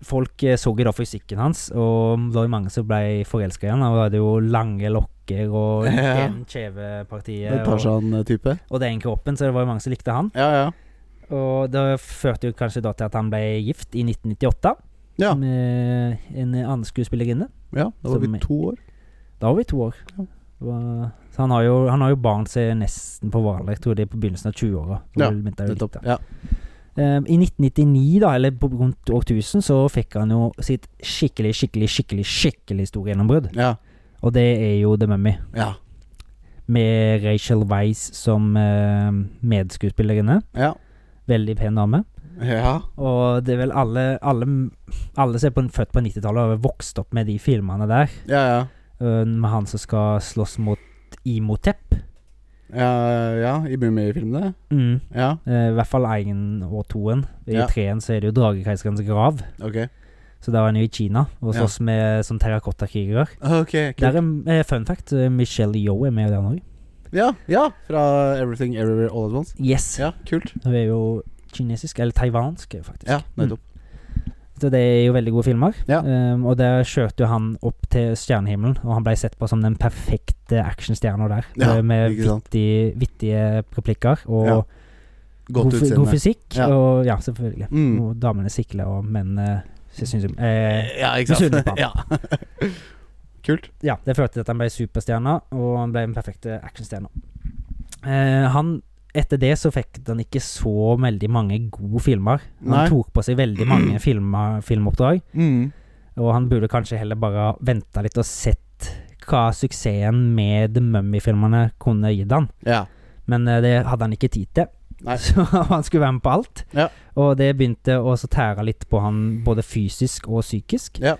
Speaker 2: Folk eh, så jo da fysikken hans, og det var jo mange som ble forelska i han. Han hadde jo lange lokker og
Speaker 1: Ja.
Speaker 2: den kjevepartiet
Speaker 1: sånn.
Speaker 2: og,
Speaker 1: Tarzan-type.
Speaker 2: og den kroppen, så det var jo mange som likte han.
Speaker 1: Ja, ja.
Speaker 2: Og det førte jo kanskje da til at han ble gift i 1998
Speaker 1: Ja.
Speaker 2: med en annen skuespillerinne.
Speaker 1: ja da var vi
Speaker 2: Som-
Speaker 1: to år.
Speaker 2: Da var vi to år.
Speaker 1: Ja.
Speaker 2: Det var- Så han har, jo, han har jo barn som er nesten på Hvaler. Jeg tror det er på begynnelsen av 20-åra. Det
Speaker 1: Ja,
Speaker 2: var vel- venta jo litt,
Speaker 1: Nettopp.
Speaker 2: da.
Speaker 1: Ja.
Speaker 2: Eh, I 1999, da, eller på rundt år 1000, så fikk han jo sitt skikkelig, skikkelig, skikkelig skikkelig store gjennombrudd.
Speaker 1: Ja.
Speaker 2: Og det er jo The Mummy.
Speaker 1: ja.
Speaker 2: Med Rachel Weisz som eh, medskuespillerinne.
Speaker 1: Ja.
Speaker 2: Veldig pen dame.
Speaker 1: ja.
Speaker 2: Og det er vel alle Alle, alle som er på, født på 90-tallet, har vel vokst opp med de filmene der.
Speaker 1: Ja, ja.
Speaker 2: eh, med han som skal slåss mot Imotep.
Speaker 1: Ja, ja, i Mummi-filmene.
Speaker 2: Mm.
Speaker 1: Ja,
Speaker 2: Eh, I hvert fall én og toen. I
Speaker 1: Ja.
Speaker 2: treen så er det jo Dragekeiserens grav.
Speaker 1: ok.
Speaker 2: Så der var han jo i Kina og
Speaker 1: Ja.
Speaker 2: slåss med som terrakottakrigere.
Speaker 1: Ok, kult.
Speaker 2: Der er eh, fun fact. eh, Michelle Yo er med i den òg.
Speaker 1: Ja, ja, fra Everything Everywhere All At Once.
Speaker 2: Yes.
Speaker 1: Ja, kult. Mm.
Speaker 2: Hun er jo kinesisk, eller taiwansk, eh, faktisk.
Speaker 1: Ja, nettopp.
Speaker 2: Så det er jo veldig gode filmer.
Speaker 1: Ja.
Speaker 2: Ehm, og der kjørte jo han opp til stjernehimmelen, og han ble sett på som den perfekte actionstjerna der.
Speaker 1: Ja,
Speaker 2: eh, med
Speaker 1: ikke sant.
Speaker 2: vittige, vittige replikker og
Speaker 1: Ja,
Speaker 2: god,
Speaker 1: Godt
Speaker 2: fy- god
Speaker 1: utseende.
Speaker 2: fysikk.
Speaker 1: Ja.
Speaker 2: Og ja, selvfølgelig.
Speaker 1: Mm.
Speaker 2: Hvor damene sikler, og mennene syns om eh,
Speaker 1: Ja, ikke
Speaker 2: Misunnelig på
Speaker 1: sant.
Speaker 2: han.
Speaker 1: ja. kult.
Speaker 2: ja, det førte til at han ble superstjerne, og han ble den perfekte actionstjerna. Eh, han Etter det så fikk han ikke så veldig mange gode filmer. Han
Speaker 1: Nei.
Speaker 2: tok på seg veldig mange filmer, filmoppdrag,
Speaker 1: Mm.
Speaker 2: og han burde kanskje heller bare venta litt og sett hva suksessen med The Mummy-filmene kunne gitt han.
Speaker 1: Ja.
Speaker 2: Men eh, det hadde han ikke tid til.
Speaker 1: Nei.
Speaker 2: Så han skulle være med på alt.
Speaker 1: Ja.
Speaker 2: Og det begynte å så tære litt på han både fysisk og psykisk.
Speaker 1: Ja.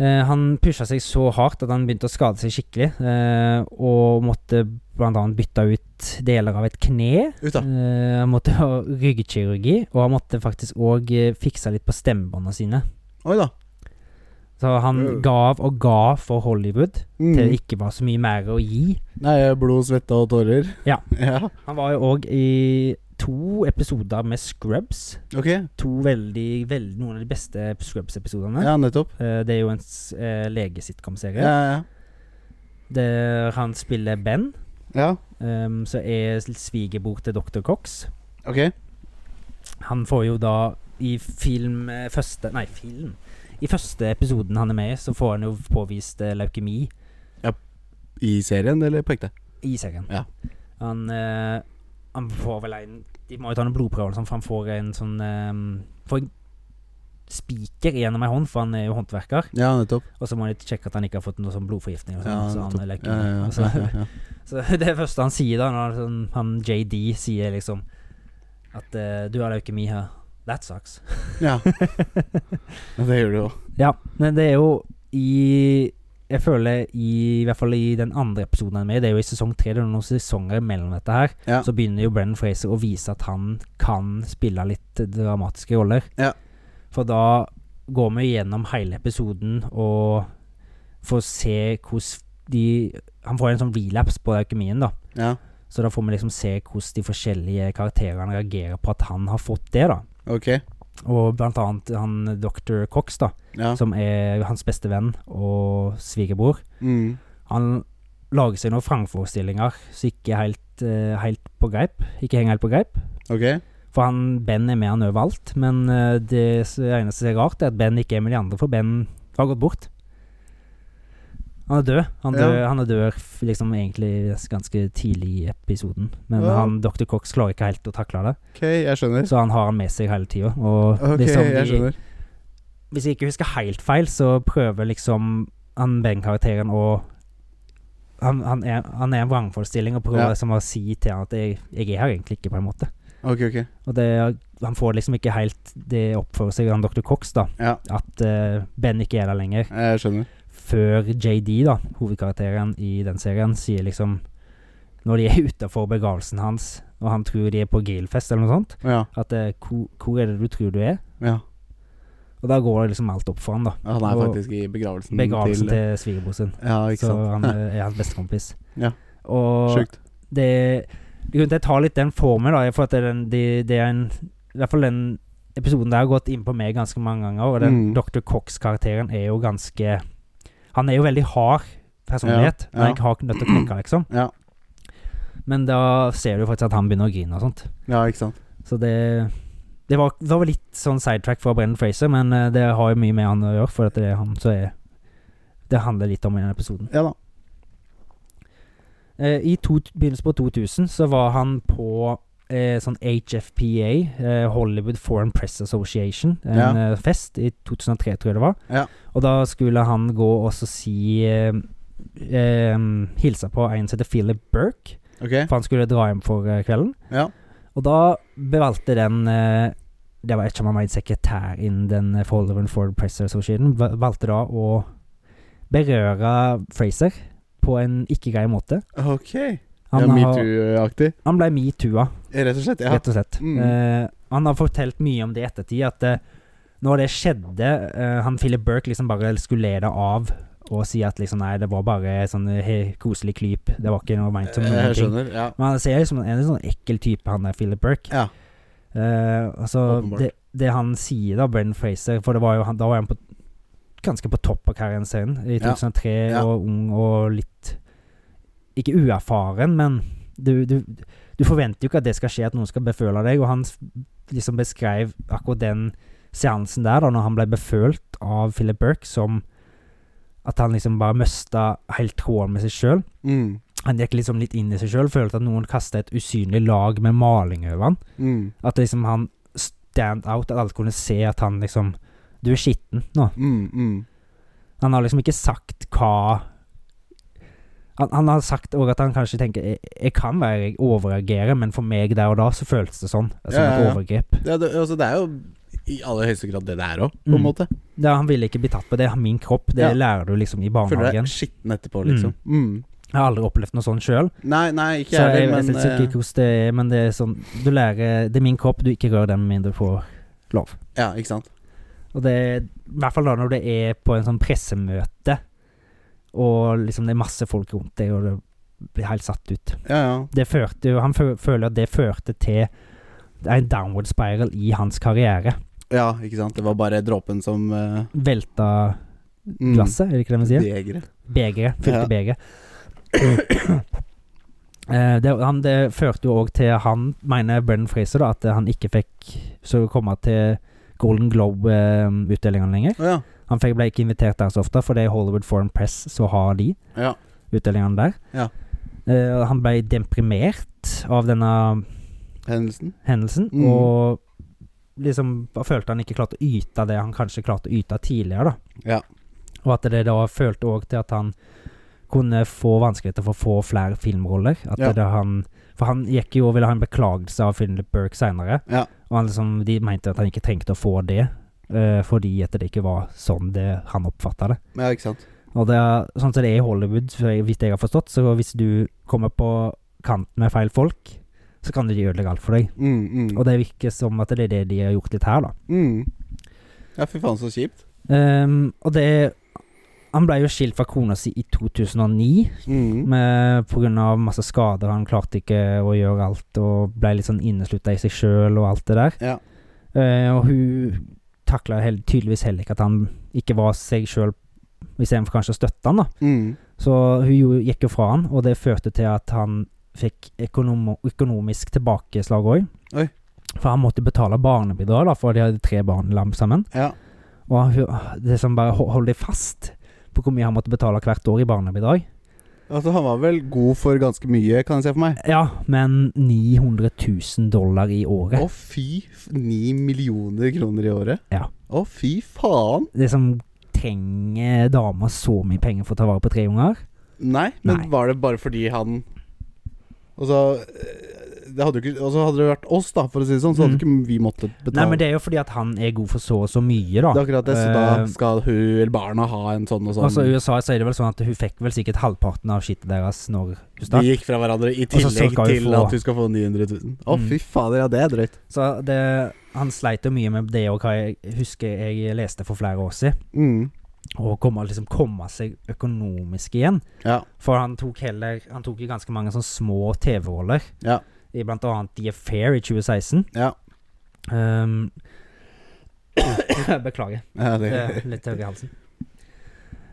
Speaker 2: Eh, han pusha seg så hardt at han begynte å skade seg skikkelig. eh, og måtte bl.a. bytte ut deler av et kne.
Speaker 1: Ut, da.
Speaker 2: Eh, han måtte ha ryggkirurgi, og han måtte faktisk òg eh, fikse litt på stemmebåndene sine.
Speaker 1: Oi da.
Speaker 2: Så han
Speaker 1: Mm.
Speaker 2: gav og ga for Hollywood til
Speaker 1: Mm.
Speaker 2: det ikke var så mye mer å gi.
Speaker 1: Nei, blod, svette og tårer.
Speaker 2: Ja.
Speaker 1: ja.
Speaker 2: Han var jo òg i to episoder med Scrubs.
Speaker 1: Ok.
Speaker 2: To veldig, veldig Noen av de beste Scrubs-episodene.
Speaker 1: Ja, nettopp.
Speaker 2: Eh, det er jo en s- eh, legesitcom-serie.
Speaker 1: Ja, ja.
Speaker 2: Der han spiller Ben,
Speaker 1: ja.
Speaker 2: um, så er s- svigerbror til Dr. Cox.
Speaker 1: Ok.
Speaker 2: Han får jo da i film eh, første Nei, film. I første episoden han er med i, så får han jo påvist eh, leukemi
Speaker 1: I serien, eller på ekte?
Speaker 2: i serien.
Speaker 1: Ja.
Speaker 2: Han, eh, han får vel en De må jo ta noen blodprøver, sånn, for han får en sånn eh, Får en spiker gjennom ei hånd, for han er jo håndverker.
Speaker 1: Ja, nettopp.
Speaker 2: Og så må de sjekke at han ikke har fått noe sånn blodforgiftning. Og sånn,
Speaker 1: Ja,
Speaker 2: så han
Speaker 1: nettopp.
Speaker 2: er altså. leukemi.
Speaker 1: Ja, ja,
Speaker 2: Og
Speaker 1: ja,
Speaker 2: så-
Speaker 1: ja, ja.
Speaker 2: Så det første han sier da, når han, sånn, han JD sier liksom At eh, du har leukemi her. That sucks.
Speaker 1: ja. ja. Det gjør du jo.
Speaker 2: Ja, men det er jo i Jeg føler i, i hvert fall i den andre episoden han er med i, det er jo i sesong tre, det er noen sesonger mellom dette her,
Speaker 1: Ja.
Speaker 2: så begynner jo Brennan Fraser å vise at han kan spille litt dramatiske roller.
Speaker 1: Ja.
Speaker 2: For da går vi gjennom hele episoden og får se hvordan de Han får en sånn relapse på leukemien, da.
Speaker 1: Ja,
Speaker 2: Så da får vi liksom se hvordan de forskjellige karakterene reagerer på at han har fått det, da.
Speaker 1: ok.
Speaker 2: Og blant annet han Dr. Cox, da,
Speaker 1: Ja.
Speaker 2: som er hans beste venn og svigerbror.
Speaker 1: Mm.
Speaker 2: Han lager seg noen vrangforestillinger som ikke er helt, eh, helt på greip. Ikke henger helt på greip.
Speaker 1: Ok.
Speaker 2: For han, Ben er med han overalt, men eh, det s- eneste som er rart, er at Ben ikke er med de andre, for Ben har gått bort. Han er død. Han
Speaker 1: Ja.
Speaker 2: dør, han er død f- liksom egentlig ganske tidlig i episoden, men
Speaker 1: Ja.
Speaker 2: han, Dr. Cox klarer ikke helt å takle det,
Speaker 1: Ok, jeg skjønner.
Speaker 2: så han har han med seg hele tida. Og
Speaker 1: Ok,
Speaker 2: liksom,
Speaker 1: jeg
Speaker 2: de-
Speaker 1: skjønner.
Speaker 2: hvis jeg ikke husker helt feil, så prøver liksom han Ben-karakteren å han, han, er, han er en vrangforestilling og prøver
Speaker 1: Ja.
Speaker 2: liksom å si til han at jeg, 'jeg er her egentlig ikke', på en måte.
Speaker 1: Ok, ok.
Speaker 2: Og det, han får liksom ikke helt det opp for seg, han Dr. Cox, da.
Speaker 1: Ja.
Speaker 2: At eh, Ben ikke er der lenger.
Speaker 1: Jeg skjønner.
Speaker 2: Før JD, da, hovedkarakteren i den serien, sier liksom Når de er utafor begravelsen hans, og han tror de er på grillfest eller noe sånt,
Speaker 1: Ja.
Speaker 2: at eh, hvor, hvor er det du tror du er?
Speaker 1: ja.
Speaker 2: Og da går det liksom alt opp for han da.
Speaker 1: Han er
Speaker 2: Og
Speaker 1: faktisk i begravelsen,
Speaker 2: Begravelsen
Speaker 1: Mm, til
Speaker 2: til svigerbror sin.
Speaker 1: Ja, ikke
Speaker 2: Så
Speaker 1: sant.
Speaker 2: han eh, er hans bestekompis.
Speaker 1: Ja.
Speaker 2: Og
Speaker 1: Sjukt.
Speaker 2: det Grunnen til at jeg tar litt den formen, da, er for at det er, den, det, det er en I hvert fall den episoden der har gått inn på meg ganske mange ganger, og den
Speaker 1: Mm.
Speaker 2: Dr. Cox-karakteren er jo ganske Han er jo veldig hard
Speaker 1: Ja,
Speaker 2: personlighet, men
Speaker 1: ja.
Speaker 2: jeg har ikke nødt til å knekke, liksom.
Speaker 1: Ja.
Speaker 2: Men da ser du faktisk at han begynner å grine og sånt.
Speaker 1: Ja, ikke sant.
Speaker 2: Så det det var, det var litt sånn sidetrack fra Brennan Fraser, men eh, det har jo mye med han å gjøre, for at det er han som er Det handler litt om i den episoden.
Speaker 1: Ja da.
Speaker 2: Eh, I to, begynnelsen på 2000 så var han på eh, sånn HFPA, eh, Hollywood Foreign Press Association, en
Speaker 1: Ja.
Speaker 2: eh, fest i 2003, tror jeg det var.
Speaker 1: Ja.
Speaker 2: Og da skulle han gå og så si eh, eh, Hilse på en som heter Philip Burke,
Speaker 1: Ok.
Speaker 2: for han skulle dra hjem for eh, kvelden.
Speaker 1: Ja.
Speaker 2: Og da bevalgte den eh, Det var ikke om han var en sekretær innen den eh, Foreign Foreign Press Association, va- valgte da å berøre Fraser på en ikke-grei måte.
Speaker 1: Ok.
Speaker 2: Han,
Speaker 1: ja,
Speaker 2: har,
Speaker 1: Metoo-aktig.
Speaker 2: han ble metoo-a,
Speaker 1: Rett og slett. Ja.
Speaker 2: rett og slett.
Speaker 1: Mm.
Speaker 2: Eh, han har fortalt mye om det i ettertid, at eh, når det skjedde eh, Han Philip Burke liksom bare skulle le det av og si at liksom nei, det var bare sånn he, koselig klyp, det var ikke noe meint som noen
Speaker 1: Eh, Jeg
Speaker 2: ting.
Speaker 1: skjønner. Ja.
Speaker 2: Men han ser ut som en en sånn ekkel type, han der Philip Burke.
Speaker 1: Ja.
Speaker 2: Eh, altså,
Speaker 1: Åpenbart.
Speaker 2: det, det han sier da, Brennan Fraser For det var jo han, da var han på, ganske på topp av karrieren sin i
Speaker 1: Ja.
Speaker 2: 2003,
Speaker 1: Ja.
Speaker 2: og ung og litt Ikke uerfaren, men du, du, du forventer jo ikke at det skal skje, at noen skal beføle deg, og han s- liksom beskrev akkurat den seansen der, da når han ble befølt av Philip Burke, som at han liksom bare mista helt tråden med seg sjøl.
Speaker 1: Mm.
Speaker 2: Han gikk liksom litt inn i seg sjøl, følte at noen kasta et usynlig lag med maling over han.
Speaker 1: Mm.
Speaker 2: At liksom han stand out, at alle kunne se at han liksom Du er skitten nå.
Speaker 1: Mm. Mm.
Speaker 2: Han har liksom ikke sagt hva Han, han har sagt òg at han kanskje tenker jeg, jeg kan være jeg overreagerer, men for meg der og da så føltes det sånn. Som
Speaker 1: Ja, ja,
Speaker 2: et
Speaker 1: ja.
Speaker 2: overgrep.
Speaker 1: Ja, det, altså, det er jo i aller høyeste grad det det er òg, på en
Speaker 2: Mm.
Speaker 1: måte.
Speaker 2: Ja, han ville ikke bli tatt på det. er Min kropp, det
Speaker 1: Ja.
Speaker 2: lærer du liksom i
Speaker 1: Føler
Speaker 2: barnehagen.
Speaker 1: deg skitten etterpå, liksom. Mm.
Speaker 2: Jeg har aldri opplevd noe sånt sjøl.
Speaker 1: Nei, nei, ikke
Speaker 2: Så jeg
Speaker 1: jeg
Speaker 2: vet
Speaker 1: heller,
Speaker 2: ikke
Speaker 1: men eh,
Speaker 2: hvordan det er, men det er sånn Du lærer Det er min kropp, du ikke rør den med mindre du får lov.
Speaker 1: Ja, ikke sant.
Speaker 2: Og det er I hvert fall da når det er på en sånn pressemøte, og liksom det er masse folk rundt deg, og du blir helt satt ut.
Speaker 1: Ja, ja.
Speaker 2: Det førte jo Han fø- føler at det førte til en downward spiral i hans karriere.
Speaker 1: Ja, ikke sant. Det var bare dråpen som eh,
Speaker 2: Velta
Speaker 1: mm,
Speaker 2: glasset, er det ikke det man sier?
Speaker 1: Begeret.
Speaker 2: Begeret. Fylte
Speaker 1: Ja.
Speaker 2: begeret. Eh, det, han, det førte jo òg til han, mener Brennan Fraser, da, at han ikke fikk så komme til Golden Globe-utdelingene lenger.
Speaker 1: Å ja.
Speaker 2: Han fikk, ble ikke invitert der så ofte, for det er Hollywood Foreign Press så har de
Speaker 1: Ja.
Speaker 2: utdelingene der.
Speaker 1: Ja.
Speaker 2: Eh, og han ble deprimert av denne
Speaker 1: Hendelsen.
Speaker 2: hendelsen,
Speaker 1: Mm.
Speaker 2: og liksom følte han ikke klarte å yte det han kanskje klarte å yte tidligere, da.
Speaker 1: Ja.
Speaker 2: Og at det da følte òg til at han kunne få vanskeligheter for å få flere filmroller. At
Speaker 1: Ja.
Speaker 2: det han For han gikk jo og ville ha en beklagelse av Philip Burke seinere,
Speaker 1: Ja.
Speaker 2: og han liksom, de mente at han ikke trengte å få det, eh, fordi at det ikke var sånn det, han oppfatta det.
Speaker 1: Ja, ikke sant.
Speaker 2: Og det er, sånn som det er i Hollywood, så jeg- hvis jeg har forstått, så hvis du kommer på kant med feil folk, så kan de ødelegge alt for deg.
Speaker 1: Mm, mm.
Speaker 2: Og det virker som at det er det de har gjort litt her, da.
Speaker 1: Mm. Ja, fy faen, så kjipt.
Speaker 2: Ehm, og det er Han ble jo skilt fra kona si i 2009
Speaker 1: Mm.
Speaker 2: med, på grunn av masse skader. Han klarte ikke å gjøre alt og ble litt sånn inneslutta i seg sjøl og alt det der.
Speaker 1: Ja.
Speaker 2: Eh, og hun takla hel, tydeligvis heller ikke at han ikke var seg sjøl, istedenfor kanskje å støtte han da.
Speaker 1: Mm.
Speaker 2: Så hun jo, gikk jo fra han, og det førte til at han fikk økonom, økonomisk tilbakeslag òg.
Speaker 1: Oi.
Speaker 2: For han måtte betale barnebidrag, da, for de hadde tre barn lam sammen.
Speaker 1: ja.
Speaker 2: Og hun, det som bare ho- holdt deg fast på hvor mye han måtte betale hvert år i barnebidrag.
Speaker 1: Altså, han var vel god for ganske mye, kan jeg se for meg.
Speaker 2: Ja, men 900 000 dollar i året.
Speaker 1: Å, fy f- Ni millioner kroner i året?
Speaker 2: Ja.
Speaker 1: Å, fy faen!
Speaker 2: Det som trenger damer så mye penger for å ta vare på tre unger.
Speaker 1: Nei, men
Speaker 2: Nei.
Speaker 1: var det bare fordi han Altså eh, det hadde jo ikke Altså hadde det vært oss, da, for å si det sånn, så hadde
Speaker 2: Mm.
Speaker 1: ikke vi måttet betale.
Speaker 2: Nei, men det er jo fordi at han er god for så og så mye, da.
Speaker 1: Det er akkurat det, så da
Speaker 2: Eh,
Speaker 1: skal hun eller barna ha en sånn og sånn.
Speaker 2: Altså I USA så er det vel sånn at hun fikk vel sikkert halvparten av skittet deres når hun
Speaker 1: de
Speaker 2: stakk.
Speaker 1: gikk fra hverandre i
Speaker 2: så
Speaker 1: tillegg
Speaker 2: skal hun
Speaker 1: til
Speaker 2: få-
Speaker 1: at hun skal få 900 000. Å,
Speaker 2: Mm.
Speaker 1: fy fader, ja, det er drøyt.
Speaker 2: Så det, han sleit jo mye med det og hva jeg husker jeg leste for flere år siden.
Speaker 1: Mm.
Speaker 2: Å komme, liksom komme seg økonomisk igjen.
Speaker 1: Ja.
Speaker 2: For han tok heller Han tok jo ganske mange sånne små TV-roller.
Speaker 1: Ja.
Speaker 2: I blant annet The Affair i 2016.
Speaker 1: Ja.
Speaker 2: Ehm, Beklager.
Speaker 1: ja det,
Speaker 2: Det er litt tørr i halsen.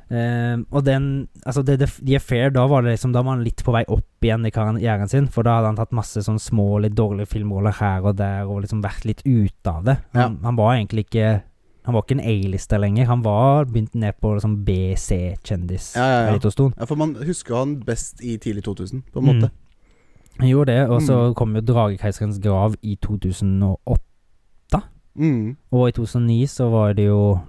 Speaker 2: Ehm, og den Altså, det, det, The Affair, da var det liksom Da var han litt på vei opp igjen i karrieren sin. For da hadde han tatt masse sånn små, litt dårlige filmroller her og der, og liksom vært litt ute av det. Han, han var egentlig ikke Han var ikke en A-lister lenger. Han var begynt ned på liksom BC-kjendis.
Speaker 1: Ja, ja, ja.
Speaker 2: elitostolen.
Speaker 1: ja, for man husker jo han best i tidlig 2000, på en måte.
Speaker 2: Mm. Han gjorde det, og så
Speaker 1: Mm.
Speaker 2: kom jo Dragekeiserens grav i 2008.
Speaker 1: Mm.
Speaker 2: Og i 2009 så var det jo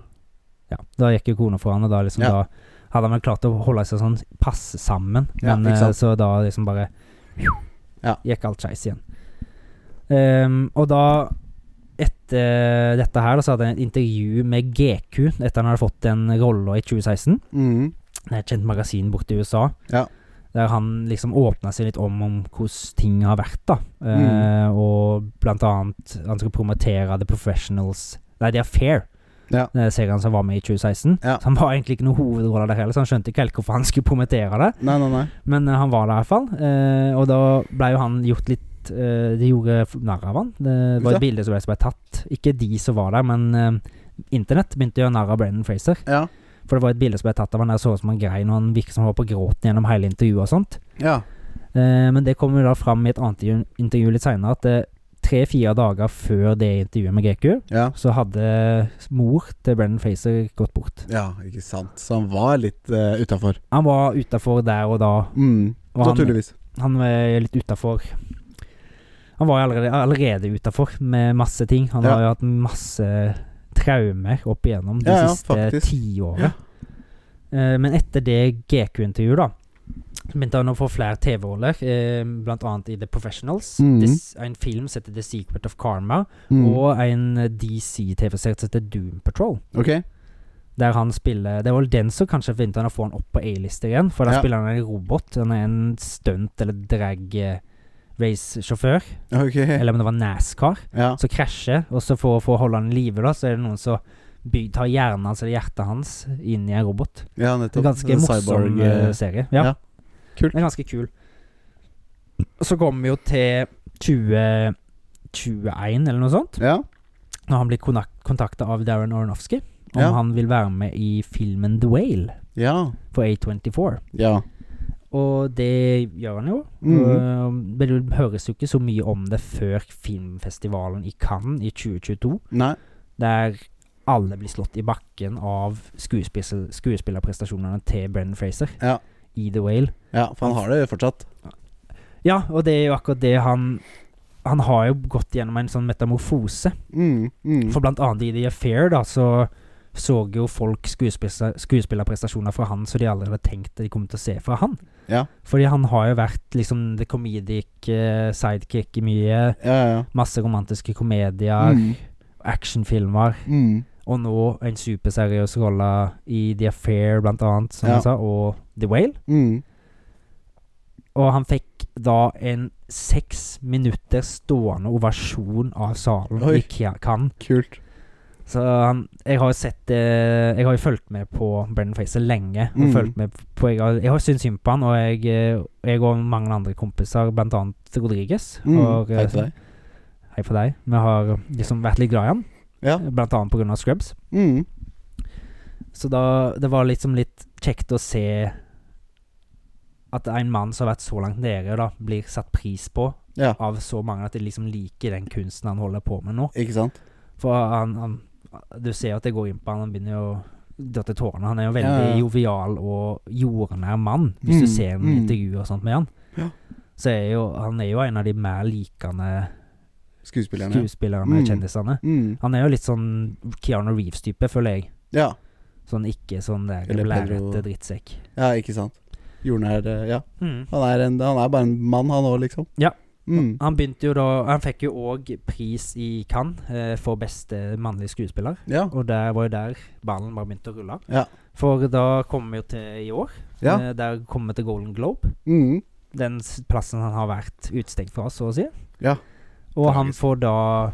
Speaker 2: Ja, da gikk jo kona for han, og da liksom
Speaker 1: Ja.
Speaker 2: da hadde han vel klart å holde seg sånn passe sammen,
Speaker 1: Ja,
Speaker 2: men
Speaker 1: ikke
Speaker 2: eh,
Speaker 1: sant.
Speaker 2: så da liksom bare
Speaker 1: Ja.
Speaker 2: Gikk alt skeis igjen. Ehm, og da etter dette her, da, så hadde han et intervju med GQ etter han hadde fått den rolla i 2016.
Speaker 1: Mm.
Speaker 2: Det er et kjent magasin borte i USA.
Speaker 1: Ja.
Speaker 2: Der han liksom åpna seg litt om om hvordan ting har vært, da.
Speaker 1: Mm.
Speaker 2: Eh, og blant annet Han skal promotere The Professionals Nei, The Affair.
Speaker 1: Ja.
Speaker 2: eh, Serien som var med i 2016.
Speaker 1: Ja.
Speaker 2: Så han var egentlig ikke noen hovedrolle der heller, så han skjønte ikke helt hvorfor han skulle promotere det.
Speaker 1: Nei, nei, nei.
Speaker 2: Men eh, han var der i hvert fall. Eh, og da ble jo han gjort litt eh, De gjorde f- narr av han. Det var
Speaker 1: Ja.
Speaker 2: et bilde som ble, som ble tatt. Ikke de som var der, men eh, Internett begynte å gjøre narr av Brennan Fraser.
Speaker 1: Ja.
Speaker 2: For det var et bilde som ble tatt av han der så ut som han grein, og han virket som han var på gråten gjennom hele intervjuet og sånt.
Speaker 1: Ja.
Speaker 2: Eh, men det kom jo da fram i et annet intervju- intervju litt seinere, at eh, tre-fire dager før det intervjuet med GQ,
Speaker 1: ja.
Speaker 2: så hadde mor til Brennan Facer gått bort.
Speaker 1: Ja, ikke sant. Så han var litt uh, utafor.
Speaker 2: Han var utafor der og da.
Speaker 1: Mm.
Speaker 2: Og han,
Speaker 1: Naturligvis.
Speaker 2: han var litt utafor Han var jo allerede, allerede utafor med masse ting. Han
Speaker 1: Ja.
Speaker 2: har jo hatt masse traumer opp igjennom de
Speaker 1: Ja, ja,
Speaker 2: siste
Speaker 1: faktisk.
Speaker 2: tiåret. Eh, men etter det GQ-intervjuet, da, så begynte han å få flere TV-roller, eh, blant annet i The Professionals.
Speaker 1: Mhm.
Speaker 2: This, en film som heter The Secret of Karma,
Speaker 1: Mm.
Speaker 2: og en DC-TV-serie som heter Doom Patrol.
Speaker 1: Ok.
Speaker 2: Der han spiller Det var vel den som kanskje begynte han å få han opp på A-lista igjen. For der
Speaker 1: Ja.
Speaker 2: spiller han en robot. Han er en stunt- eller drag-race-sjåfør.
Speaker 1: Ok.
Speaker 2: Eller om det var NASCAR.
Speaker 1: Ja.
Speaker 2: Så krasjer, og så for, for å holde han i live, da, så er det noen som by- tar hjernen hans eller hjertet hans inn i en robot.
Speaker 1: ja,
Speaker 2: Det
Speaker 1: nettopp.
Speaker 2: er en ganske
Speaker 1: Sånn
Speaker 2: morsom
Speaker 1: cyborg,
Speaker 2: eh,
Speaker 1: eh,
Speaker 2: serie. Ja.
Speaker 1: ja. Kult.
Speaker 2: Den er ganske kul. Og Så kommer vi jo til 2021, eller noe sånt.
Speaker 1: Ja.
Speaker 2: Når han blir kontakta av Darren Aronofsky om
Speaker 1: Ja.
Speaker 2: han vil være med i filmen The Whale
Speaker 1: Ja.
Speaker 2: for A24.
Speaker 1: Ja.
Speaker 2: Og det gjør han jo.
Speaker 1: Mhm.
Speaker 2: Øh, Men det høres jo ikke så mye om det før filmfestivalen i Cannes i 2022,
Speaker 1: Nei.
Speaker 2: der alle blir slått i bakken av skuespill skuespillerprestasjonene til Brennan Fraser
Speaker 1: Ja.
Speaker 2: i The Whale.
Speaker 1: Ja, for han har det fortsatt.
Speaker 2: Ja, og det er jo akkurat det han Han har jo gått gjennom en sånn metamorfose.
Speaker 1: Mm. Mm.
Speaker 2: For blant annet i The Affair, da, så så jo folk skuespiller, skuespillerprestasjoner fra han som de aldri hadde tenkt de kom til å se fra han.
Speaker 1: Ja.
Speaker 2: Fordi han har jo vært liksom the comedic eh, sidekick i mye.
Speaker 1: Ja, ja, ja.
Speaker 2: Masse romantiske komedier,
Speaker 1: Mm.
Speaker 2: actionfilmer.
Speaker 1: Mm.
Speaker 2: Og nå en superseriøs rolle i The Affair, blant annet, som
Speaker 1: Ja.
Speaker 2: han sa, og The Whale.
Speaker 1: Mm.
Speaker 2: Og han fikk da en seks minutter stående ovasjon av salen
Speaker 1: Oi.
Speaker 2: i Ca- Cannes.
Speaker 1: Kult.
Speaker 2: Så han, jeg har jo sett eh, Jeg har jo fulgt med på Brendan Fraser lenge. Og
Speaker 1: Mm.
Speaker 2: fulgt med på, jeg, har, jeg har syntes synd på han, og jeg, eh, jeg og mange andre kompiser, blant annet Rodriguez
Speaker 1: Mm.
Speaker 2: har, eh,
Speaker 3: Hei til deg.
Speaker 2: Hei på deg. Vi har liksom vært litt glad i han,
Speaker 1: Ja.
Speaker 2: blant annet pga. Scrubs.
Speaker 1: Mm.
Speaker 2: Så da det var liksom litt kjekt å se at en mann som har vært så langt nede, da blir satt pris på
Speaker 1: Ja.
Speaker 2: av så mange at de liksom liker den kunsten han holder på med nå.
Speaker 1: Ikke sant?
Speaker 2: For han, han Du ser jo at det går inn på han, han begynner jo å dra til tårene. Han er jo veldig
Speaker 1: Ja, ja.
Speaker 2: jovial og jordnær mann, hvis
Speaker 1: Mm,
Speaker 2: du ser noen
Speaker 1: mm.
Speaker 2: intervjuer og sånt med han.
Speaker 1: Ja.
Speaker 2: Så er jo han er jo en av de mer likende
Speaker 1: Skuespillerne.
Speaker 2: skuespillerne og
Speaker 1: Mm.
Speaker 2: kjendisene.
Speaker 1: Mm.
Speaker 2: Han er jo litt sånn Keanu Reeves-type, føler jeg.
Speaker 1: Ja.
Speaker 2: Sånn ikke sånn der
Speaker 1: Eller Pedro-
Speaker 2: blærete drittsekk.
Speaker 1: ja, ikke sant. Jordnær eh, Ja.
Speaker 2: Mm.
Speaker 1: Han er, en, han er bare en mann, han òg, liksom.
Speaker 2: Ja.
Speaker 1: Mm.
Speaker 2: Han begynte jo da Han fikk jo òg pris i Cannes eh, for beste mannlige skuespiller.
Speaker 1: Ja.
Speaker 2: Og der var jo der ballen bare begynte å rulle.
Speaker 1: Ja.
Speaker 2: For da kommer vi jo til i år.
Speaker 1: ja.
Speaker 2: Eh, der kommer vi til Golden Globe.
Speaker 1: Mm.
Speaker 2: Den s- plassen han har vært utestengt fra, så å si.
Speaker 1: Ja.
Speaker 2: Og han
Speaker 1: Tragisk.
Speaker 2: får da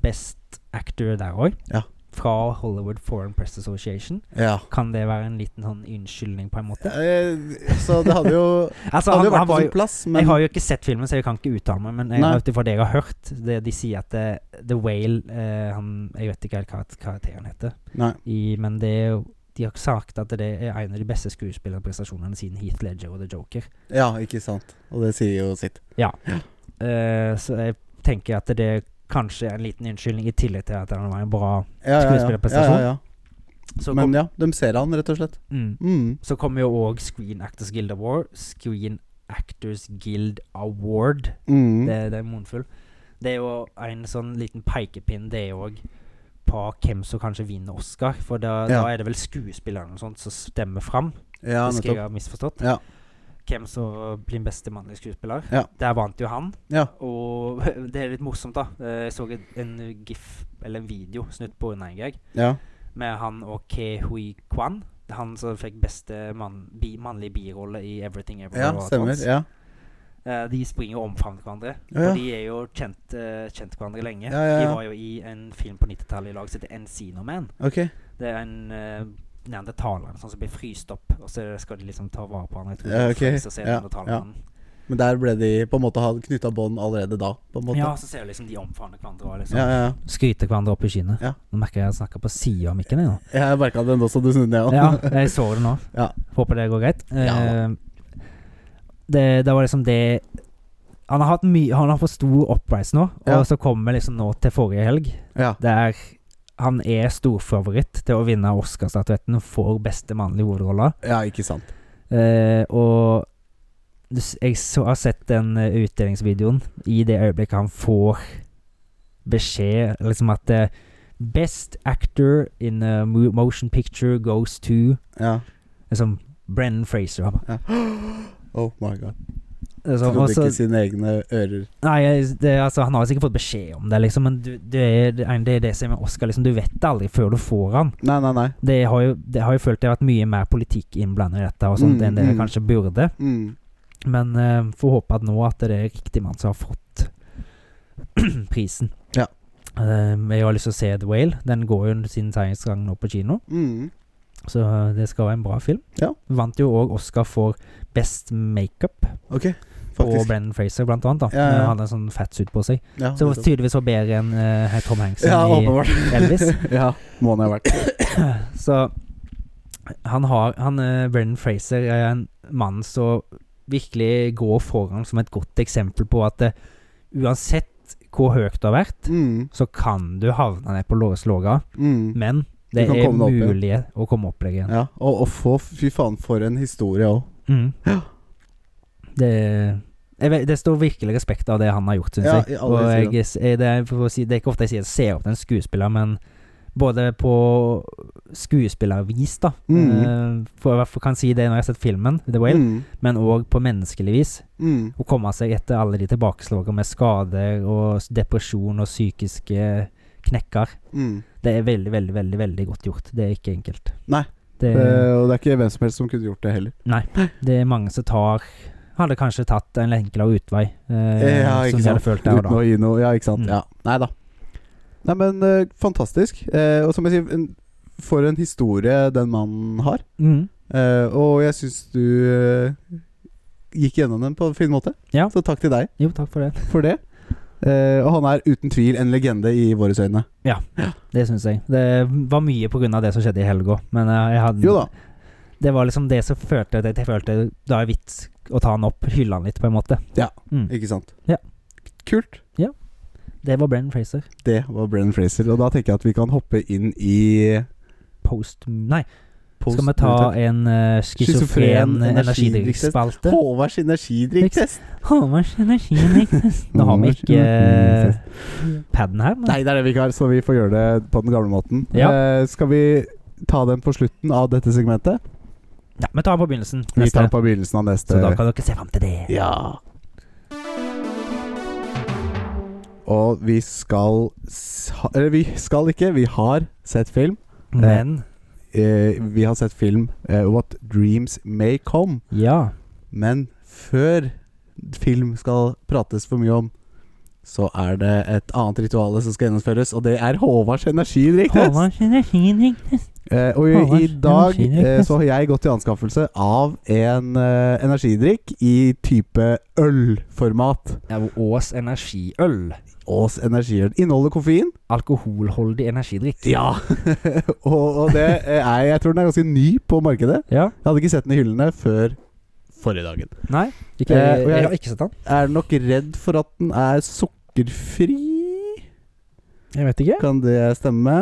Speaker 2: Best Actor der òg.
Speaker 1: Ja.
Speaker 2: Fra Hollywood Foreign Press Association.
Speaker 1: ja.
Speaker 2: Kan det være en liten sånn unnskyldning, på en måte?
Speaker 1: Eh, Så det hadde jo
Speaker 2: Altså,
Speaker 1: Hadde
Speaker 2: han,
Speaker 1: jo vært
Speaker 2: han
Speaker 1: på
Speaker 2: var jo
Speaker 1: sin plass, men
Speaker 2: Jeg har jo ikke sett filmen, så jeg kan ikke uttale meg, men
Speaker 1: Nei.
Speaker 2: jeg- ut ifra det jeg har hørt det, De sier at eh, The Whale eh, han, Jeg vet ikke helt hva karakteren heter,
Speaker 1: Nei.
Speaker 2: i, men det er jo de har sagt at det er en av de beste skuespillerprestasjonene siden Heath Ledger og The Joker.
Speaker 1: Ja, ikke sant. Og det sier jo sitt.
Speaker 2: Eh, så jeg tenker at det er kanskje en liten unnskyldning, i tillegg til at han var en bra
Speaker 1: Ja, ja, ja. ja,
Speaker 2: Skuespillerprestasjon.
Speaker 1: ja, ja.
Speaker 2: Så,
Speaker 1: Men
Speaker 2: kom,
Speaker 1: ja, de ser han, rett og slett.
Speaker 2: mm,
Speaker 1: Mm.
Speaker 2: så kommer jo òg Screen Actors Guild Award. Screen Actors Guild Award.
Speaker 1: Mm.
Speaker 2: Det, det er Monfull. Det er jo en sånn liten pekepinn, det òg, på hvem som kanskje vinner Oscar. For da,
Speaker 1: Ja.
Speaker 2: da er det vel skuespillerne og sånt som stemmer fram,
Speaker 1: Ja,
Speaker 2: hvis ikke
Speaker 1: nettopp.
Speaker 2: jeg har misforstått.
Speaker 1: Ja.
Speaker 2: Hvem som blir beste mannlige skuespiller.
Speaker 1: Ja.
Speaker 2: Der vant jo han.
Speaker 1: Ja.
Speaker 2: Og det er litt morsomt, da. Eh, Jeg så en- en gif, eller en video, snutt på unna en gang,
Speaker 1: Ja.
Speaker 2: med han og Ke Hui Kwan. Han som fikk beste mann, bi, mannlige birolle i Everything Everywhere.
Speaker 1: ja,
Speaker 2: All at
Speaker 1: stemmer.
Speaker 2: Once.
Speaker 1: Ja.
Speaker 2: Eh, de springer jo om fram til hverandre.
Speaker 1: Ja, ja.
Speaker 2: Og de er jo kjent, eh, kjent hverandre lenge.
Speaker 1: Ja, ja, ja.
Speaker 2: De var jo i en film på 90-tallet i lag som heter Encino Man.
Speaker 1: Ok.
Speaker 2: Det er en uh, neandertaler sånn som blir fryst opp, og så skal de liksom ta vare på han. Jeg tror
Speaker 1: Ja,
Speaker 2: det er
Speaker 1: ok.
Speaker 2: Fraser som er
Speaker 1: Ja,
Speaker 2: neandertaleren.
Speaker 1: Men der ble de på en måte knytta bånd allerede da, på en måte.
Speaker 2: ja, så ser du liksom de omfavner hverandre og liksom
Speaker 1: ja, ja.
Speaker 2: skryter hverandre opp i kinnet.
Speaker 1: Ja.
Speaker 2: Nå merker jeg at jeg snakker på sida av mikken. Jeg, nå.
Speaker 1: Jeg merka den også, du snudde ned
Speaker 2: ja,
Speaker 1: òg.
Speaker 2: jeg så det nå.
Speaker 1: Ja.
Speaker 2: Håper det går greit.
Speaker 1: Ja da.
Speaker 2: Eh, det, det var liksom det Han har hatt mye Han har for stor uprise nå,
Speaker 1: Ja.
Speaker 2: og så kommer vi liksom nå til forrige helg.
Speaker 1: Ja.
Speaker 2: der han er storfavoritt til å vinne Oscarstatuetten for beste mannlige hovedrolle.
Speaker 1: ja, ikke sant.
Speaker 2: Eh, og du s- jeg så, har sett den eh, utdelingsvideoen i det øyeblikket han får beskjed liksom at eh, Best actor in a mo- motion picture goes to
Speaker 1: Ja.
Speaker 2: liksom Brennan Fraser. Han bare-
Speaker 1: ja. Oh my god.
Speaker 2: Altså,
Speaker 1: Trodde
Speaker 2: og så-
Speaker 1: ikke sine egne ører.
Speaker 2: Nei, jeg- det, altså, han har jo sikkert fått beskjed om det, liksom, men du, det, er, det er- det er det som er med Oscar. Liksom, du vet det aldri før du får han.
Speaker 1: Nei, nei, nei.
Speaker 2: det har jo, det har jo følt det har vært mye mer politikk innblandet i dette og sånt
Speaker 1: Mm,
Speaker 2: enn det
Speaker 1: mm.
Speaker 2: kanskje burde.
Speaker 1: Mm.
Speaker 2: Men eh, får håpe at nå at det er riktig mann som har fått prisen.
Speaker 1: Ja.
Speaker 2: Eh, jeg har lyst til å se The Whale. Den går jo sin seiersgang nå på kino,
Speaker 1: Mm.
Speaker 2: så eh, det skal være en bra film.
Speaker 1: Ja.
Speaker 2: Vant jo òg Oscar for Best Makeup
Speaker 1: Ok,
Speaker 2: på
Speaker 1: faktisk.
Speaker 2: Brennan Fraser, blant annet. Da.
Speaker 1: Ja, ja, ja.
Speaker 2: Han hadde en sånn fatsuit på seg.
Speaker 1: Ja,
Speaker 2: Så
Speaker 1: nettopp.
Speaker 2: tydeligvis var bedre enn eh, Tom Hanks
Speaker 1: ja,
Speaker 2: enn i
Speaker 1: åpenbart.
Speaker 2: Elvis.
Speaker 1: ja, må han ha vært.
Speaker 2: Så han har han, eh, Brendan Fraser er en mann som virkelig går foran som et godt eksempel på at eh, uansett hvor høyt du har vært,
Speaker 1: Mm.
Speaker 2: så kan du havne ned på lårets låga,
Speaker 1: Mm.
Speaker 2: men
Speaker 1: Du
Speaker 2: det
Speaker 1: kan
Speaker 2: er
Speaker 1: komme deg opp
Speaker 2: mulig å komme opp deg igjen.
Speaker 1: Ja, og, og få, fy faen, for en historie òg.
Speaker 2: Mm. Det jeg vet, det står virkelig respekt av det han har gjort, syns
Speaker 1: Ja, i
Speaker 2: jeg.
Speaker 1: alle
Speaker 2: Og
Speaker 1: sider.
Speaker 2: jeg s- eh, det, er, for å si, det er ikke ofte jeg sier ser opp til en skuespiller, men både på skuespillervis, da
Speaker 1: Mm.
Speaker 2: eh, For jeg hvert fall kan si det når jeg har sett filmen, The Whale,
Speaker 1: Mm.
Speaker 2: men òg på menneskelig vis.
Speaker 1: Mm.
Speaker 2: Å komme seg etter alle de tilbakeslagene med skader og s- depresjon og psykiske knekker.
Speaker 1: Mm.
Speaker 2: Det er veldig, veldig, veldig veldig godt gjort. Det er ikke enkelt.
Speaker 1: Nei.
Speaker 2: Det,
Speaker 1: Eh, og det er ikke hvem som helst som kunne gjort det heller.
Speaker 2: det er mange som tar Hadde kanskje tatt en enklere utvei, eh,
Speaker 1: Ja, ikke
Speaker 2: som de hadde
Speaker 1: sant.
Speaker 2: følt der og
Speaker 1: Uten
Speaker 2: da.
Speaker 1: å gi noe Ja, ikke sant.
Speaker 2: Mm.
Speaker 1: Ja. Nei da. Nei, men eh, fantastisk. Eh, og som jeg sier, en- for en historie den mannen har.
Speaker 2: Mm.
Speaker 1: Eh, og jeg syns du eh, gikk gjennom den på en fin måte.
Speaker 2: Ja.
Speaker 1: Så takk til deg
Speaker 2: Jo, takk for det.
Speaker 1: for det. Eh, og han er uten tvil en legende i våre øyne.
Speaker 2: Det syns jeg. Det var mye pga. det som skjedde i helga, men eh, jeg hadde
Speaker 1: Jo da.
Speaker 2: Det var liksom det som følte at jeg følte da er vits å ta han opp, hylle han litt, på en måte.
Speaker 1: Ja.
Speaker 2: Mm.
Speaker 1: Ikke sant?
Speaker 2: Ja.
Speaker 1: Kult.
Speaker 2: Det var Brennan Fraser.
Speaker 1: Det var Brennan Fraser. Og da tenker jeg at vi kan hoppe inn i
Speaker 2: Post Nei,
Speaker 1: post-
Speaker 2: skal vi ta en uh, schizofren
Speaker 1: Schizofren
Speaker 2: energidrikkspalte?
Speaker 1: Håvards energidrikktest.
Speaker 2: Håvards energidrikktest. Nå har vi
Speaker 1: Håvards
Speaker 2: ikke eh,
Speaker 1: energidrikktest.
Speaker 2: paden her, men
Speaker 1: Nei, det er det vi ikke har, så vi får gjøre det på den gamle måten.
Speaker 2: Ja.
Speaker 1: Eh, skal vi ta den på slutten av dette segmentet?
Speaker 2: ja, vi tar den på begynnelsen.
Speaker 1: Vi tar den
Speaker 2: Neste.
Speaker 1: på begynnelsen av neste.
Speaker 2: Så da kan dere se fram til det.
Speaker 1: Ja. Og vi skal s- ha- Eller vi skal ikke, vi har sett film.
Speaker 2: Men
Speaker 1: Eh, vi har sett film eh, What Dreams May Come.
Speaker 2: ja.
Speaker 1: Men før film skal prates for mye om, så er det et annet ritual som skal gjennomføres, og det er Håvards energidrikktest.
Speaker 2: Håvards energidrikktest.
Speaker 1: Eh, og i, i
Speaker 2: Håvards
Speaker 1: dag
Speaker 2: energidrikk,
Speaker 1: eh, så har jeg gått til anskaffelse av en eh, energidrikk i type ølformat.
Speaker 2: Ja, Ås energiøl.
Speaker 1: Ås energiøl inneholder koffein.
Speaker 2: Alkoholholdig energidrikk.
Speaker 1: Ja! og, og det eh, er Jeg tror den er ganske ny på markedet.
Speaker 2: Ja.
Speaker 1: Jeg hadde ikke sett den i hyllene før forrige dagen.
Speaker 2: Nei, ikke,
Speaker 1: Eh, og jeg-
Speaker 2: jeg har ikke sett den.
Speaker 1: Er nok redd for at den er sukkerfri.
Speaker 2: Jeg vet ikke.
Speaker 1: Kan det stemme?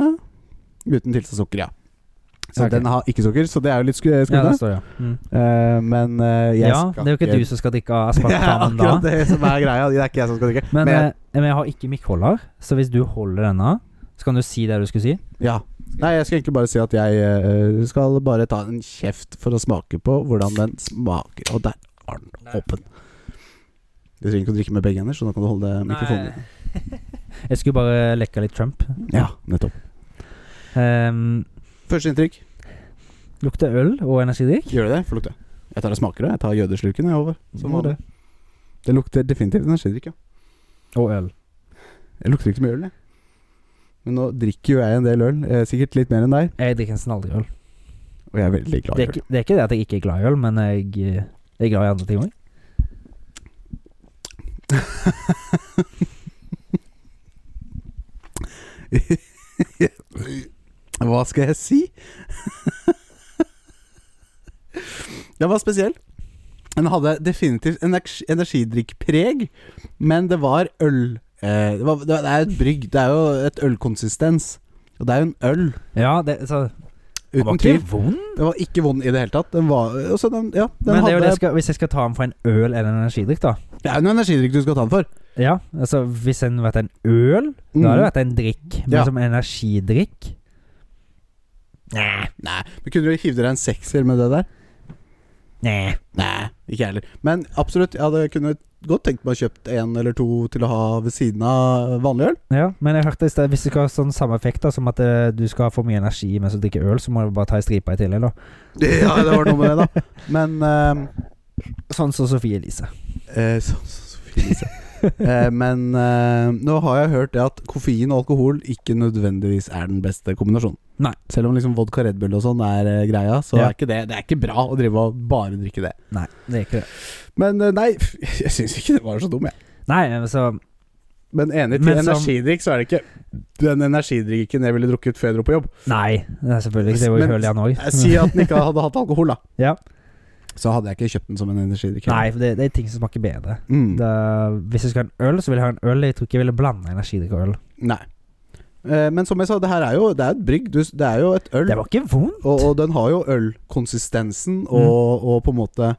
Speaker 1: Uten tilsatt sukker, ja. Så
Speaker 2: Ok.
Speaker 1: den har ikke sukker, så det er jo litt sku-
Speaker 2: Ja,
Speaker 1: skummelt.
Speaker 2: det står ja. Mm.
Speaker 1: Eh, men eh, jeg
Speaker 2: ja,
Speaker 1: skal
Speaker 2: det er jo ikke du som skal drikke av aspartamen
Speaker 1: Det er
Speaker 2: da.
Speaker 1: akkurat det som er greia. Det er ikke jeg som skal drikke.
Speaker 2: Men,
Speaker 1: Men-
Speaker 2: eh, men jeg har ikke mikkholder, så hvis du holder denne, så kan du si det du skulle si.
Speaker 1: Ja. Nei, jeg skulle egentlig bare si at jeg eh, skal bare ta en kjeft for å smake på hvordan den smaker. Og der var den åpen. Du trenger ikke å drikke med begge hender, så da kan du holde mikrofonen. din.
Speaker 2: Jeg skulle bare lekke litt Trump.
Speaker 1: Ja, nettopp.
Speaker 2: Um,
Speaker 1: Førsteinntrykk.
Speaker 2: lukter øl og energidrikk.
Speaker 1: Gjør du det? Få lukte. Jeg tar og smaker det. Jeg tar jødeslurken, jeg, over. Som
Speaker 2: Gjør
Speaker 1: vanlig. Det lukter definitivt energidrikk, ja.
Speaker 2: Og øl.
Speaker 1: Jeg lukter ikke så mye øl, jeg. Men nå drikker jo jeg en del øl. eh, Sikkert litt mer enn deg.
Speaker 2: Jeg drikker nesten aldri øl.
Speaker 1: Og jeg er veldig
Speaker 2: Det
Speaker 1: glad i
Speaker 2: er,
Speaker 1: øl.
Speaker 2: ikke, det er ikke det at jeg ikke er glad i øl, men jeg, eh, jeg er glad i andre ting òg.
Speaker 1: Hva skal jeg si? Den var spesiell. Den hadde definitivt energi energidrikkpreg, men det var øl. Eh, det, var, det er jo et brygg. Det er jo et ølkonsistens. Og det er jo en øl,
Speaker 2: Ja, det, så, den var
Speaker 1: uten
Speaker 2: ikke
Speaker 1: tvil.
Speaker 2: vond.
Speaker 1: Den var ikke vond i det hele tatt. Den var og så den, ja, den
Speaker 2: Men det er jo det jeg
Speaker 1: hadde,
Speaker 2: skal, hvis jeg skal ta den for en øl eller en energidrikk, da
Speaker 1: det er jo en energidrikk du skal ta den for.
Speaker 2: Ja, altså Hvis den hadde vært en øl, da hadde det vært en drikk. Men
Speaker 1: Mm. Ja.
Speaker 2: som energidrikk Nei.
Speaker 1: Mm. Nei, men kunne du hivd deg en sekser med det der?
Speaker 2: Nei.
Speaker 1: Nei, ikke jeg heller. Men absolutt, jeg hadde kunne godt tenkt meg å kjøpt en eller to til å ha ved siden av vanlig øl.
Speaker 2: Ja, men jeg hørte i sted hvis du skal ha sånn samme effekt da som at eh, du skal ha for mye energi mens du drikker øl, så må du bare ta ei stripe i tillegg, da.
Speaker 1: Ja, det var noe med det, da. Men ehm,
Speaker 2: Sånn som Sofie Elise.
Speaker 1: eh, så, så, så fint, Lise. Eh, Men ehm, nå har jeg hørt det at koffein og alkohol ikke nødvendigvis er den beste kombinasjonen.
Speaker 2: Nei.
Speaker 1: Selv om liksom vodka Red Bull og sånn er eh, greia, så
Speaker 2: Ja.
Speaker 1: er ikke det, det er ikke bra å drive og bare drikke det.
Speaker 2: Nei, det er ikke det.
Speaker 1: Men eh, nei, jeg syns ikke det var så dum, jeg.
Speaker 2: Nei, så
Speaker 1: Men enig til
Speaker 2: Men som-
Speaker 1: energidrikk, så er det ikke den energidrikken jeg ville drukket før jeg dro på jobb.
Speaker 2: Nei, det er selvfølgelig ikke det. var jo
Speaker 1: Men-
Speaker 2: høl i han også.
Speaker 1: Jeg sier at den ikke hadde hatt alkohol, da.
Speaker 2: Ja.
Speaker 1: Så hadde jeg ikke kjøpt den som en energidrikk.
Speaker 2: Nei, for det, det er ting som smaker bedre.
Speaker 1: Mm.
Speaker 2: Det, hvis jeg skal ha en øl, så vil jeg ha en øl. Jeg tror ikke jeg ville blande energidrikk og øl.
Speaker 1: Nei. Eh, Men som jeg sa, det her er jo Det er et brygg. Du s- Det er jo et øl.
Speaker 2: Det var ikke vondt.
Speaker 1: Og, og den har jo ølkonsistensen og, og på en måte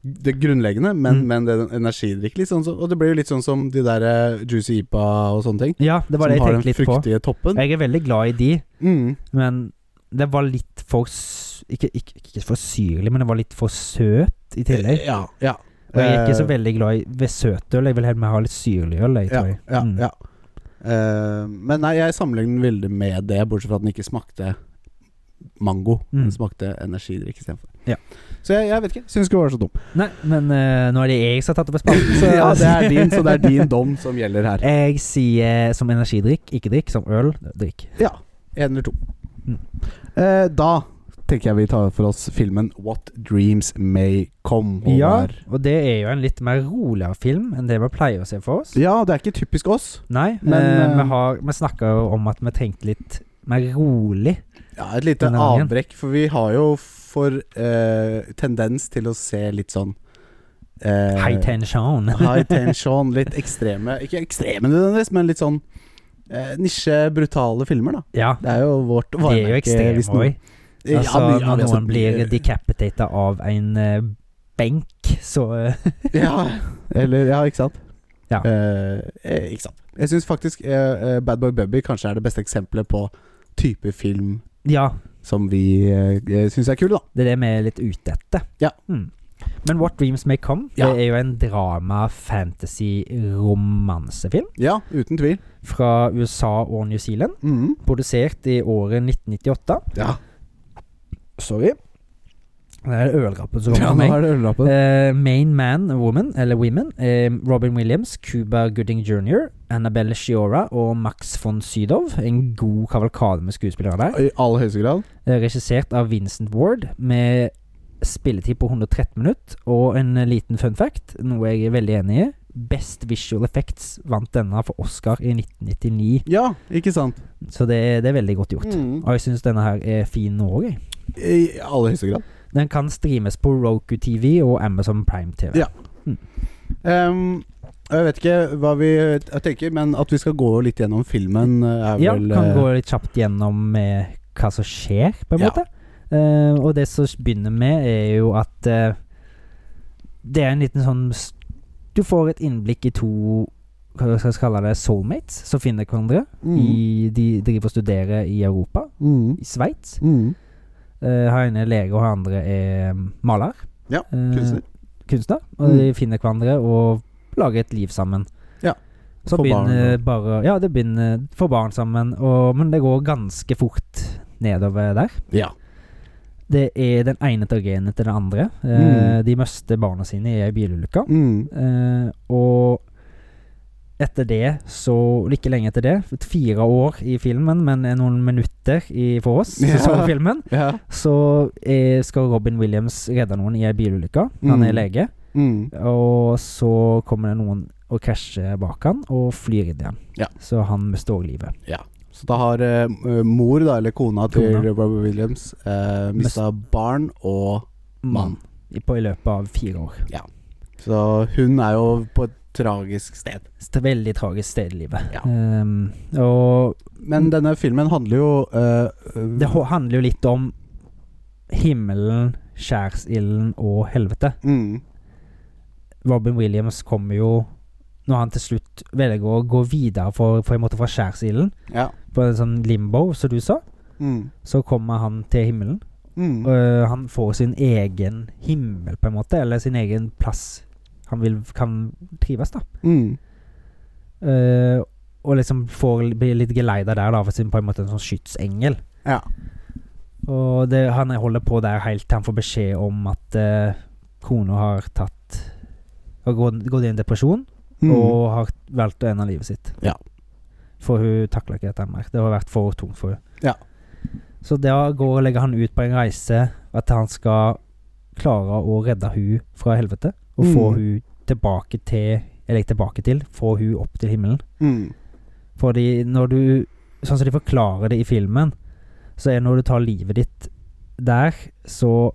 Speaker 1: det grunnleggende, men,
Speaker 2: Mm.
Speaker 1: men det er en energidrikk. Litt sånn som, og det blir jo litt sånn som de der eh, Juicy Ipa og sånne ting.
Speaker 2: Ja, det var
Speaker 1: som
Speaker 2: det jeg
Speaker 1: har den
Speaker 2: tenkte litt på.
Speaker 1: fruktige toppen.
Speaker 2: Jeg er veldig glad i de,
Speaker 1: Mm.
Speaker 2: men det var litt for s- Ikke, ikke, ikke for syrlig, men det var litt for søt i tillegg.
Speaker 1: Ja, ja.
Speaker 2: Og jeg er ikke så
Speaker 1: Eh,
Speaker 2: veldig glad i ved søtøl. Jeg vil heller ha litt syrlig øl. Jeg,
Speaker 1: Ja,
Speaker 2: tror jeg.
Speaker 1: ja,
Speaker 2: Mm.
Speaker 1: ja. Eh, men nei, jeg sammenligner den veldig med det, bortsett fra at den ikke smakte mango.
Speaker 2: Mm.
Speaker 1: Den smakte energidrikk istedenfor.
Speaker 2: Ja.
Speaker 1: Så jeg, jeg vet ikke. Syns ikke hun var så dum.
Speaker 2: Nei, men eh, nå er det jeg som har tatt opp spalten. Så
Speaker 1: ja, det er din, så det er din dom som gjelder her.
Speaker 2: Jeg sier eh, som energidrikk, ikke drikk. Som øl, drikk.
Speaker 1: Ja. Én eller to.
Speaker 2: Mm.
Speaker 1: Eh, da tenker jeg vi tar for oss filmen What Dreams May Come.
Speaker 2: Ja,
Speaker 1: Håvard.
Speaker 2: og det er jo en litt mer roligere film enn det vi pleier å se for oss.
Speaker 1: ja, det er ikke typisk oss.
Speaker 2: Nei,
Speaker 1: Men,
Speaker 2: men
Speaker 1: eh,
Speaker 2: vi, har, vi snakker jo om at vi trengte litt mer rolig.
Speaker 1: Ja, Et lite
Speaker 2: Denne gangen.
Speaker 1: avbrekk, for vi har jo for eh, tendens til å se litt sånn eh,
Speaker 2: High tension.
Speaker 1: high tension, litt ekstreme Ikke ekstreme nødvendigvis, men litt sånn eh, nisje, brutale filmer, da.
Speaker 2: ja,
Speaker 1: Det er jo vårt
Speaker 2: det er jo ekstremt
Speaker 1: hvis noen-
Speaker 2: òg.
Speaker 1: Ja,
Speaker 2: Altså,
Speaker 1: men- ja,
Speaker 2: når
Speaker 1: men altså,
Speaker 2: noen blir decapitated av en eh, benk, så eh,
Speaker 1: Ja, eller Ja, ikke sant?
Speaker 2: Ja.
Speaker 1: Eh, eh, ikke sant. Jeg syns faktisk eh, eh, Bad Boy Bubby kanskje er det beste eksempelet på type film
Speaker 2: Ja,
Speaker 1: som vi uh, syns er kul, da.
Speaker 2: det er det vi er litt ute etter.
Speaker 1: Ja.
Speaker 2: Mm. Men What Dreams May Come
Speaker 1: Ja.
Speaker 2: det er jo en drama-fantasy-romansefilm
Speaker 1: Ja, uten tvil.
Speaker 2: fra USA og New Zealand.
Speaker 1: Mhm.
Speaker 2: Produsert i året 1998.
Speaker 1: Ja.
Speaker 2: Sorry. Det er ølrappen som
Speaker 1: ja,
Speaker 2: kommer
Speaker 1: nå
Speaker 2: for meg.
Speaker 1: er det ølrappen.
Speaker 2: Eh, main man, woman, eller women, eh, Robin Williams, Cuba Gooding jr., Annabelle Shiora og Max von Sydow. En god kavalkade med skuespillere der.
Speaker 1: I aller høyeste grad.
Speaker 2: Eh, Regissert av Vincent Ward, med spilletid på 113 minutter. Og en eh, liten fun fact, noe jeg er veldig enig i. Best Visual Effects vant denne for Oscar i 1999,
Speaker 1: Ja, ikke sant?
Speaker 2: så det, det er veldig godt gjort.
Speaker 1: Mhm.
Speaker 2: Og jeg syns denne her er fin nå òg, jeg.
Speaker 1: I aller høyeste grad.
Speaker 2: Den kan streames på Roku TV og Amazon Prime TV.
Speaker 1: Ja. Ehm, jeg vet ikke hva vi jeg tenker, men at vi skal gå litt gjennom filmen, eh, er
Speaker 2: Ja,
Speaker 1: vel
Speaker 2: kan
Speaker 1: eh,
Speaker 2: gå litt kjapt gjennom eh, hva som skjer, på en
Speaker 1: Ja.
Speaker 2: måte. Eh, og det som begynner med, er jo at eh, det er en liten sånn s- Du får et innblikk i to hva skal jeg kalle det, soulmates som finner hverandre.
Speaker 1: mhm.
Speaker 2: I, de driver og studerer i Europa,
Speaker 1: Mhm.
Speaker 2: i Sveits.
Speaker 1: Mhm.
Speaker 2: Eh, han ene er lege, og han andre er mm, maler.
Speaker 1: Ja,
Speaker 2: Eh,
Speaker 1: kunstner.
Speaker 2: kunstner. Og
Speaker 1: Mm.
Speaker 2: de finner hverandre og lager et liv sammen.
Speaker 1: Ja.
Speaker 2: Så
Speaker 1: Får barn
Speaker 2: begynner
Speaker 1: og-
Speaker 2: bare Ja, det begynner Får barn sammen, og, men det går ganske fort nedover der.
Speaker 1: Ja.
Speaker 2: Det er den ene tragedien til den andre. Eh,
Speaker 1: Mm.
Speaker 2: De mister barna sine i ei bilulykke.
Speaker 1: Mhm.
Speaker 2: Eh, og etter det, så eller Ikke lenge etter det, fire år i filmen, men noen minutter i, for oss,
Speaker 1: Ja.
Speaker 2: som så filmen,
Speaker 1: Ja.
Speaker 2: så eh, skal Robin Williams redde noen i ei bilulykke. Han
Speaker 1: Mm.
Speaker 2: er lege.
Speaker 1: Mhm.
Speaker 2: Og så kommer det noen og krasjer bak han og flyr inn i han.
Speaker 1: Ja.
Speaker 2: Så han mister også livet.
Speaker 1: Så da har eh, m- mor, da, eller kona til
Speaker 2: Kona.
Speaker 1: Robert Williams, uh, mista barn og mann.
Speaker 2: I, på, I løpet av fire år.
Speaker 1: Så hun er jo på et tragisk sted.
Speaker 2: Så det er Veldig tragisk sted i livet.
Speaker 1: Ja.
Speaker 2: Ehm, og
Speaker 1: Men denne filmen handler jo eh,
Speaker 2: Mm. det ho- handler jo litt om himmelen, skjærsilden og helvete.
Speaker 1: mm,
Speaker 2: Robin Williams kommer jo når han til slutt velger å gå videre for, for en måte fra skjærsilden,
Speaker 1: Ja.
Speaker 2: på en sånn limbo, som du sa,
Speaker 1: Mm,
Speaker 2: så kommer han til himmelen.
Speaker 1: mm,
Speaker 2: Øh, han får sin egen himmel, på en måte, eller sin egen plass han vil, kan trives, da.
Speaker 1: mm,
Speaker 2: Øh, og liksom får bli litt geleida der, da, for sin på en måte en sånn skytsengel.
Speaker 1: ja.
Speaker 2: Og det, han holder på der helt til han får beskjed om at uh, kona har tatt har gått, gått i en depresjon
Speaker 1: Mm,
Speaker 2: og har valgt å ende livet sitt.
Speaker 1: Ja.
Speaker 2: For hun takler ikke dette mer. Det har vært for tungt for hun
Speaker 1: Ja.
Speaker 2: Så da går og legger han ut på en reise at han skal klare å redde hun fra helvete. Og få
Speaker 1: Mm.
Speaker 2: hun tilbake til Eller tilbake til. Få hun opp til himmelen.
Speaker 1: mm,
Speaker 2: Fordi når du Sånn som de forklarer det i filmen, så er når du tar livet ditt der, så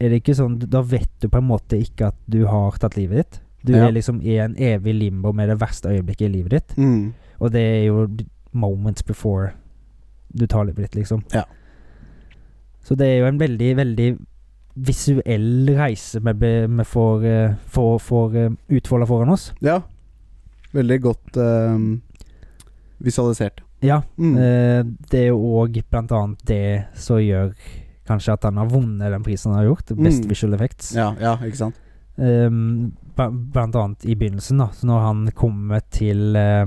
Speaker 2: er det ikke sånn Da vet du på en måte ikke at du har tatt livet ditt. Du
Speaker 1: Ja.
Speaker 2: er liksom i en evig limbo med det verste øyeblikket i livet ditt.
Speaker 1: mm.
Speaker 2: Og det er jo d- moments before du tar livet ditt, liksom.
Speaker 1: Ja.
Speaker 2: Så det er jo en veldig, veldig visuell reise vi be- vi får, eh, får, får eh, utfolda foran oss.
Speaker 1: Ja. Veldig godt eh, visualisert.
Speaker 2: Ja.
Speaker 1: Mm.
Speaker 2: Eh, det er jo òg blant annet det som gjør kanskje at han har vunnet den prisen han har gjort. Best
Speaker 1: Mm.
Speaker 2: visual effects.
Speaker 1: ja, ja, ikke sant?
Speaker 2: Ehm, ba- blant annet i begynnelsen, da. Så når han kommer til eh,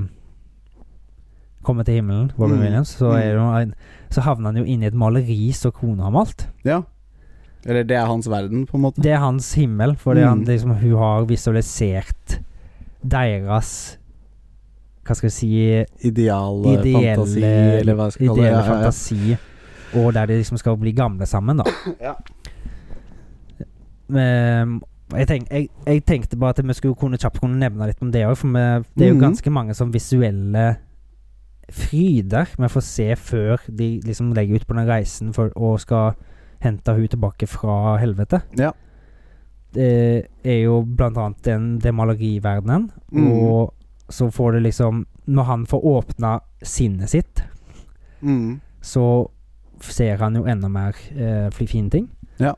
Speaker 2: kommer til himmelen, Robin
Speaker 1: Mm.
Speaker 2: Williams, så, er det jo en, så havner han jo inn i et maleri som kona har malt.
Speaker 1: Ja. Eller det er hans verden, på en måte.
Speaker 2: Det er hans himmel, fordi han,
Speaker 1: Mm.
Speaker 2: liksom, hun har visualisert deres Hva skal vi si
Speaker 1: Ideal, eh,
Speaker 2: Ideelle-
Speaker 1: fantasi, eller hva skal jeg kalle det.
Speaker 2: Ideelle
Speaker 1: Ja, ja, ja.
Speaker 2: fantasi, og der de liksom skal bli gamle sammen, da.
Speaker 1: Ja.
Speaker 2: Ehm, jeg, tenk, jeg, jeg tenkte bare at vi skulle kunne kjapt kunne nevne litt om det òg, for vi, det er jo
Speaker 1: Mhm.
Speaker 2: ganske mange sånn visuelle fryder vi får se før de liksom legger ut på den reisen for, og skal hente hun tilbake fra helvete.
Speaker 1: Ja.
Speaker 2: Det er jo blant annet den, den maleriverdenen,
Speaker 1: Mm.
Speaker 2: og så får det liksom Når han får åpna sinnet sitt
Speaker 1: Mm.
Speaker 2: så ser han jo enda mer eh, fli- fine ting.
Speaker 1: Ja.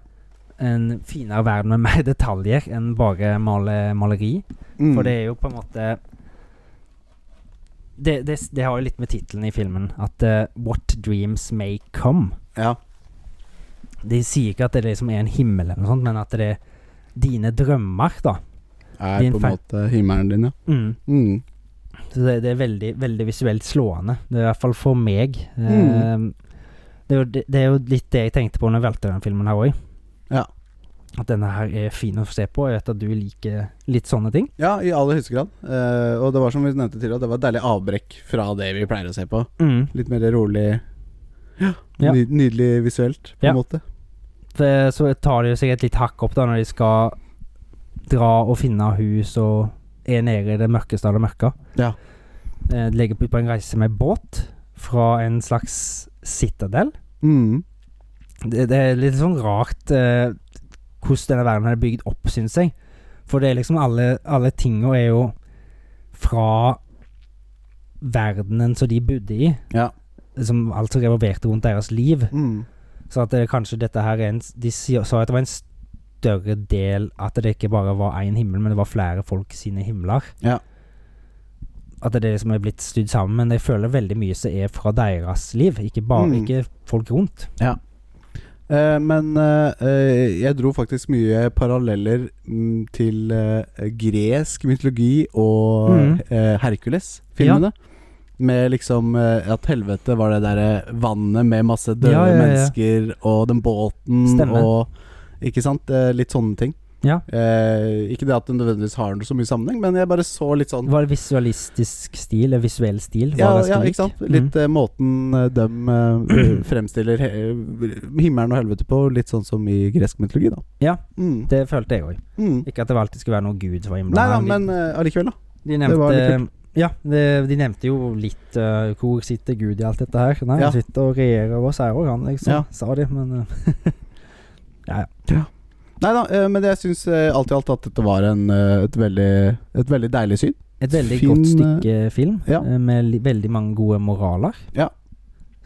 Speaker 2: En finere verden med mer detaljer enn bare male, maleri.
Speaker 1: Mm.
Speaker 2: For det er jo på en måte Det, det, s- det har jo litt med tittelen i filmen, at eh, 'What dreams may come'.
Speaker 1: Ja.
Speaker 2: De sier ikke at det liksom er en himmel eller noe sånt, men at det er dine drømmer, da.
Speaker 1: Er
Speaker 2: Din
Speaker 1: på en
Speaker 2: feil.
Speaker 1: måte himmelen din, ja.
Speaker 2: Mm.
Speaker 1: Mm.
Speaker 2: Så det, det er veldig, veldig visuelt slående. Det er i hvert fall for meg. Eh,
Speaker 1: Mm.
Speaker 2: det, er jo, det, det er jo litt det jeg tenkte på når jeg valgte denne filmen her òg.
Speaker 1: Ja.
Speaker 2: At denne her er fin å se på. Jeg vet at du liker litt sånne ting.
Speaker 1: Ja, i aller høyeste grad. Eh, og det var som vi nevnte tidligere, det var et deilig avbrekk fra det vi pleier å se på. Litt mer rolig. Ja,
Speaker 2: Ja.
Speaker 1: ny- Nydelig visuelt, på en
Speaker 2: Ja.
Speaker 1: måte.
Speaker 2: Det, eh, så tar det jo sikkert litt hakk opp da når de skal dra og finne hus og er nede i det mørkeste av det mørke.
Speaker 1: Ja.
Speaker 2: Eh, de legger på- ut på en reise med båt fra en slags citadel.
Speaker 1: Mm.
Speaker 2: det, det er litt sånn rart eh, hvordan denne verden er bygd opp, syns jeg. For det er liksom alle, alle tinga er jo fra verdenen som de bodde i.
Speaker 1: Ja.
Speaker 2: Som altså revolverte rundt deres liv.
Speaker 1: Mm.
Speaker 2: Så at det, kanskje dette her er en De si- sa at det var en større del At det ikke bare var én himmel, men det var flere folk sine himler.
Speaker 1: Ja.
Speaker 2: At det liksom er blitt studd sammen. Men jeg føler veldig mye som er fra deres liv, ikke bare
Speaker 1: Mm.
Speaker 2: ikke folk rundt.
Speaker 1: Eh, men eh, eh, jeg dro faktisk mye paralleller mm, til eh, gresk mytologi og
Speaker 2: Mm.
Speaker 1: eh, Hercules-filmene. Med liksom eh, at helvete var det derre vannet med masse døde
Speaker 2: Ja, ja, ja.
Speaker 1: mennesker, og den båten
Speaker 2: Stemmer.
Speaker 1: og Ikke sant? Eh, litt sånne ting.
Speaker 2: Ja.
Speaker 1: Eh, ikke det at det nødvendigvis har så mye sammenheng, men jeg bare så litt sånn
Speaker 2: Var det visualistisk stil, eller visuell stil? Var
Speaker 1: ja,
Speaker 2: ganske
Speaker 1: ja,
Speaker 2: lik?
Speaker 1: ikke sant? Litt
Speaker 2: mm.
Speaker 1: eh, måten eh, de eh, fremstiller he himmelen og helvete på, litt sånn som i gresk mytologi, da.
Speaker 2: Ja.
Speaker 1: Mm.
Speaker 2: Det følte jeg òg.
Speaker 1: Mm.
Speaker 2: Ikke at det alltid skulle være noen gud som var
Speaker 1: Nei da,
Speaker 2: innblandet,
Speaker 1: men eh, allikevel, da.
Speaker 2: de, de nevnte,
Speaker 1: det var litt
Speaker 2: Ja, de, de nevnte jo litt eh, hvor sitter Gud i alt dette her. Nei,
Speaker 1: Ja.
Speaker 2: Han sitter og regjerer over oss her òg, han, liksom,
Speaker 1: Ja.
Speaker 2: sa de. Men eh,
Speaker 1: Nei da, eh, men jeg syns eh, alt i alt at dette var en, eh, et, veldig, et veldig deilig syn.
Speaker 2: et veldig
Speaker 1: Fin,
Speaker 2: godt stykke film,
Speaker 1: eh, ja.
Speaker 2: eh, med li, veldig mange gode moraler,
Speaker 1: Ja.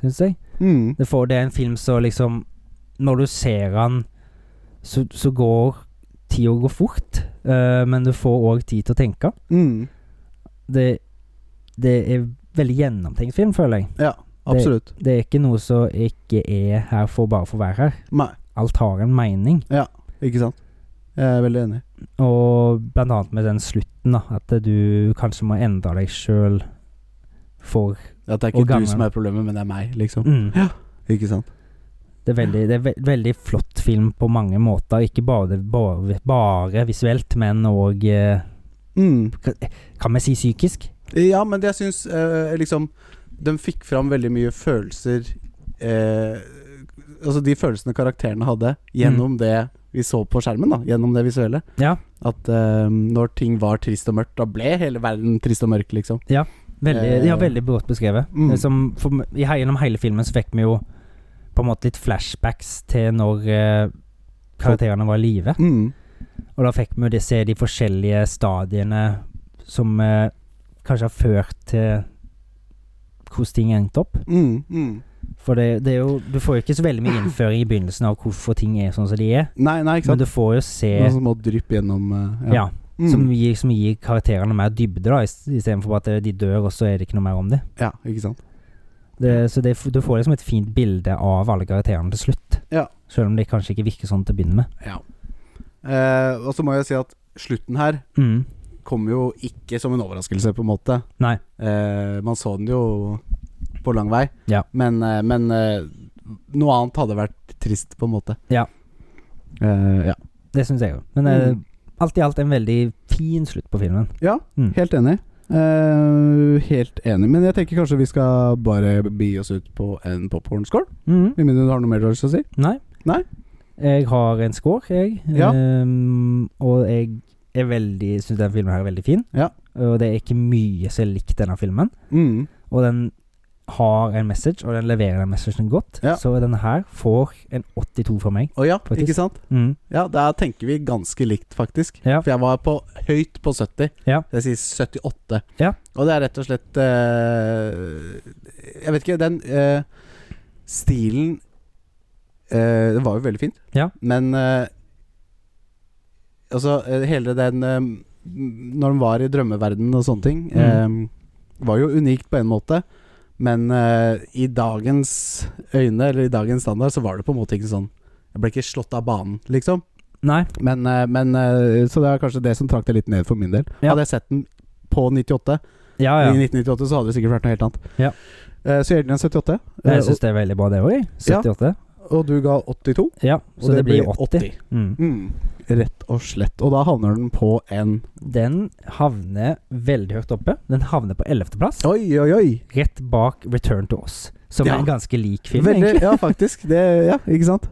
Speaker 2: syns jeg.
Speaker 1: Mm.
Speaker 2: Det, får, det er en film som liksom Når du ser han så, så går tida går fort, eh, men du får òg tid til å tenke.
Speaker 1: Mm.
Speaker 2: det, det er veldig gjennomtenkt film, føler jeg.
Speaker 1: Ja, absolutt.
Speaker 2: Det er ikke noe som ikke er her for bare for å være her.
Speaker 1: Nei,
Speaker 2: Alt har en mening.
Speaker 1: ikke sant. Jeg er veldig enig.
Speaker 2: Og blant annet med den slutten, da. At du kanskje må endre deg sjøl for
Speaker 1: At det er
Speaker 2: Og
Speaker 1: ikke
Speaker 2: gammel.
Speaker 1: du som er problemet, men det er meg, liksom.
Speaker 2: mm.
Speaker 1: Ikke sant.
Speaker 2: Det er veldig, det er ve veldig flott film på mange måter. Ikke bare, bare, bare visuelt, men òg eh,
Speaker 1: Mm.
Speaker 2: Kan vi si psykisk?
Speaker 1: Ja, men jeg syns eh, liksom De fikk fram veldig mye følelser eh, Altså de følelsene karakterene hadde gjennom det vi så på skjermen, da. Gjennom det visuelle.
Speaker 2: Mm. Ja.
Speaker 1: At eh, når ting var trist og mørkt, da ble hele verden trist og mørk, liksom.
Speaker 2: Veldig,
Speaker 1: Eh,
Speaker 2: ja, veldig godt beskrevet.
Speaker 1: mm.
Speaker 2: Det Som for, i, he- Gjennom hele filmen så fikk vi jo på en måte litt flashbacks til når eh, karakterene var i live.
Speaker 1: Mm.
Speaker 2: Og da fikk vi jo det, se de forskjellige stadiene som eh, kanskje har ført til hvordan ting endte opp.
Speaker 1: Mm. Mm.
Speaker 2: For det, det er jo Du får jo ikke så veldig mye innføring i begynnelsen av hvorfor ting er sånn som de er,
Speaker 1: Nei, nei, ikke
Speaker 2: men
Speaker 1: sant.
Speaker 2: du får jo se
Speaker 1: Noen som må dryppe gjennom eh,
Speaker 2: ja,
Speaker 1: Mm.
Speaker 2: som, gir, som gir karakterene mer dybde, da, istedenfor at de dør, og så er det ikke noe mer om dem.
Speaker 1: ja, ikke sant.
Speaker 2: Det, så det, f- du får liksom et fint bilde av alle karakterene til slutt.
Speaker 1: Ja.
Speaker 2: Selv om det kanskje ikke virker sånn til å begynne med.
Speaker 1: Ja. Eh, og så må jeg si at slutten her kom jo ikke som en overraskelse, på en måte.
Speaker 2: Nei.
Speaker 1: Eh, man så den jo på lang vei,
Speaker 2: Ja.
Speaker 1: men, eh, men eh, noe annet hadde vært trist, på en måte.
Speaker 2: Ja.
Speaker 1: Eh, ja.
Speaker 2: Det syns jeg òg. Men eh,
Speaker 1: Mm.
Speaker 2: alt i alt en veldig fin slutt på filmen.
Speaker 1: ja,
Speaker 2: Mm.
Speaker 1: helt enig. Eh, helt enig, men jeg tenker kanskje vi skal bare bi oss ut på en popkornskål.
Speaker 2: Mhm.
Speaker 1: Med mindre du har noe mer du har lyst til å si?
Speaker 2: Nei.
Speaker 1: Mm. Nei?
Speaker 2: Jeg har en score, jeg.
Speaker 1: Ja.
Speaker 2: Ehm, og jeg er veldig syns den filmen her er veldig fin.
Speaker 1: Ja.
Speaker 2: Og det er ikke mye som er likt denne filmen.
Speaker 1: Mm.
Speaker 2: Og den har en message, og den leverer den messagen godt.
Speaker 1: Ja.
Speaker 2: Så denne her får en 82 fra meg.
Speaker 1: Å ja,
Speaker 2: Faktisk.
Speaker 1: ikke sant?
Speaker 2: Mm.
Speaker 1: Ja, der tenker vi ganske likt, faktisk.
Speaker 2: Ja.
Speaker 1: For jeg var på, høyt på 70.
Speaker 2: Ja.
Speaker 1: Jeg sier 78.
Speaker 2: Ja.
Speaker 1: Og det er rett og slett eh, Jeg vet ikke, den eh, stilen eh, Den var jo veldig fin,
Speaker 2: Ja.
Speaker 1: men eh, Altså, eh, hele den eh, Når den var i drømmeverdenen og sånne ting,
Speaker 2: Mm.
Speaker 1: eh, var jo unikt på en måte. Men eh, i dagens øyne, eller i dagens standard, så var det på en måte ikke sånn Jeg ble ikke slått av banen, liksom.
Speaker 2: Nei.
Speaker 1: Men, eh, men eh, Så det er kanskje det som trakk det litt ned for min del.
Speaker 2: Ja. Ah,
Speaker 1: Hadde jeg sett den på 98,
Speaker 2: Ja,
Speaker 1: i
Speaker 2: ja.
Speaker 1: 1998, så hadde det sikkert vært noe helt annet.
Speaker 2: Ja.
Speaker 1: Eh, så gjelder den 78, eh,
Speaker 2: Jeg syns det er veldig bra, det òg.
Speaker 1: Ja.
Speaker 2: 78.
Speaker 1: og, og du ga 82.
Speaker 2: Ja.
Speaker 1: og
Speaker 2: Så det, blir 80. Mm.
Speaker 1: Mm. Rett og slett. Og da havner den på en
Speaker 2: Den havner veldig høyt oppe. Den havner på 11.-plass.
Speaker 1: Oi, oi, oi!
Speaker 2: Rett bak Return to Us, som
Speaker 1: Ja.
Speaker 2: er en ganske lik film.
Speaker 1: Veldig,
Speaker 2: egentlig.
Speaker 1: ja, faktisk. Det, ja, ikke sant?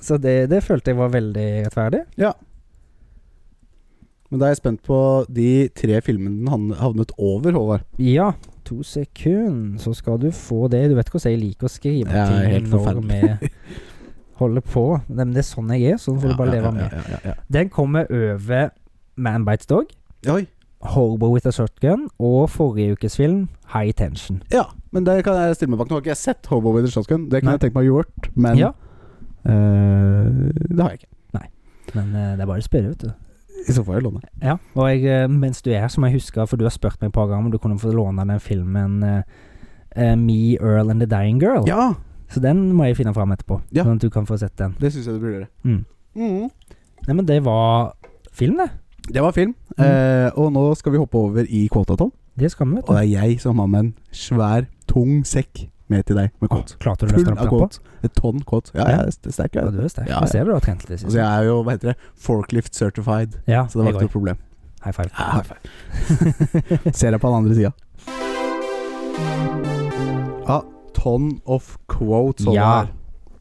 Speaker 2: Så det, det følte jeg var veldig rettferdig.
Speaker 1: Men da er jeg spent på de tre filmene den han- havnet over, Håvard.
Speaker 2: Ja, to sekunder, så skal du få det. Du vet hvordan jeg liker å skrive
Speaker 1: Ja, helt
Speaker 2: ting når
Speaker 1: forferdelig.
Speaker 2: vi holder på. Nei, men det er sånn jeg er, sånn får
Speaker 1: Ja,
Speaker 2: du bare
Speaker 1: ja,
Speaker 2: leve
Speaker 1: ja,
Speaker 2: med.
Speaker 1: ja, ja,
Speaker 2: Den kommer over Man Bites Dog,
Speaker 1: ja. Oi.
Speaker 2: Horbo with a Shotgun og forrige ukes film High Tension.
Speaker 1: Ja, men det kan jeg stille meg bak. Nå har ikke jeg sett Hobo with a Shotgun. Det kunne
Speaker 2: Nei.
Speaker 1: jeg tenkt meg å gjort, men
Speaker 2: Ja,
Speaker 1: eh, det har jeg ikke.
Speaker 2: men eh, det er bare å spørre, vet du.
Speaker 1: I så fall får jeg låne.
Speaker 2: Ja, og jeg, eh, mens du er her, så må jeg huske, for du har spurt meg et par ganger om du kunne få låne den filmen eh, eh, Me, Earl and the Dying Girl.
Speaker 1: Ja,
Speaker 2: Så den må jeg finne fram etterpå,
Speaker 1: Ja.
Speaker 2: sånn at du kan få sett den.
Speaker 1: det syns jeg du burde gjøre.
Speaker 2: Mm. Nei, men det var film, det.
Speaker 1: Det var film.
Speaker 2: Mm.
Speaker 1: Eh, og nå skal vi hoppe over i kvotaton.
Speaker 2: Det skal vi, vet
Speaker 1: Og det
Speaker 2: du.
Speaker 1: er jeg som har med en svær, tung sekk med til deg med kåt.
Speaker 2: Klarte du å
Speaker 1: Full
Speaker 2: løfte den
Speaker 1: av
Speaker 2: opp på?
Speaker 1: kåt. Et tonn kåt. Ja,
Speaker 2: Ja.
Speaker 1: jeg er st- sterk.
Speaker 2: Ja,
Speaker 1: Jeg.
Speaker 2: du er sterk.
Speaker 1: Ja,
Speaker 2: Ja,
Speaker 1: ja.
Speaker 2: Ser du du har trent litt
Speaker 1: Altså,
Speaker 2: sist?
Speaker 1: jeg er jo, hva heter det, forklift certified.
Speaker 2: Ja,
Speaker 1: Så det var ikke
Speaker 2: jeg også.
Speaker 1: noe problem.
Speaker 2: High five.
Speaker 1: Ja, high five. Ser deg på den andre sida. Ja, ton of quotes. holder
Speaker 2: Ja.
Speaker 1: her.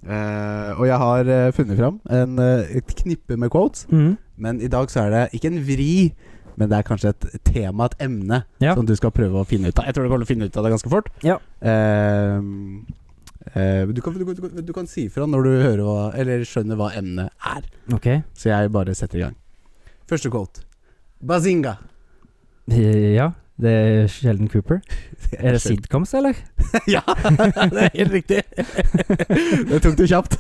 Speaker 1: Eh, og jeg har eh, funnet fram en, eh, et knippe med quotes.
Speaker 2: Mhm.
Speaker 1: Men i dag så er det ikke en vri, men det er kanskje et tema, et emne,
Speaker 2: Ja.
Speaker 1: som du skal prøve å finne ut av. Jeg tror du kommer til å finne ut av det ganske fort.
Speaker 2: Ja.
Speaker 1: Ehm, eh, du, kan, du, kan- du, kan- du kan si fra når du hører hva, eller skjønner hva emnet er.
Speaker 2: Ok.
Speaker 1: Så jeg bare setter i gang. Første quote. Bazinga.
Speaker 2: Eh, Ja, det er Sheldon Cooper. Er det sitcoms, eller?
Speaker 1: ja, det er helt riktig. det tok du kjapt.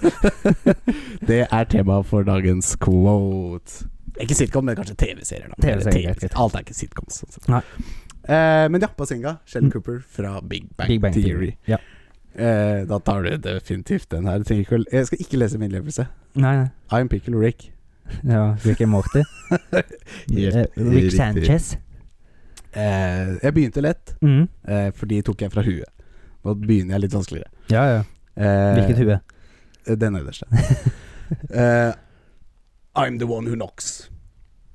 Speaker 1: det er tema for dagens quote. Ikke sitcom, men kanskje TV-serier. da.
Speaker 2: TV-serier,
Speaker 1: Eller
Speaker 2: greit.
Speaker 1: Alt er ikke sitcoms. Sånn. sett.
Speaker 2: Nei.
Speaker 1: Eh, men ja, Bazinga. Sheldon
Speaker 2: Mm.
Speaker 1: Cooper fra Big Bang,
Speaker 2: Big Bang
Speaker 1: Theory.
Speaker 2: Theory. Ja.
Speaker 1: Eh, da tar du definitivt den her. Jeg, trenger ikke, å- jeg skal ikke lese min innlevelse.
Speaker 2: Nei, nei.
Speaker 1: I'm Pickle Rick.
Speaker 2: Ja, Rick and Morty.
Speaker 1: Helt
Speaker 2: Eh,
Speaker 1: riktig.
Speaker 2: Rick Sanchez.
Speaker 1: Eh, jeg begynte lett,
Speaker 2: Mhm.
Speaker 1: eh, for de tok jeg fra huet. Nå begynner jeg litt vanskeligere.
Speaker 2: Ja, ja.
Speaker 1: Eh,
Speaker 2: Hvilket hue?
Speaker 1: Den nederste. Eh, I'm the one who knocks.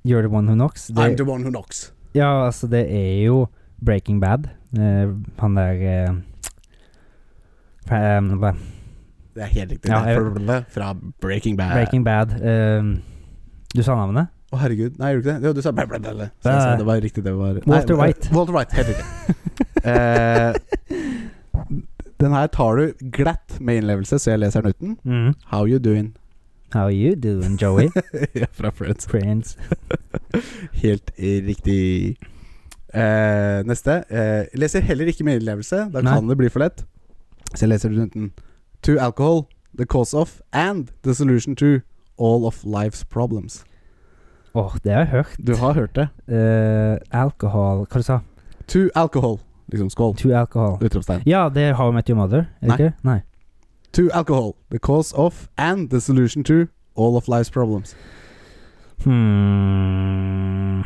Speaker 2: You're the one who knocks.
Speaker 1: I'm
Speaker 2: Det,
Speaker 1: the one who knocks.
Speaker 2: ja, altså, det er jo Breaking Bad. Eh, han der eh, fra- eh, hva-
Speaker 1: Det er helt riktig.
Speaker 2: Ja,
Speaker 1: det er
Speaker 2: jeg-
Speaker 1: fra- fra Breaking Bad. Å,
Speaker 2: Breaking Bad. eh, du sa navnet?
Speaker 1: herregud. Nei, gjorde du ikke det? Jo, du sa bla, bla, bla, bla. Så jeg sa Det var riktig, det var
Speaker 2: Walter
Speaker 1: Nei,
Speaker 2: White.
Speaker 1: Walter White, Helt riktig. Eh, den her tar du glatt med innlevelse, så jeg leser den uten.
Speaker 2: Mhm.
Speaker 1: How you doing?
Speaker 2: How you doing, Joey?
Speaker 1: Ja, fra Friends.
Speaker 2: Prince.
Speaker 1: Helt riktig. Eh, neste. Eh, leser heller ikke med innlevelse. Da
Speaker 2: Nei.
Speaker 1: kan det bli for lett. Så jeg leser den uten. To alcohol, the cause of, and the solution to all of life's problems.
Speaker 2: Åh, det har jeg hørt.
Speaker 1: Du har hørt det.
Speaker 2: Eh, alkohol Hva du sa
Speaker 1: To
Speaker 2: du?
Speaker 1: alcohol. Liksom skål.
Speaker 2: To alcohol.
Speaker 1: Utropstegn.
Speaker 2: Ja, det har Met Your Mother, er det
Speaker 1: Nei.
Speaker 2: ikke? det? Nei.
Speaker 1: To alcohol, the cause of, and the solution to all of life's problems.
Speaker 2: Hmm.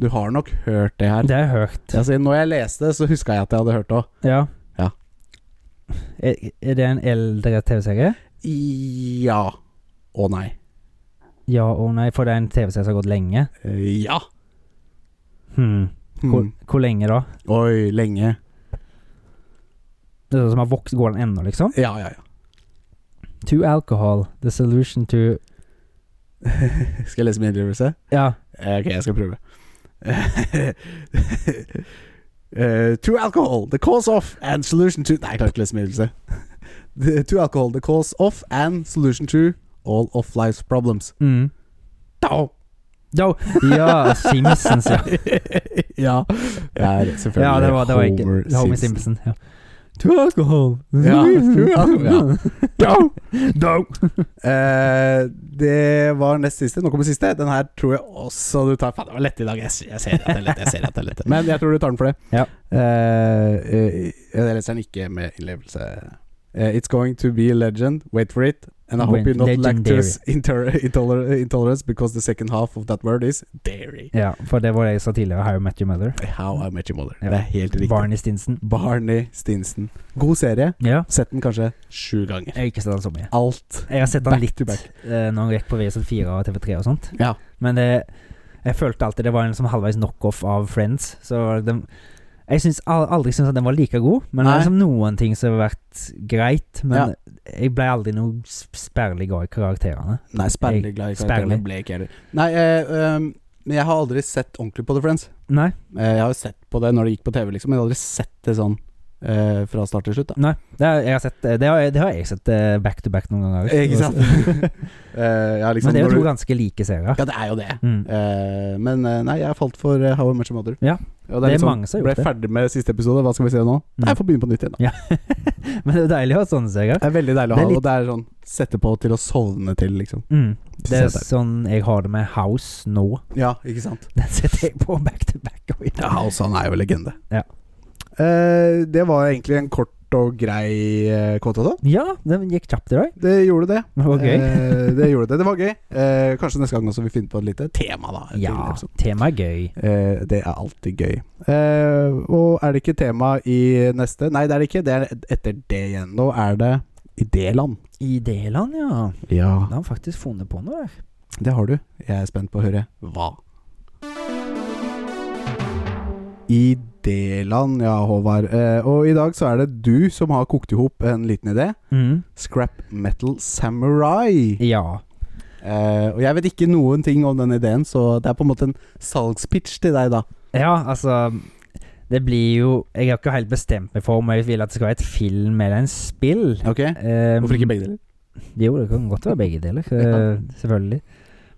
Speaker 1: Du Du har nok hørt det her.
Speaker 2: Det er høyt.
Speaker 1: Altså, når jeg leste, så huska jeg at jeg hadde hørt det òg.
Speaker 2: Ja.
Speaker 1: Ja.
Speaker 2: Er, er det en eldre TV-serie?
Speaker 1: Ja. Å nei.
Speaker 2: Ja og nei, for det er en TV-serie som har gått lenge.
Speaker 1: Eh, Ja.
Speaker 2: Hmm. Hvor,
Speaker 1: Hmm.
Speaker 2: hvor lenge da?
Speaker 1: Oi, lenge.
Speaker 2: Det er sånn som har vokst Går den ennå, liksom?
Speaker 1: Ja, ja, ja.
Speaker 2: To alcohol, the solution to
Speaker 1: Skal jeg lese min innrømmelse?
Speaker 2: Ja.
Speaker 1: Eh, Ok, jeg skal prøve. Eh, to alcohol, the cause of and solution to Nei, jeg klarer ikke å lese meddelelse. To alcohol, the cause of and solution to all of life's problems.
Speaker 2: Mm.
Speaker 1: Da.
Speaker 2: Jo. Ja, Simpsons, ja.
Speaker 1: ja. Det er selvfølgelig
Speaker 2: ja det var, det var ikke
Speaker 1: Homer
Speaker 2: Homer,
Speaker 1: Simpson.
Speaker 2: Simpson. ja. To alcohol.
Speaker 1: Ja, to alcohol, ja.
Speaker 2: Go! Go!
Speaker 1: Eh, det var nest siste. Nå kommer siste. Den her tror jeg også du tar. Faen, det var lett i dag. Jeg, s- jeg ser at det er lett. Jeg ser at det er lett. Men jeg tror du tar den for det.
Speaker 2: Ja.
Speaker 1: Eh, eh, jeg leser den ikke med innlevelse. Eh, it's going to be a legend. Wait for it. And I hope
Speaker 2: Wait,
Speaker 1: you're not
Speaker 2: legendary.
Speaker 1: lactose inter intoler intolerance because the second half of that word is dairy.
Speaker 2: Ja, for det var det jeg sa tidligere. How I Met Your Mother.
Speaker 1: How I Met Your Mother.
Speaker 2: Ja.
Speaker 1: Det er helt riktig.
Speaker 2: Barney Stinson.
Speaker 1: Barney Stinson. God serie.
Speaker 2: Ja.
Speaker 1: Sett den kanskje sju ganger.
Speaker 2: Jeg har ikke sett han så mye.
Speaker 1: Alt.
Speaker 2: Jeg har sett han
Speaker 1: Back
Speaker 2: litt
Speaker 1: to back.
Speaker 2: eh, når han gikk på VSL4 og TV3 og sånt.
Speaker 1: Ja.
Speaker 2: Men det, jeg følte alltid det var en som halvveis knockoff av Friends. Så den, jeg syns al- aldri syntes at den var like god. Men det
Speaker 1: Nei.
Speaker 2: er liksom noen ting som har vært greit.
Speaker 1: Ja.
Speaker 2: Men jeg ble aldri noe s- sperrelig glad i karakterene.
Speaker 1: Nei, sperrelig glad i karakterene
Speaker 2: Sperrelig.
Speaker 1: ble ikke heller. Nei, eh, ehm, men jeg har aldri sett ordentlig på The Friends.
Speaker 2: Nei.
Speaker 1: Eh, jeg har jo sett på det når det gikk på TV, liksom, men jeg har aldri sett det sånn eh, fra start til slutt. da
Speaker 2: Nei, det har jeg, sett, det har, jeg- det har jeg sett eh, back to back noen ganger.
Speaker 1: Ikke sant? Eh, jeg har liksom,
Speaker 2: Men det er
Speaker 1: når
Speaker 2: jo to
Speaker 1: du-
Speaker 2: ganske like serier.
Speaker 1: Ja, det er jo det.
Speaker 2: Mm.
Speaker 1: Eh, men eh, nei, jeg falt for eh, How I Met Your Mother.
Speaker 2: Ja.
Speaker 1: Og
Speaker 2: Det er
Speaker 1: liksom,
Speaker 2: mange som har gjort
Speaker 1: Ble
Speaker 2: det. Mm.
Speaker 1: ferdig med siste episode, hva skal vi se nå? Nei, jeg får begynne på nytt igjen, da.
Speaker 2: Ja. Men det er jo deilig å ha sånne serier.
Speaker 1: Det er veldig deilig å
Speaker 2: Det
Speaker 1: ha
Speaker 2: er
Speaker 1: det, og det er sånn sette på til å sovne til, liksom.
Speaker 2: Mm. Det er
Speaker 1: Sette.
Speaker 2: sånn jeg har det med House nå.
Speaker 1: Ja, ikke sant.
Speaker 2: Den setter jeg på back to back. og-
Speaker 1: Ja, altså, han er jo legende.
Speaker 2: Ja.
Speaker 1: Eh, det var egentlig en kort og grei uh, KTT.
Speaker 2: Ja, den gikk kjapt i dag.
Speaker 1: Det gjorde det.
Speaker 2: Det var gøy.
Speaker 1: Eh, det gjorde det. Det var gøy. Eh, kanskje neste gang også vi finner på et lite tema, da. til
Speaker 2: Ja,
Speaker 1: episoden.
Speaker 2: temaet er gøy.
Speaker 1: Eh, det er alltid gøy. Eh, og er det ikke tema i neste? Nei, det er det ikke. Det er etter det igjen. Nå er det idéland.
Speaker 2: Idéland, ja.
Speaker 1: Ja.
Speaker 2: Da har han faktisk funnet på noe der.
Speaker 1: Det har du. Jeg er spent på å høre hva. Idéland, ja, Håvard. Eh, og i dag så er det du som har kokt i hop en liten idé. Scrap Metal Samurai.
Speaker 2: Ja.
Speaker 1: Eh, og jeg vet ikke noen ting om den ideen, så det er på en måte en salgspitch til deg, da.
Speaker 2: Ja, altså Det blir jo Jeg har ikke helt bestemt meg for om jeg vil at det skal være et film eller en spill.
Speaker 1: Ok
Speaker 2: Eh,
Speaker 1: Hvorfor ikke begge deler?
Speaker 2: Jo, det kan godt være begge deler,
Speaker 1: Ja.
Speaker 2: eh, selvfølgelig.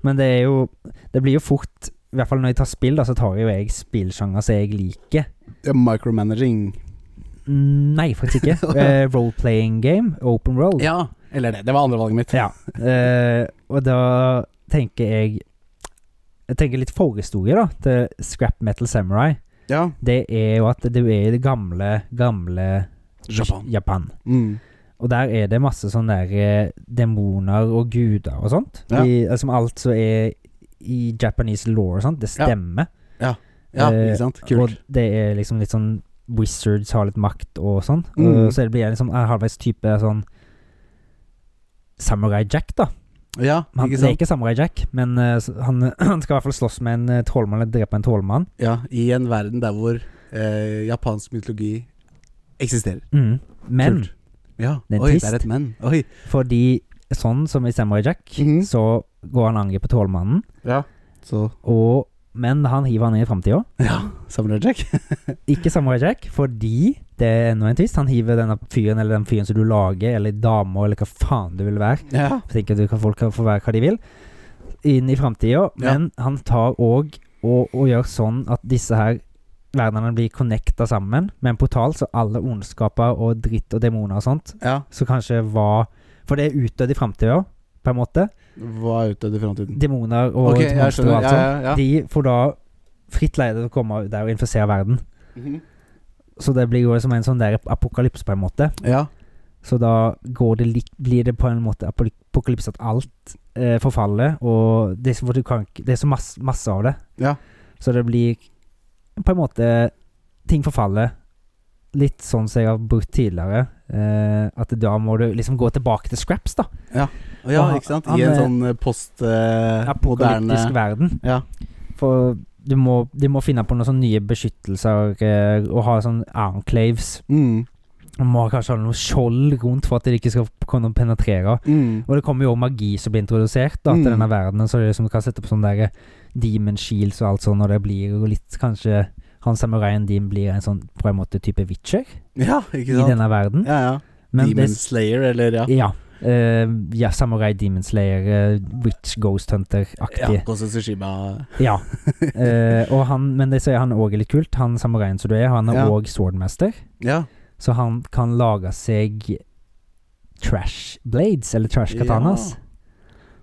Speaker 2: Men det er jo Det blir jo fort I hvert fall når jeg tar spill, da, så tar jo jeg spillsjanger som jeg liker.
Speaker 1: Ja, Micromanaging. Mm.
Speaker 2: Nei, faktisk ikke. Eh, Role-playing game, open world.
Speaker 1: Ja, eller det. Det var andre valget mitt.
Speaker 2: Ja. Eh, og da tenker jeg Jeg tenker litt forhistorie da til Scrap Metal Samurai.
Speaker 1: Ja.
Speaker 2: Det er jo at du er i det gamle, gamle
Speaker 1: Japan.
Speaker 2: Japan.
Speaker 1: Mm.
Speaker 2: Og der er det masse sånne der eh, demoner og guder og sånt.
Speaker 1: Ja.
Speaker 2: I, altså alt som er i Japanese law og sånt, det
Speaker 1: Ja.
Speaker 2: stemmer.
Speaker 1: Ja,
Speaker 2: Eh,
Speaker 1: ikke sant? Kult.
Speaker 2: Og det er liksom litt sånn Wizards har litt makt og sånn.
Speaker 1: Mm.
Speaker 2: Og så blir jeg liksom en halvveis type sånn Samurai Jack, da.
Speaker 1: Ja,
Speaker 2: Han,
Speaker 1: ikke
Speaker 2: det er
Speaker 1: sant?
Speaker 2: ikke Samurai Jack, men eh, s- han, han skal i hvert fall slåss med en eh, trollmann eller drepe en trollmann.
Speaker 1: Ja, I en verden der hvor eh, japansk mytologi eksisterer.
Speaker 2: Mm. Men
Speaker 1: Kult. Ja.
Speaker 2: Det er
Speaker 1: Oi,
Speaker 2: trist.
Speaker 1: det er et men. Oi.
Speaker 2: fordi sånn som i Samurai Jack,
Speaker 1: Mhm.
Speaker 2: så går han angriper trollmannen,
Speaker 1: Ja. Så
Speaker 2: og men han hiver han ned i framtida.
Speaker 1: Ja, Samurai Jack.
Speaker 2: Ikke Samurai Jack, fordi det er enda en twist. Han hiver denne fyren eller den fyren som du lager, eller dama, eller hva faen du vil være.
Speaker 1: ja.
Speaker 2: Jeg tenker at folk kan få være hva de vil inn i framtida, men han tar òg og, og gjør sånn at disse her verdenene blir connecta sammen med en portal, så alle ondskaper og dritt og demoner og sånt,
Speaker 1: ja.
Speaker 2: så kanskje var For det er utdødd i framtida, på en måte.
Speaker 1: Hva er ute i framtiden?
Speaker 2: Demoner og
Speaker 1: Ok, jeg
Speaker 2: monstre og
Speaker 1: skjønner.
Speaker 2: alt
Speaker 1: Ja,
Speaker 2: sånt.
Speaker 1: ja, ja.
Speaker 2: altså. De får da fritt leide til å komme der og infisere verden.
Speaker 1: Mhm.
Speaker 2: Så det blir jo som en sånn der apokalypse, på en måte.
Speaker 1: Ja.
Speaker 2: Så da går det, lik- blir det på en måte apoly- apokalypse at alt eh, forfaller, og det er, så, for du kan, ikke- det er så masse, masse av det.
Speaker 1: Ja.
Speaker 2: Så det blir på en måte Ting forfaller. Litt sånn som jeg har brukt tidligere. Eh, at da må du liksom gå tilbake til scraps, da.
Speaker 1: Ja,
Speaker 2: Og han-
Speaker 1: ikke sant?
Speaker 2: han
Speaker 1: I en
Speaker 2: er-
Speaker 1: sånn eh, post eh, moderne
Speaker 2: Apokalyptisk verden.
Speaker 1: Ja.
Speaker 2: For du må, de må finne på noen sånne nye beskyttelser eh, og ha sånne enclaves.
Speaker 1: mm,
Speaker 2: Man må kanskje ha noe skjold rundt for at de ikke skal kunne penetrere.
Speaker 1: mm.
Speaker 2: Og det kommer jo også magi som blir introdusert da,
Speaker 1: Mm.
Speaker 2: til denne verdenen, så det er liksom du kan sette på sånne der demon shields og alt sånt, og det blir jo litt kanskje han samuraien din blir en sånn på en måte type witcher
Speaker 1: Ja,
Speaker 2: i
Speaker 1: ikke sant?
Speaker 2: denne verden.
Speaker 1: Ja, ja.
Speaker 2: Men
Speaker 1: Demon
Speaker 2: det-
Speaker 1: Slayer, eller ja.
Speaker 2: Ja. eh, ja, samurai, demon slayer, eh, witch ghost hunter-aktig.
Speaker 1: Ja, Ghost of Tsushima.
Speaker 2: Ja. Eh, og han, men det sier han òg er litt kult. Han samuraien som du er, han er
Speaker 1: Ja.
Speaker 2: òg swordmaster.
Speaker 1: Ja.
Speaker 2: Så han kan lage seg trash blades, eller trash katanas.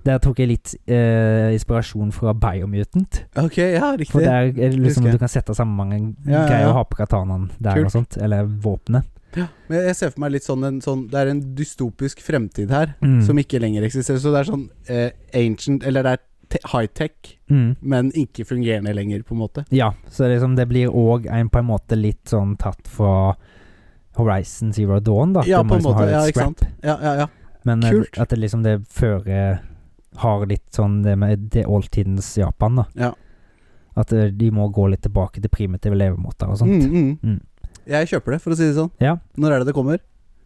Speaker 2: Der tok jeg litt eh, inspirasjon fra Biomutant.
Speaker 1: Ok, ja,
Speaker 2: For
Speaker 1: riktig.
Speaker 2: der er det liksom
Speaker 1: Husker jeg.
Speaker 2: du kan sette sammen mange
Speaker 1: Ja, ja,
Speaker 2: greier
Speaker 1: ja.
Speaker 2: og ha på katanaen der
Speaker 1: Kult.
Speaker 2: og sånt. Eller våpenet.
Speaker 1: Ja, Men jeg ser for meg litt sånn, en, sånn Det er en dystopisk fremtid her
Speaker 2: Mm.
Speaker 1: som ikke lenger eksisterer. Så det er sånn eh, ancient Eller det er te- high-tech,
Speaker 2: Mm.
Speaker 1: men ikke fungerende lenger, på en måte.
Speaker 2: Ja, så liksom det blir òg en på en måte litt sånn tatt fra Horizon Zero Dawn, da.
Speaker 1: Ja,
Speaker 2: Du må
Speaker 1: på en
Speaker 2: liksom ha
Speaker 1: måte.
Speaker 2: litt
Speaker 1: Ja, ikke
Speaker 2: scrap.
Speaker 1: sant. Ja, ja, ja.
Speaker 2: Men eh,
Speaker 1: Kult.
Speaker 2: at det liksom det fører Har litt sånn det med det oldtidens Japan, da.
Speaker 1: Ja.
Speaker 2: At eh, de må gå litt tilbake til primitive levemåter og sånt.
Speaker 1: Mm, mm.
Speaker 2: Mm.
Speaker 1: Jeg kjøper det, for å si det sånn.
Speaker 2: Ja.
Speaker 1: Når er det det kommer?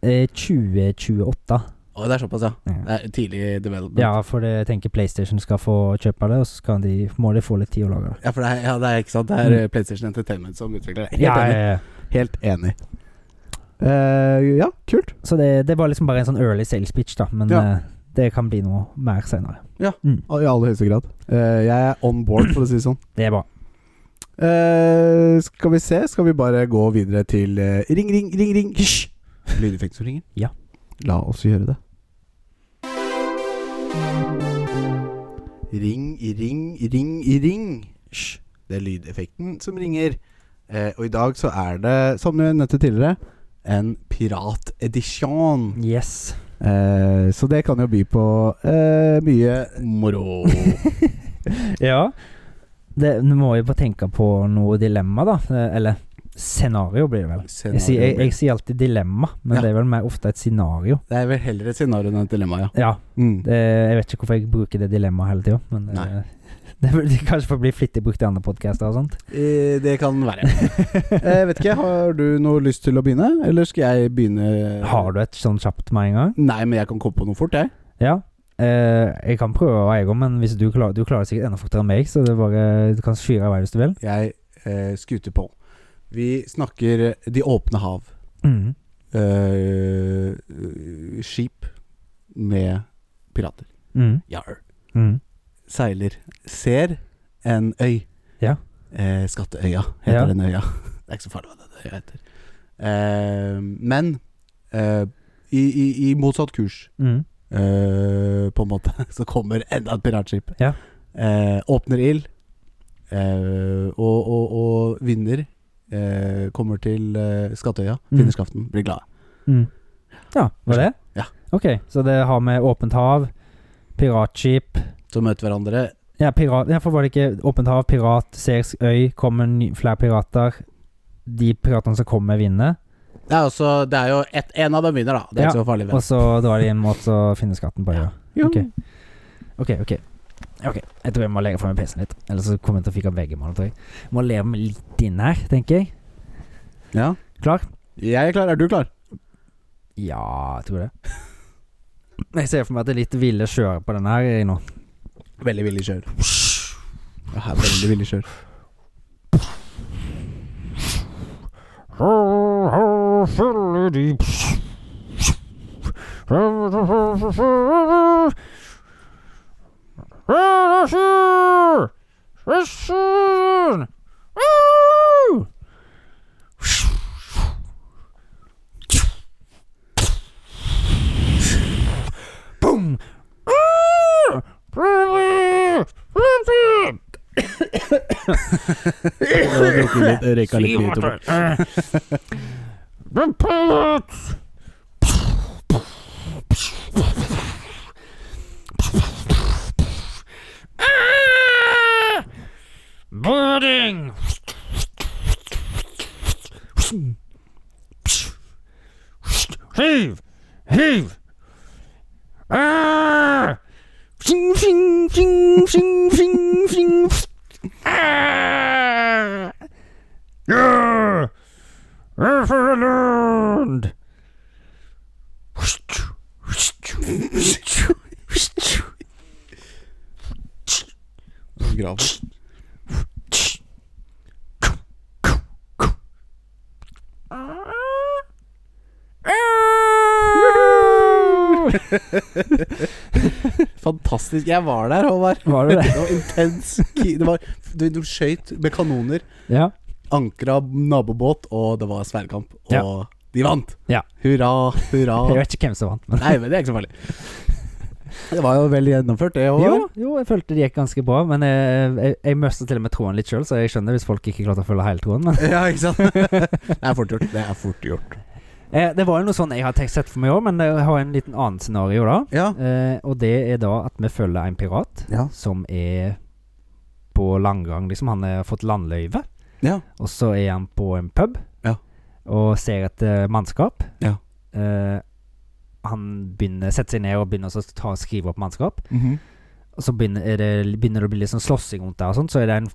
Speaker 2: Eh, 2028.
Speaker 1: Å, det er såpass, ja.
Speaker 2: Ja.
Speaker 1: Det er tidlig development.
Speaker 2: ja, for det, jeg tenker PlayStation skal få kjøpe det, og så skal de, må de få litt tid å lage det.
Speaker 1: Ja, for det er, ja, det er ikke sant. Det er eh, PlayStation Entertainment som utvikler det. Helt enig.
Speaker 2: ja.
Speaker 1: Helt enig. Eh, ja, kult.
Speaker 2: Så det, det var liksom bare en sånn early sales pitch, da. Men
Speaker 1: Ja.
Speaker 2: eh, det kan bli noe mer senere. Mm,
Speaker 1: I aller høyeste grad. Eh, jeg er on board, for å si det sånn.
Speaker 2: Det er bra.
Speaker 1: Eh, skal vi se, skal vi bare gå videre til eh, Ring, ring, ring, ring Hysj! Lydeffekt som ringer
Speaker 2: Ja.
Speaker 1: La oss gjøre det Ring, ring, ring, ring Hysj Det er lydeffekten som ringer Eh, Og i dag så er det, som jeg nevnte tidligere En piratedition
Speaker 2: Yes.
Speaker 1: eh, Så det kan jo by på eh, mye moro
Speaker 2: Ja. Det, nå må jeg bare tenke på noe dilemma, da. Eh, Eller scenario, blir det vel. Jeg sier, jeg, jeg sier alltid dilemma, men
Speaker 1: Ja.
Speaker 2: det er vel mer ofte et scenario.
Speaker 1: Det er vel heller et scenario enn et dilemma, ja
Speaker 2: Ja,
Speaker 1: mm.
Speaker 2: det, jeg vet ikke hvorfor jeg bruker det dilemmaet hele tida, men
Speaker 1: Nei.
Speaker 2: eh, det, burde kanskje for å bli flittig brukt i andre podkaster og sånt.
Speaker 1: Eh, Det kan være. Jeg Eh, vet ikke, Har du noe lyst til å begynne, eller skal jeg begynne?
Speaker 2: Har du et sånn kjapt med en gang?
Speaker 1: Nei, men jeg kan komme på noe fort, jeg.
Speaker 2: Ja. Eh, jeg kan prøve, jeg òg, men hvis du klarer, du klarer det sikkert enda fortere enn meg, så det er bare, du kan fyre av vei hvis du vil.
Speaker 1: Jeg eh, skuter på. Vi snakker eh, de åpne hav.
Speaker 2: Mm.
Speaker 1: Eh, eh, skip med pirater.
Speaker 2: Mm.
Speaker 1: Jar.
Speaker 2: Mm.
Speaker 1: Seiler. Ser en øy.
Speaker 2: Ja.
Speaker 1: Eh, Skatteøya heter
Speaker 2: Ja.
Speaker 1: den øya. Det er ikke så farlig hva den øya heter. Eh, men eh, i, i, i motsatt kurs.
Speaker 2: Mm.
Speaker 1: Eh, på en måte, så kommer enda et piratskip.
Speaker 2: Ja.
Speaker 1: Eh, åpner ild, eh, og, og, og vinner. Eh, kommer til eh, Skattøya,
Speaker 2: Mm.
Speaker 1: finner skaften, blir glade.
Speaker 2: Mm. Ja, var det?
Speaker 1: Ja.
Speaker 2: Ok, så det har med åpent hav, piratskip
Speaker 1: Så møter hverandre.
Speaker 2: Ja, pirat, ja for var det ikke åpent hav, pirat, Sersk øy, kommer ny, flere pirater. De piratene som kommer, vinner.
Speaker 1: Det er, også, det er jo ett- en av dem vinner, da. Det er
Speaker 2: Ja,
Speaker 1: ikke så farlig. vel.
Speaker 2: Og så drar de inn mot å finne skatten på øya.
Speaker 1: Jo.
Speaker 2: ok. Ok, ok. Ok, Jeg tror jeg må legge fra meg PC-en litt, ellers så kommer jeg til å fikse veggen. med den, tror jeg. Må leve meg litt inn her, tenker jeg.
Speaker 1: Ja.
Speaker 2: Klar?
Speaker 1: Jeg er klar. Er du klar?
Speaker 2: Ja, jeg tror det. Jeg ser for meg at det er litt ville sjøer på den her jeg, nå.
Speaker 1: Veldig villig kjør. Ja, her er veldig villig kjør.
Speaker 3: Følger de
Speaker 2: Boom!
Speaker 1: Røyka litt mye tobakk.
Speaker 3: The pirates! Boarding! Hiv! Hiv! Ah! Fing, fing, fing, fing, fing, fing. Ah! Yeah! Overland!
Speaker 1: Grav. Fantastisk. Jeg var der, Håvard.
Speaker 2: Var du det?
Speaker 1: Det var intens. ki- Det var, du, du skøyt med kanoner,
Speaker 2: Ja.
Speaker 1: ankra nabobåt, og det var sverdkamp. Og
Speaker 2: Ja.
Speaker 1: de vant!
Speaker 2: Ja.
Speaker 1: Hurra,
Speaker 2: Jeg
Speaker 1: hurra.
Speaker 2: vet ikke hvem som vant, men
Speaker 1: Nei, men det er ikke så farlig. Det var jo vel gjennomført, det Håvard.
Speaker 2: jo, jo, jeg følte det gikk ganske bra, men jeg, jeg, jeg møste til og med tråden litt sjøl, så jeg skjønner hvis folk ikke klarte å følge hele tråden. Men
Speaker 1: Ja, ikke sant? Det er fort gjort. Det er fort gjort.
Speaker 2: eh, det var jo noe sånn jeg har tenkt sett for meg òg, men jeg har en liten annen scenario da.
Speaker 1: Ja.
Speaker 2: Eh, og det er da at vi følger en pirat
Speaker 1: Ja.
Speaker 2: som er på landgang, liksom. Han har fått landløyve.
Speaker 1: Ja.
Speaker 2: Og så er han på en pub
Speaker 1: Ja.
Speaker 2: og ser et eh, mannskap.
Speaker 1: Ja.
Speaker 2: Eh, han begynner, setter seg ned og begynner å ta, skrive opp mannskap.
Speaker 1: Mhm.
Speaker 2: Og så begynner, er det, begynner det å bli litt sånn slåssing rundt der. og sånt, Så er det en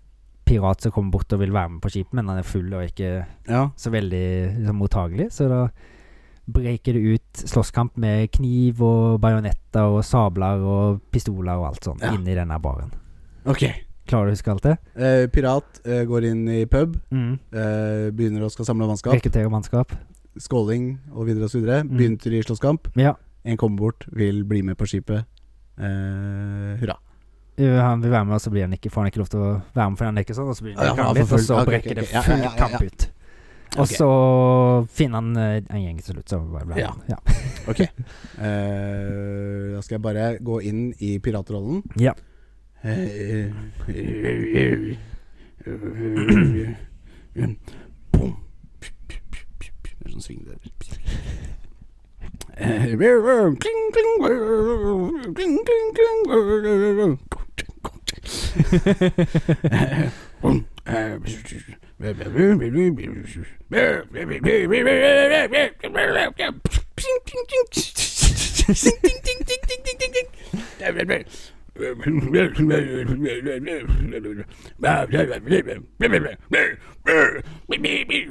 Speaker 2: pirat som kommer bort og vil være med på skipet, men han er full og ikke
Speaker 1: ja.
Speaker 2: så veldig liksom, mottagelig. Så da breker det ut slåsskamp med kniv og bajonetter og sabler og pistoler og alt sånt
Speaker 1: Ja.
Speaker 2: inni denne baren.
Speaker 1: Ok.
Speaker 2: Klarer du å huske alt det?
Speaker 1: Eh, pirat eh, går inn i pub,
Speaker 2: Mm.
Speaker 1: eh, begynner å skal samle mannskap.
Speaker 2: Rekrutterer mannskap.
Speaker 1: Skåling og videre og så videre.
Speaker 2: Mm.
Speaker 1: Begynte i slåsskamp.
Speaker 2: Ja.
Speaker 1: En kommer bort, vil bli med på skipet. Eh, hurra.
Speaker 2: Uh, han vil være med, og så blir han ikke, får han ikke lov til å være med fordi han leker sånn. Og så blir
Speaker 1: Ja,
Speaker 2: han
Speaker 1: ja,
Speaker 2: kranglet
Speaker 1: for
Speaker 2: litt, og
Speaker 1: full-
Speaker 2: så
Speaker 1: ok, ok,
Speaker 2: brekker det
Speaker 1: ok, ja, ja,
Speaker 2: full
Speaker 1: ja, ja, ja.
Speaker 2: kamp ut. Og
Speaker 1: Ok.
Speaker 2: så finner han eh, en gjeng til slutt, så bare blir han- ja.
Speaker 1: Ok. Eh, da skal jeg bare gå inn i piratrollen.
Speaker 2: Ja.
Speaker 1: Bom. Det er sånn sving der. Eh, kling, kling, kling, kling, kling. Eh, bom. Eh,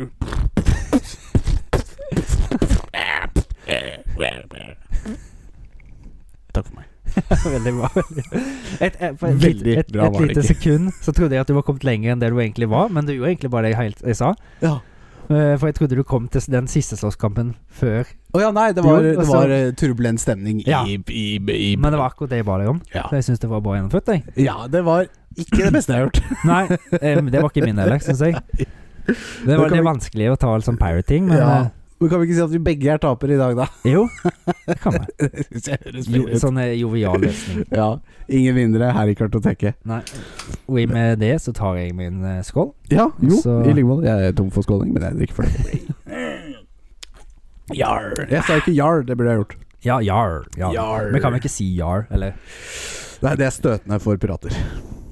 Speaker 1: Hva Takk for meg.
Speaker 2: Veldig bra. Et, et, for et,
Speaker 1: Veldig
Speaker 2: et, et,
Speaker 1: bra var det
Speaker 2: lite
Speaker 1: ikke.
Speaker 2: sekund så trodde jeg at du var kommet lenger enn det du egentlig var, men du gjorde egentlig bare det jeg, helt, jeg sa.
Speaker 1: Ja.
Speaker 2: Eh, For jeg trodde du kom til den siste slåsskampen før,
Speaker 1: Å ja, nei, det var,
Speaker 2: Jo,
Speaker 1: det
Speaker 2: altså-
Speaker 1: var eh, turbulent stemning i,
Speaker 2: Ja.
Speaker 1: i, i, i
Speaker 2: men det var akkurat det jeg ba deg om.
Speaker 1: Ja.
Speaker 2: Så jeg syns det var bra gjennomført, jeg.
Speaker 1: ja, det var ikke det beste jeg har hørt.
Speaker 2: Nei, eh, det var ikke min heller, syns jeg. Det
Speaker 1: Da kan
Speaker 2: var litt
Speaker 1: vi-
Speaker 2: vanskelig å ta sånn pirating, men
Speaker 1: Ja. Men kan vi ikke si at vi begge er tapere i dag, da?
Speaker 2: eh, jo, det kan vi.
Speaker 1: Det synes jeg høres
Speaker 2: Jo,
Speaker 1: bedre ut.
Speaker 2: sånn eh, jovial løsning.
Speaker 1: Ja. Ingen vinnere her i kartoteket.
Speaker 2: Nei. Og i med det så tar jeg min eh, skål.
Speaker 1: Ja, jo,
Speaker 2: Så-
Speaker 1: i like måte. Jeg er tom for skåling, men jeg drikker for det. Jar. Jeg sa ikke jar, det burde jeg gjort.
Speaker 2: Ja, jar. jar.
Speaker 1: Jar.
Speaker 2: Men kan vi ikke si jar, eller?
Speaker 1: Nei, det er støtende for pirater.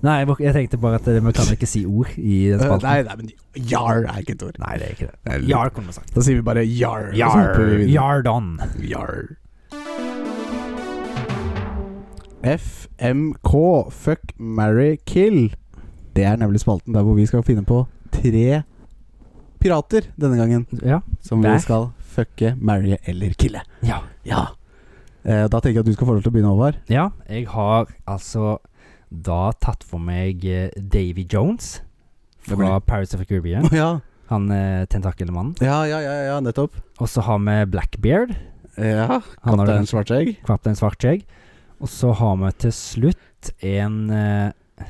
Speaker 2: Nei, jeg- jeg tenkte bare at eh, vi kan ikke si ord i den
Speaker 1: Eh,
Speaker 2: spalten.
Speaker 1: Nei, nei, men jar er ikke et ord.
Speaker 2: Nei, det er ikke det.
Speaker 1: Det er litt-
Speaker 2: Jar, kunne vi sagt.
Speaker 1: Da sier vi bare jar. og så
Speaker 2: Jar.
Speaker 1: hopper vi videre.
Speaker 2: Yardan.
Speaker 1: Jar. FMK, Fuck, marry, kill. Det er nemlig spalten der hvor vi skal finne på tre pirater denne gangen.
Speaker 2: Ja.
Speaker 1: Som
Speaker 2: Der.
Speaker 1: vi skal fucke, marry eller kille.
Speaker 2: ja.
Speaker 1: Ja. Eh, da tenker jeg at du skal få lov til å begynne, Håvard.
Speaker 2: Ja, jeg har altså da tatt for meg eh, Davy Jones
Speaker 1: Hvem er
Speaker 2: fra Pirates of the Caribbean.
Speaker 1: Ja.
Speaker 2: Han eh, tentakelmannen.
Speaker 1: ja, ja, ja, ja, nettopp.
Speaker 2: Og så har vi Blackbeard.
Speaker 1: Ja.
Speaker 2: Han har
Speaker 1: Kaptein
Speaker 2: en
Speaker 1: Svartskjegg.
Speaker 2: Kaptein Svartskjegg. Og så har vi til slutt en eh,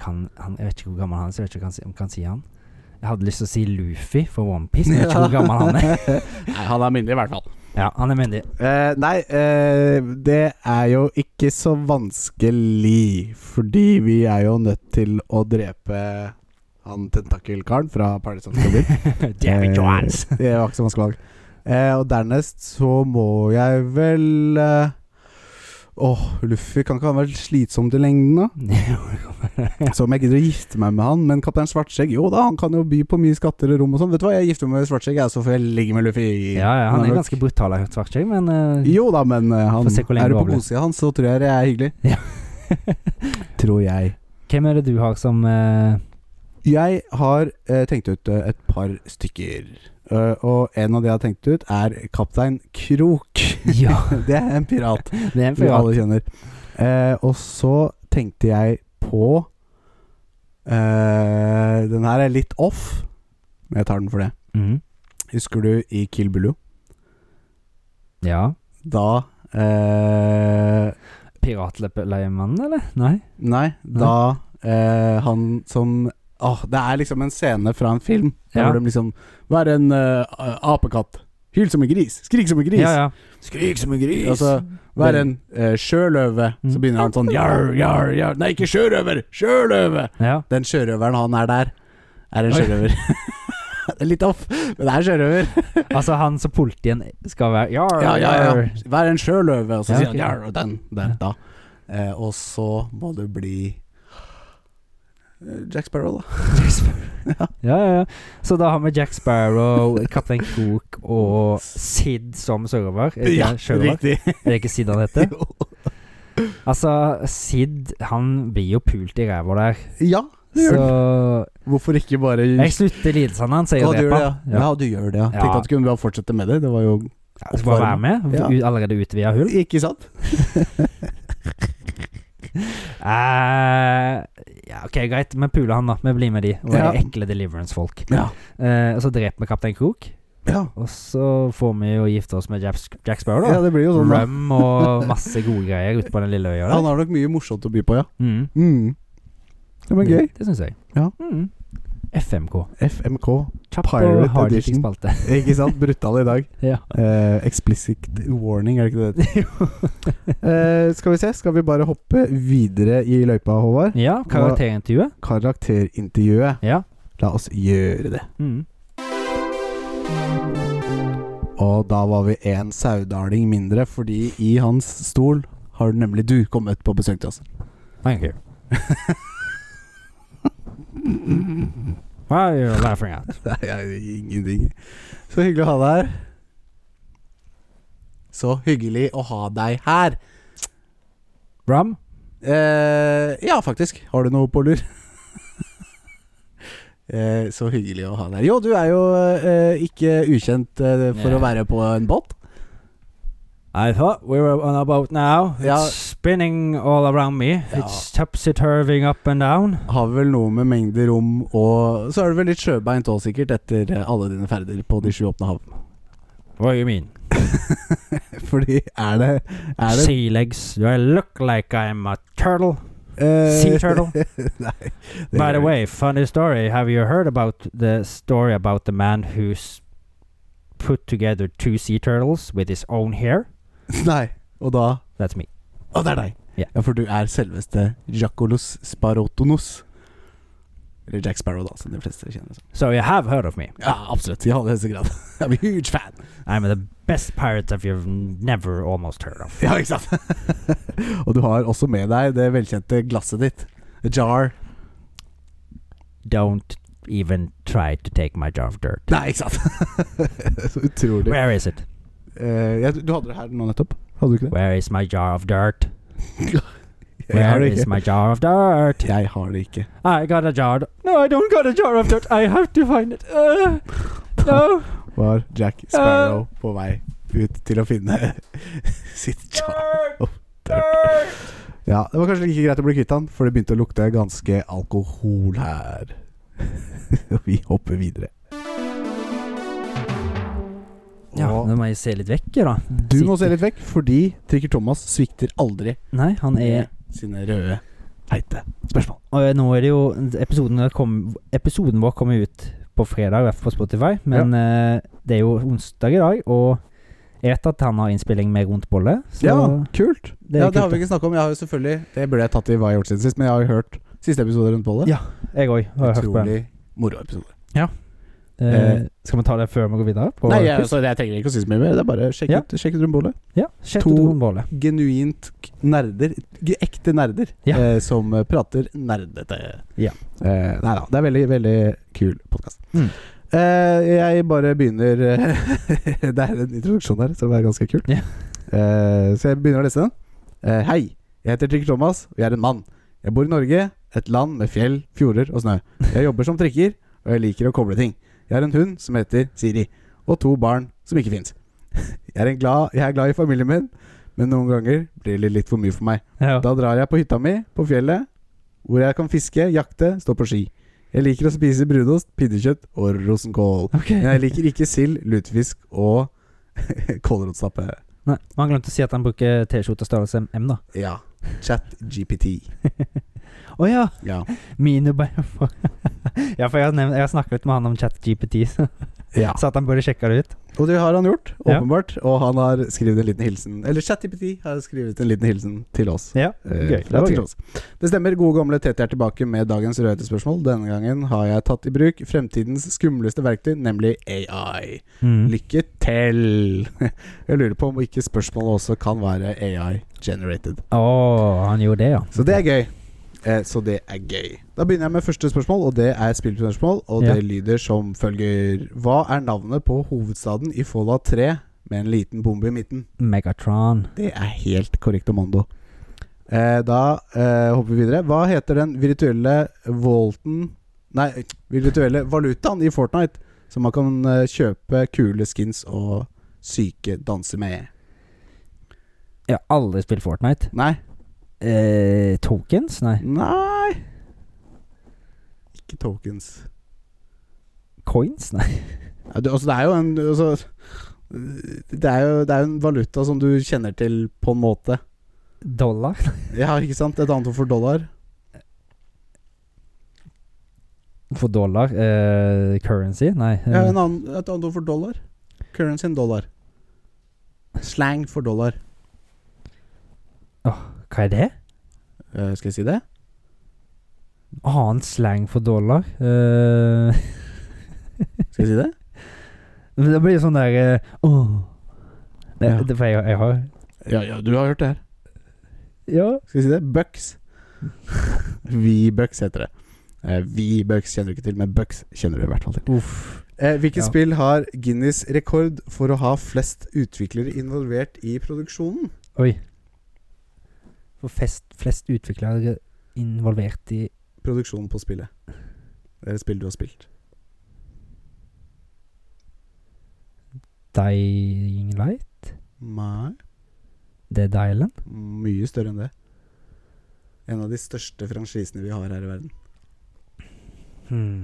Speaker 2: kan, han, Jeg vet ikke hvor gammel han er, så jeg vet ikke om jeg kan si- om jeg kan si han. Jeg hadde lyst til å si Luffy for OnePiece, men jeg vet ikke hvor gammel han er.
Speaker 1: Nei, han er minnelig, i hvert fall.
Speaker 2: Ja, han er myndig.
Speaker 1: Eh, nei, eh, det er jo ikke så vanskelig, fordi vi er jo nødt til å drepe han tentakelkaren fra Paradise of the Caribbean.
Speaker 2: Davy Jones.
Speaker 1: Eh, det var ikke så vanskelig valg. Eh, og dernest så må jeg vel eh, Åh, Luffy, kan ikke han være slitsomt i lengden, da? Så om jeg gidder å gifte meg med han, men kaptein Svartskjegg Jo da, han kan jo by på mye skatter og rom og sånn. Vet du hva, jeg gifter meg med Svartskjegg, jeg, så får jeg ligge med Luffy.
Speaker 2: Ja, ja, han
Speaker 1: nok-
Speaker 2: er ganske brutal, jeg har hørt Svartskjegg, men eh,
Speaker 1: Jo da, men eh, han
Speaker 2: Får se hvor lenge
Speaker 1: er du
Speaker 2: det
Speaker 1: på
Speaker 2: overlever.
Speaker 1: godsida hans, så tror jeg det er hyggelig. Tror jeg.
Speaker 2: Hvem er det du har som eh,
Speaker 1: Jeg har eh, tenkt ut eh, et par stykker. Eh, og en av de jeg har tenkt ut, er kaptein Krok.
Speaker 2: Ja,
Speaker 1: det er en pirat.
Speaker 2: det er en
Speaker 1: vi
Speaker 2: pirat.
Speaker 1: alle kjenner. Eh, og så tenkte jeg på eh, Den her er litt off, men jeg tar den for det.
Speaker 2: Mhm.
Speaker 1: Husker du i Kill Bullo?
Speaker 2: Ja.
Speaker 1: Da eh,
Speaker 2: Piratleppeløyemannen, eller? Nei?
Speaker 1: Nei, da eh, han som Åh, det er liksom en scene fra en film. Der
Speaker 2: Ja.
Speaker 1: hvor de liksom Vær en eh, apekatt. Hyl som en gris. Skrik som en gris.
Speaker 2: Ja, ja.
Speaker 1: Skrik som en gris. Altså, vær en eh, sjøløve. Så
Speaker 2: Mm.
Speaker 1: begynner han sånn Jar, jar, jar. Nei, ikke sjørøver! Sjøløve!
Speaker 2: ja.
Speaker 1: Den sjørøveren han er der, er en
Speaker 2: Oi.
Speaker 1: sjørøver. Det er Litt off, men det er en sjørøver.
Speaker 2: Altså han som politien skal være Jar,
Speaker 1: Ja, ja,
Speaker 2: jar.
Speaker 1: ja. Vær en sjøløve, og så
Speaker 2: Ja,
Speaker 1: sier han
Speaker 2: ok.
Speaker 1: ja, og den, den, da. Eh, og så må du bli eh, Jack Sparrow, da.
Speaker 2: Ja, ja, ja. Så da har vi Jack Sparrow, Kaptein Krok og Sid som sørøver. Er det ikke sjørøver?
Speaker 1: riktig.
Speaker 2: Er det ikke Sid han heter? Altså, Sid han blir jo pult i ræva der,
Speaker 1: Ja. det gjør
Speaker 2: så
Speaker 1: den. Hvorfor ikke bare
Speaker 2: Jeg slutter lidelsene hans, jeg
Speaker 1: Å, du gjør
Speaker 2: dreper
Speaker 1: det, ja.
Speaker 2: han.
Speaker 1: ja, du gjør det, ja.
Speaker 2: Ja.
Speaker 1: Tenkte at du kunne bare fortsette med det. Det var jo
Speaker 2: Ja, så Bare være med.
Speaker 1: Ja.
Speaker 2: U- Allerede utvida hull.
Speaker 1: Ikke sant?
Speaker 2: Eh, ja, ok, greit. Vi puler han, da. Vi blir med de. Og
Speaker 1: Ja.
Speaker 2: de ekle Deliverance-folk.
Speaker 1: Ja.
Speaker 2: Eh, og så dreper vi Kaptein Krok.
Speaker 1: Ja,
Speaker 2: Og så får vi jo gifte oss med Jack, Jack Sparrow, da.
Speaker 1: ja det blir jo sånn. da.
Speaker 2: Røm og masse gode greier ute på den lille øya der.
Speaker 1: Han har nok mye morsomt å by på, ja.
Speaker 2: Mm.
Speaker 1: Mm. Det var gøy.
Speaker 2: Det, det syns jeg.
Speaker 1: Ja.
Speaker 2: Mm. FMK.
Speaker 1: FMK.
Speaker 2: Kjapp
Speaker 1: Pirate
Speaker 2: og hard
Speaker 1: edition.
Speaker 2: spalte.
Speaker 1: Ikke sant? Brutal i dag.
Speaker 2: ja.
Speaker 1: Eh, explicit warning, er det ikke det? Eh, skal vi se, skal vi bare hoppe videre i løypa, Håvard?
Speaker 2: ja, karakterintervjuet.
Speaker 1: Karakterintervjuet.
Speaker 2: Ja.
Speaker 1: La oss gjøre det.
Speaker 2: Mm.
Speaker 1: Og da var vi en saudaling mindre, fordi i hans stol har nemlig du kommet på besøk til oss.
Speaker 2: Thank you. Why are you laughing at?
Speaker 1: Nei, jeg- ingenting. Så hyggelig å ha deg her. Så hyggelig å ha deg her.
Speaker 2: Rum?
Speaker 1: Eh, ja, faktisk. Har du noe på lur? eh, så hyggelig å ha deg her. Jo, du er jo eh, ikke ukjent eh, for
Speaker 2: Nei.
Speaker 1: å være på en båt.
Speaker 2: I thought we were on a boat now. It's
Speaker 1: Ja.
Speaker 2: spinning all around me.
Speaker 1: Ja.
Speaker 2: It's topsy-turving up and down.
Speaker 1: Har vel noe med mengder rom og Så er du vel litt sjøbeint òg, sikkert, etter eh, alle dine ferder på de sju åpne hav.
Speaker 2: What do you mean?
Speaker 1: Fordi er det, er det
Speaker 2: Sea legs. Do I look like I'm a turtle?
Speaker 1: eh,
Speaker 2: Sea turtle?
Speaker 1: Nei. det gjør
Speaker 2: By the
Speaker 1: det.
Speaker 2: way, funny story. Have you heard about the story about the man who's put together two sea turtles with his own hair?
Speaker 1: Nei. Og da
Speaker 2: That's me.
Speaker 1: Å, det er deg!
Speaker 2: Ja.
Speaker 1: Ja, for du er selveste Jacolos Sparotonos. Eller Jack Sparrow, da, som de fleste kjenner. som.
Speaker 2: So you have heard of me.
Speaker 1: Ja, absolutt. I aller høyeste grad. Jeg blir huge fan.
Speaker 2: I'm the best pirate that you've never almost heard of.
Speaker 1: Ja, ikke sant? og du har også med deg det velkjente glasset ditt. A jar.
Speaker 2: Don't even try to take my jar of dirt.
Speaker 1: Nei, ikke sant? Så utrolig.
Speaker 2: Where is it?
Speaker 1: Eh, jeg, du hadde det her nå nettopp? Hadde du ikke det?
Speaker 2: Where is my jar of dirt?
Speaker 1: Jeg har
Speaker 2: Where
Speaker 1: det
Speaker 2: is
Speaker 1: ikke.
Speaker 2: my jar of dirt?
Speaker 1: Jeg har det ikke.
Speaker 2: I got a jar. No, I don't got a jar of dirt. I have to find it. Uh, no.
Speaker 1: Var Jack Sparrow på vei ut til å finne sitt jar?
Speaker 2: Dirt.
Speaker 1: of
Speaker 2: Dirt.
Speaker 1: Ja, det var kanskje like greit å bli kvitt han, for det begynte å lukte ganske alkohol her. Vi hopper videre.
Speaker 2: Ja,
Speaker 1: Og
Speaker 2: nå må jeg se litt vekk, da.
Speaker 1: du må se litt vekk, fordi Trikker Thomas svikter aldri
Speaker 2: Nei, han er
Speaker 1: sine røde, feite spørsmål.
Speaker 2: Og eh, nå er det jo Episoden, der kom, episoden vår kommer ut på fredag, i hvert fall på Spotify, men eh, det er jo onsdag i dag, og jeg vet at han har innspilling med Rundt bolle, så
Speaker 1: Ja, kult.
Speaker 2: det
Speaker 1: ja,
Speaker 2: er
Speaker 1: det har vi
Speaker 2: kult.
Speaker 1: ikke snakka om. Jeg har jo selvfølgelig Det burde jeg tatt i hva jeg har gjort siden sist, men jeg har jo hørt siste episode rundt på det.
Speaker 2: Ja, Jeg òg har hørt på den.
Speaker 1: Utrolig moro episode.
Speaker 2: Ja. Eh, skal vi ta det før vi går videre? på
Speaker 1: Nei, jeg,
Speaker 2: quiz?
Speaker 1: altså, jeg trenger ikke å si så mye mer. Det er bare sjekk
Speaker 2: Ja.
Speaker 1: ut, sjekk ut Rumbolet.
Speaker 2: ja, sjette
Speaker 1: to-
Speaker 2: trombole.
Speaker 1: Genuint k- nerder. g- Ekte nerder
Speaker 2: Ja.
Speaker 1: eh, som eh, prater nerdete.
Speaker 2: Ja.
Speaker 1: Eh, nei da. Det er veldig, veldig kul podkast.
Speaker 2: Mm.
Speaker 1: Eh, jeg bare begynner eh, Det er en introduksjon her som er ganske kul.
Speaker 2: Ja.
Speaker 1: Eh, så jeg begynner å lese den. Eh, hei, jeg heter Trikker Thomas, og jeg er en mann. Jeg bor i Norge, et land med fjell, fjorder og snø. Jeg jobber som trikker, og jeg liker å koble ting. Jeg har en hund som heter Siri, og to barn som ikke fins. Jeg, er en glad- jeg er glad i familien min, men noen ganger blir det litt for mye for meg.
Speaker 2: Ja.
Speaker 1: Da drar jeg på hytta mi på fjellet, hvor jeg kan fiske, jakte, stå på ski. Jeg liker å spise brunost, pinnekjøtt og rosenkål.
Speaker 2: Ok.
Speaker 1: Men jeg liker ikke sild, lutefisk og kålrotstappe.
Speaker 2: Nei, Man glemte å si at han bruker T-skjorte størrelse M, da.
Speaker 1: Ja. Chat GPT.
Speaker 2: Å ja!
Speaker 1: Ja.
Speaker 2: Mine bæ- Ja, for jeg har, nevnt- jeg har snakket litt med han om ChatGPT, så
Speaker 1: ja.
Speaker 2: så at han burde sjekke det ut.
Speaker 1: Og det har han gjort,
Speaker 2: Ja.
Speaker 1: åpenbart. Og han har skrevet en liten hilsen Eller ChatGPT har skrevet en liten hilsen til oss.
Speaker 2: Ja,
Speaker 1: Eh,
Speaker 2: gøy.
Speaker 1: fra
Speaker 2: Det var
Speaker 1: til
Speaker 2: gøy.
Speaker 1: oss. Det stemmer. Gode gamle Tete er tilbake med dagens rødhetespørsmål. Denne gangen har jeg tatt i bruk fremtidens skumleste verktøy, nemlig AI.
Speaker 2: Mm.
Speaker 1: Lykke til! Jeg lurer på om ikke spørsmålet også kan være AI-generated.
Speaker 2: Å, han gjorde det, ja.
Speaker 1: Så det er gøy. Eh, så det er gøy. Da begynner jeg med første spørsmål, og det er spillspørsmål. Og
Speaker 2: Ja.
Speaker 1: det lyder som følger Hva er navnet på hovedstaden i Fallout 3 med en liten bombe i midten?
Speaker 2: Megatron.
Speaker 1: Det er helt korrekt, Amando. Eh, da eh, hopper vi videre. Hva heter den virtuelle volten Nei, virtuelle valutaen i Fortnite som man kan eh, kjøpe kule skins og syke danser med?
Speaker 2: Jeg har aldri spilt Fortnite.
Speaker 1: Nei.
Speaker 2: Eh, tokens? Nei.
Speaker 1: Nei Ikke tokens.
Speaker 2: Coins? Nei.
Speaker 1: Ja, du, altså, det er jo en altså, det, er jo, det er jo en valuta som du kjenner til på en måte.
Speaker 2: Dollar?
Speaker 1: Ja, ikke sant? Et annet ord for dollar.
Speaker 2: For dollar? Eh, currency? Nei.
Speaker 1: Ja,
Speaker 2: eh,
Speaker 1: en annen, et annet ord for dollar. Currency en dollar. Slang for dollar.
Speaker 2: hva er det?
Speaker 1: Eh, skal jeg si det?
Speaker 2: Annen slang for dollar? Eh,
Speaker 1: Skal jeg si det?
Speaker 2: men det blir sånn der eh, åh. Det,
Speaker 1: Ja.
Speaker 2: det, for jeg, jeg har
Speaker 1: Ja, ja, du har hørt det her.
Speaker 2: Ja.
Speaker 1: Skal jeg si det? Bucks. V-bucks heter det. Eh, V-bucks kjenner du ikke til, men bucks kjenner du i hvert fall til.
Speaker 2: Uff.
Speaker 1: Eh, hvilket
Speaker 2: Ja.
Speaker 1: spill har Guinness rekord for å ha flest utviklere involvert i produksjonen?
Speaker 2: Oi. For fest, flest utviklere involvert i
Speaker 1: Produksjonen på spillet. Det er et spill du har spilt.
Speaker 2: Dying Light?
Speaker 1: Nei,
Speaker 2: Dead Island?
Speaker 1: mye større enn det. En av de største franchisene vi har her i verden.
Speaker 2: Hmm.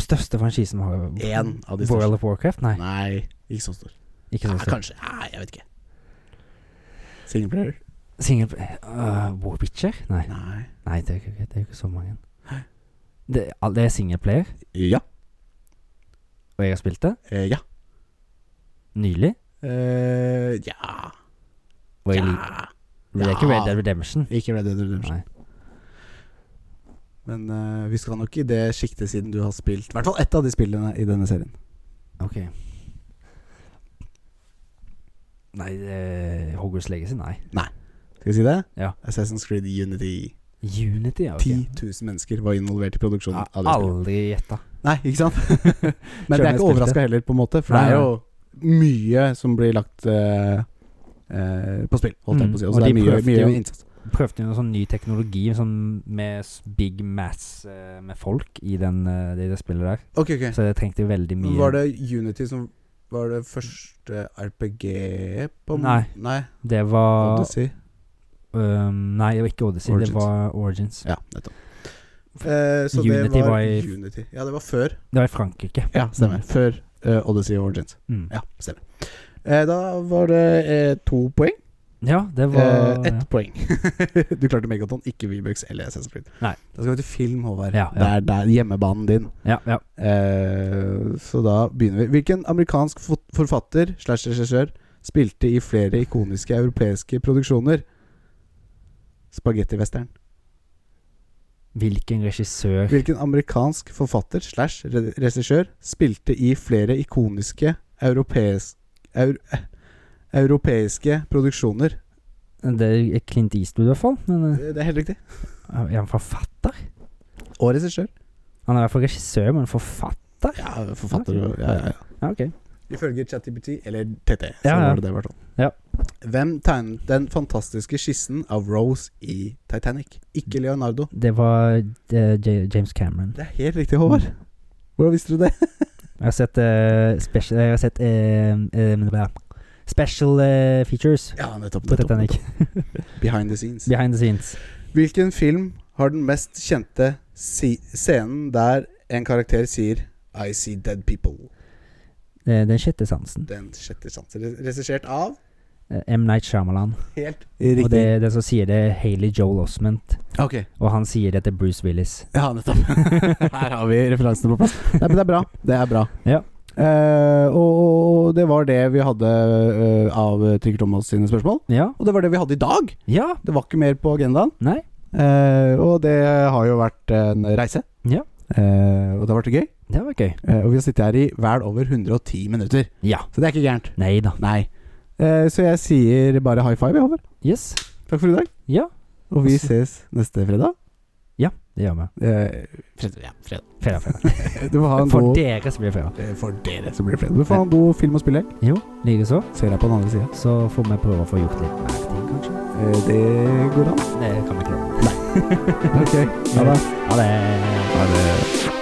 Speaker 2: Største franchisen vi har?
Speaker 1: En av de største.
Speaker 2: World of Warcraft? Nei,
Speaker 1: Nei, ikke så stor.
Speaker 2: ikke så
Speaker 1: Ja,
Speaker 2: stor.
Speaker 1: kanskje. Nei, jeg vet ikke. Singleplayer?
Speaker 2: Single uh, War Witcher? Nei.
Speaker 1: Nei.
Speaker 2: Nei, det er jo ikke, det er jo ikke så mange. Det, er- det er singleplayer,
Speaker 1: Ja.
Speaker 2: og jeg har spilt det
Speaker 1: Eh, ja.
Speaker 2: nylig.
Speaker 1: Eh, ja.
Speaker 2: Og jeg liker
Speaker 1: ja.
Speaker 2: Det er ikke
Speaker 1: Ja.
Speaker 2: Red Dead Redemption.
Speaker 1: Ikke Red Dead Redemption.
Speaker 2: Nei.
Speaker 1: Men eh, vi skal nok i det sjiktet siden du har spilt i hvert fall ett av de spillene i denne serien.
Speaker 2: Ok. Nei, det, Hogwarts Legacy? Nei.
Speaker 1: Skal vi si det?
Speaker 2: Ja.
Speaker 1: Assassin's Creed Unity.
Speaker 2: Unity, ja. ok.
Speaker 1: 10 000 mennesker var involvert i
Speaker 2: Jeg
Speaker 1: produksjonen.
Speaker 2: har
Speaker 1: av det spillet.
Speaker 2: aldri gjetta.
Speaker 1: Nei, ikke sant? Men
Speaker 2: Selv
Speaker 1: det
Speaker 2: om
Speaker 1: er
Speaker 2: jeg
Speaker 1: ikke
Speaker 2: spilte.
Speaker 1: overraska heller, på en måte. For
Speaker 2: Nei,
Speaker 1: det er jo mye som blir lagt eh, eh, på spill, holdt jeg
Speaker 2: Mm,
Speaker 1: på å si.
Speaker 2: og
Speaker 1: Og så det
Speaker 2: de
Speaker 1: er mye,
Speaker 2: prøvde
Speaker 1: mye
Speaker 2: jo-
Speaker 1: innsats.
Speaker 2: prøvde jo noe sånn ny teknologi sånn med s- big mass eh, med folk i den, eh, det, det spillet der.
Speaker 1: Ok, ok.
Speaker 2: Så det trengte jo veldig mye
Speaker 1: Var det Unity som var det første RPG på en-
Speaker 2: Nei.
Speaker 1: Nei,
Speaker 2: Det var
Speaker 1: Odyssey.
Speaker 2: øhm, Nei, det var ikke Odyssey,
Speaker 1: Origins.
Speaker 2: det var Origins.
Speaker 1: Ja, nettopp. Eh, så
Speaker 2: Unity
Speaker 1: det var,
Speaker 2: var i-
Speaker 1: Unity. Ja, det var før.
Speaker 2: Det var i Frankrike.
Speaker 1: Ja, stemmer.
Speaker 2: Mm.
Speaker 1: Før eh, Odyssey og Origins.
Speaker 2: Mm.
Speaker 1: Ja,
Speaker 2: Ja.
Speaker 1: stemmer. Eh, da var det eh, to poeng.
Speaker 2: det var
Speaker 1: Eh, ett
Speaker 2: ja.
Speaker 1: poeng. du klarte Megaton, ikke Vibux eller SS Creed.
Speaker 2: Nei.
Speaker 1: Da skal vi til film, Håvard.
Speaker 2: Ja, ja.
Speaker 1: Det er der hjemmebanen din.
Speaker 2: Ja, ja.
Speaker 1: Eh, så da begynner vi. Hvilken amerikansk fot- forfatter slash regissør spilte i flere ikoniske europeiske produksjoner? Spagettivesteren.
Speaker 2: Hvilken regissør
Speaker 1: Hvilken amerikansk forfatter slash re- regissør spilte i flere ikoniske europeis- eur- eh, europeiske produksjoner?
Speaker 2: Det er Clint Eastwood, i hvert fall. Men eh,
Speaker 1: Det det er helt riktig.
Speaker 2: er han forfatter?
Speaker 1: Og regissør.
Speaker 2: Han er i hvert fall regissør, men forfatter?
Speaker 1: Ja, forfatter og ja, ja, ja.
Speaker 2: Ja, ok.
Speaker 1: Ifølge ChatGPT, eller TT, så
Speaker 2: Ja, ja.
Speaker 1: var det det i hvert fall.
Speaker 2: Ja.
Speaker 1: Hvem tegnet den fantastiske skissen av Rose i Titanic? Ikke Leonardo.
Speaker 2: Det var eh, J- James Cameron.
Speaker 1: Det er helt riktig, Håvard. Hvordan visste du det?
Speaker 2: Jeg har sett eh, special Jeg har sett eh, eh, men det ble- Special eh, features
Speaker 1: Ja, nettopp.
Speaker 2: på Titanic.
Speaker 1: Behind the scenes.
Speaker 2: Behind the scenes.
Speaker 1: Hvilken film har den mest kjente si scenen der en karakter sier I see dead people?
Speaker 2: Eh, den sjette sansen.
Speaker 1: Den sjette sans. Re- Regissert av
Speaker 2: Eh, M. Night Shyamalan.
Speaker 1: Helt
Speaker 2: Og det er den som sier det, er Haley Joel Osment.
Speaker 1: Ok.
Speaker 2: Og han sier det til Bruce Willis.
Speaker 1: Ja, nettopp. Her har vi referansene på plass. Nei, men det er bra. Det er bra.
Speaker 2: Ja.
Speaker 1: Eh, og, og, og det var det vi hadde eh, av Trygve Thomas sine spørsmål.
Speaker 2: Ja.
Speaker 1: Og det var det vi hadde i dag!
Speaker 2: Ja.
Speaker 1: Det var ikke mer på agendaen.
Speaker 2: Nei.
Speaker 1: Eh, og det har jo vært en reise.
Speaker 2: Ja.
Speaker 1: Eh, og det har vært gøy.
Speaker 2: Det var gøy.
Speaker 1: Eh, og vi har sittet her i vel over 110 minutter.
Speaker 2: Ja.
Speaker 1: Så det er ikke gærent.
Speaker 2: Nei da.
Speaker 1: Nei. Eh, så jeg sier bare high five, jeg, Håvard.
Speaker 2: Yes.
Speaker 1: Takk for i dag.
Speaker 2: Ja.
Speaker 1: Og vi ses neste fredag.
Speaker 2: Det gjør vi.
Speaker 1: Eh, fredag, ja, fredag.
Speaker 2: Fredag, fredag.
Speaker 1: Du får ha en
Speaker 2: For
Speaker 1: god
Speaker 2: dere så blir det fredag.
Speaker 1: Eh, For dere så blir det fredag. Du får ha en god film å spille.
Speaker 2: Jo, likeså.
Speaker 1: Ser deg på den andre sida.
Speaker 2: Så får vi prøve å få gjort litt mer ting, kanskje.
Speaker 1: Eh, det går an.
Speaker 2: Det kan vi ikke gjøre.
Speaker 1: Ok. Ha det.
Speaker 2: Ha det.
Speaker 1: Ha det.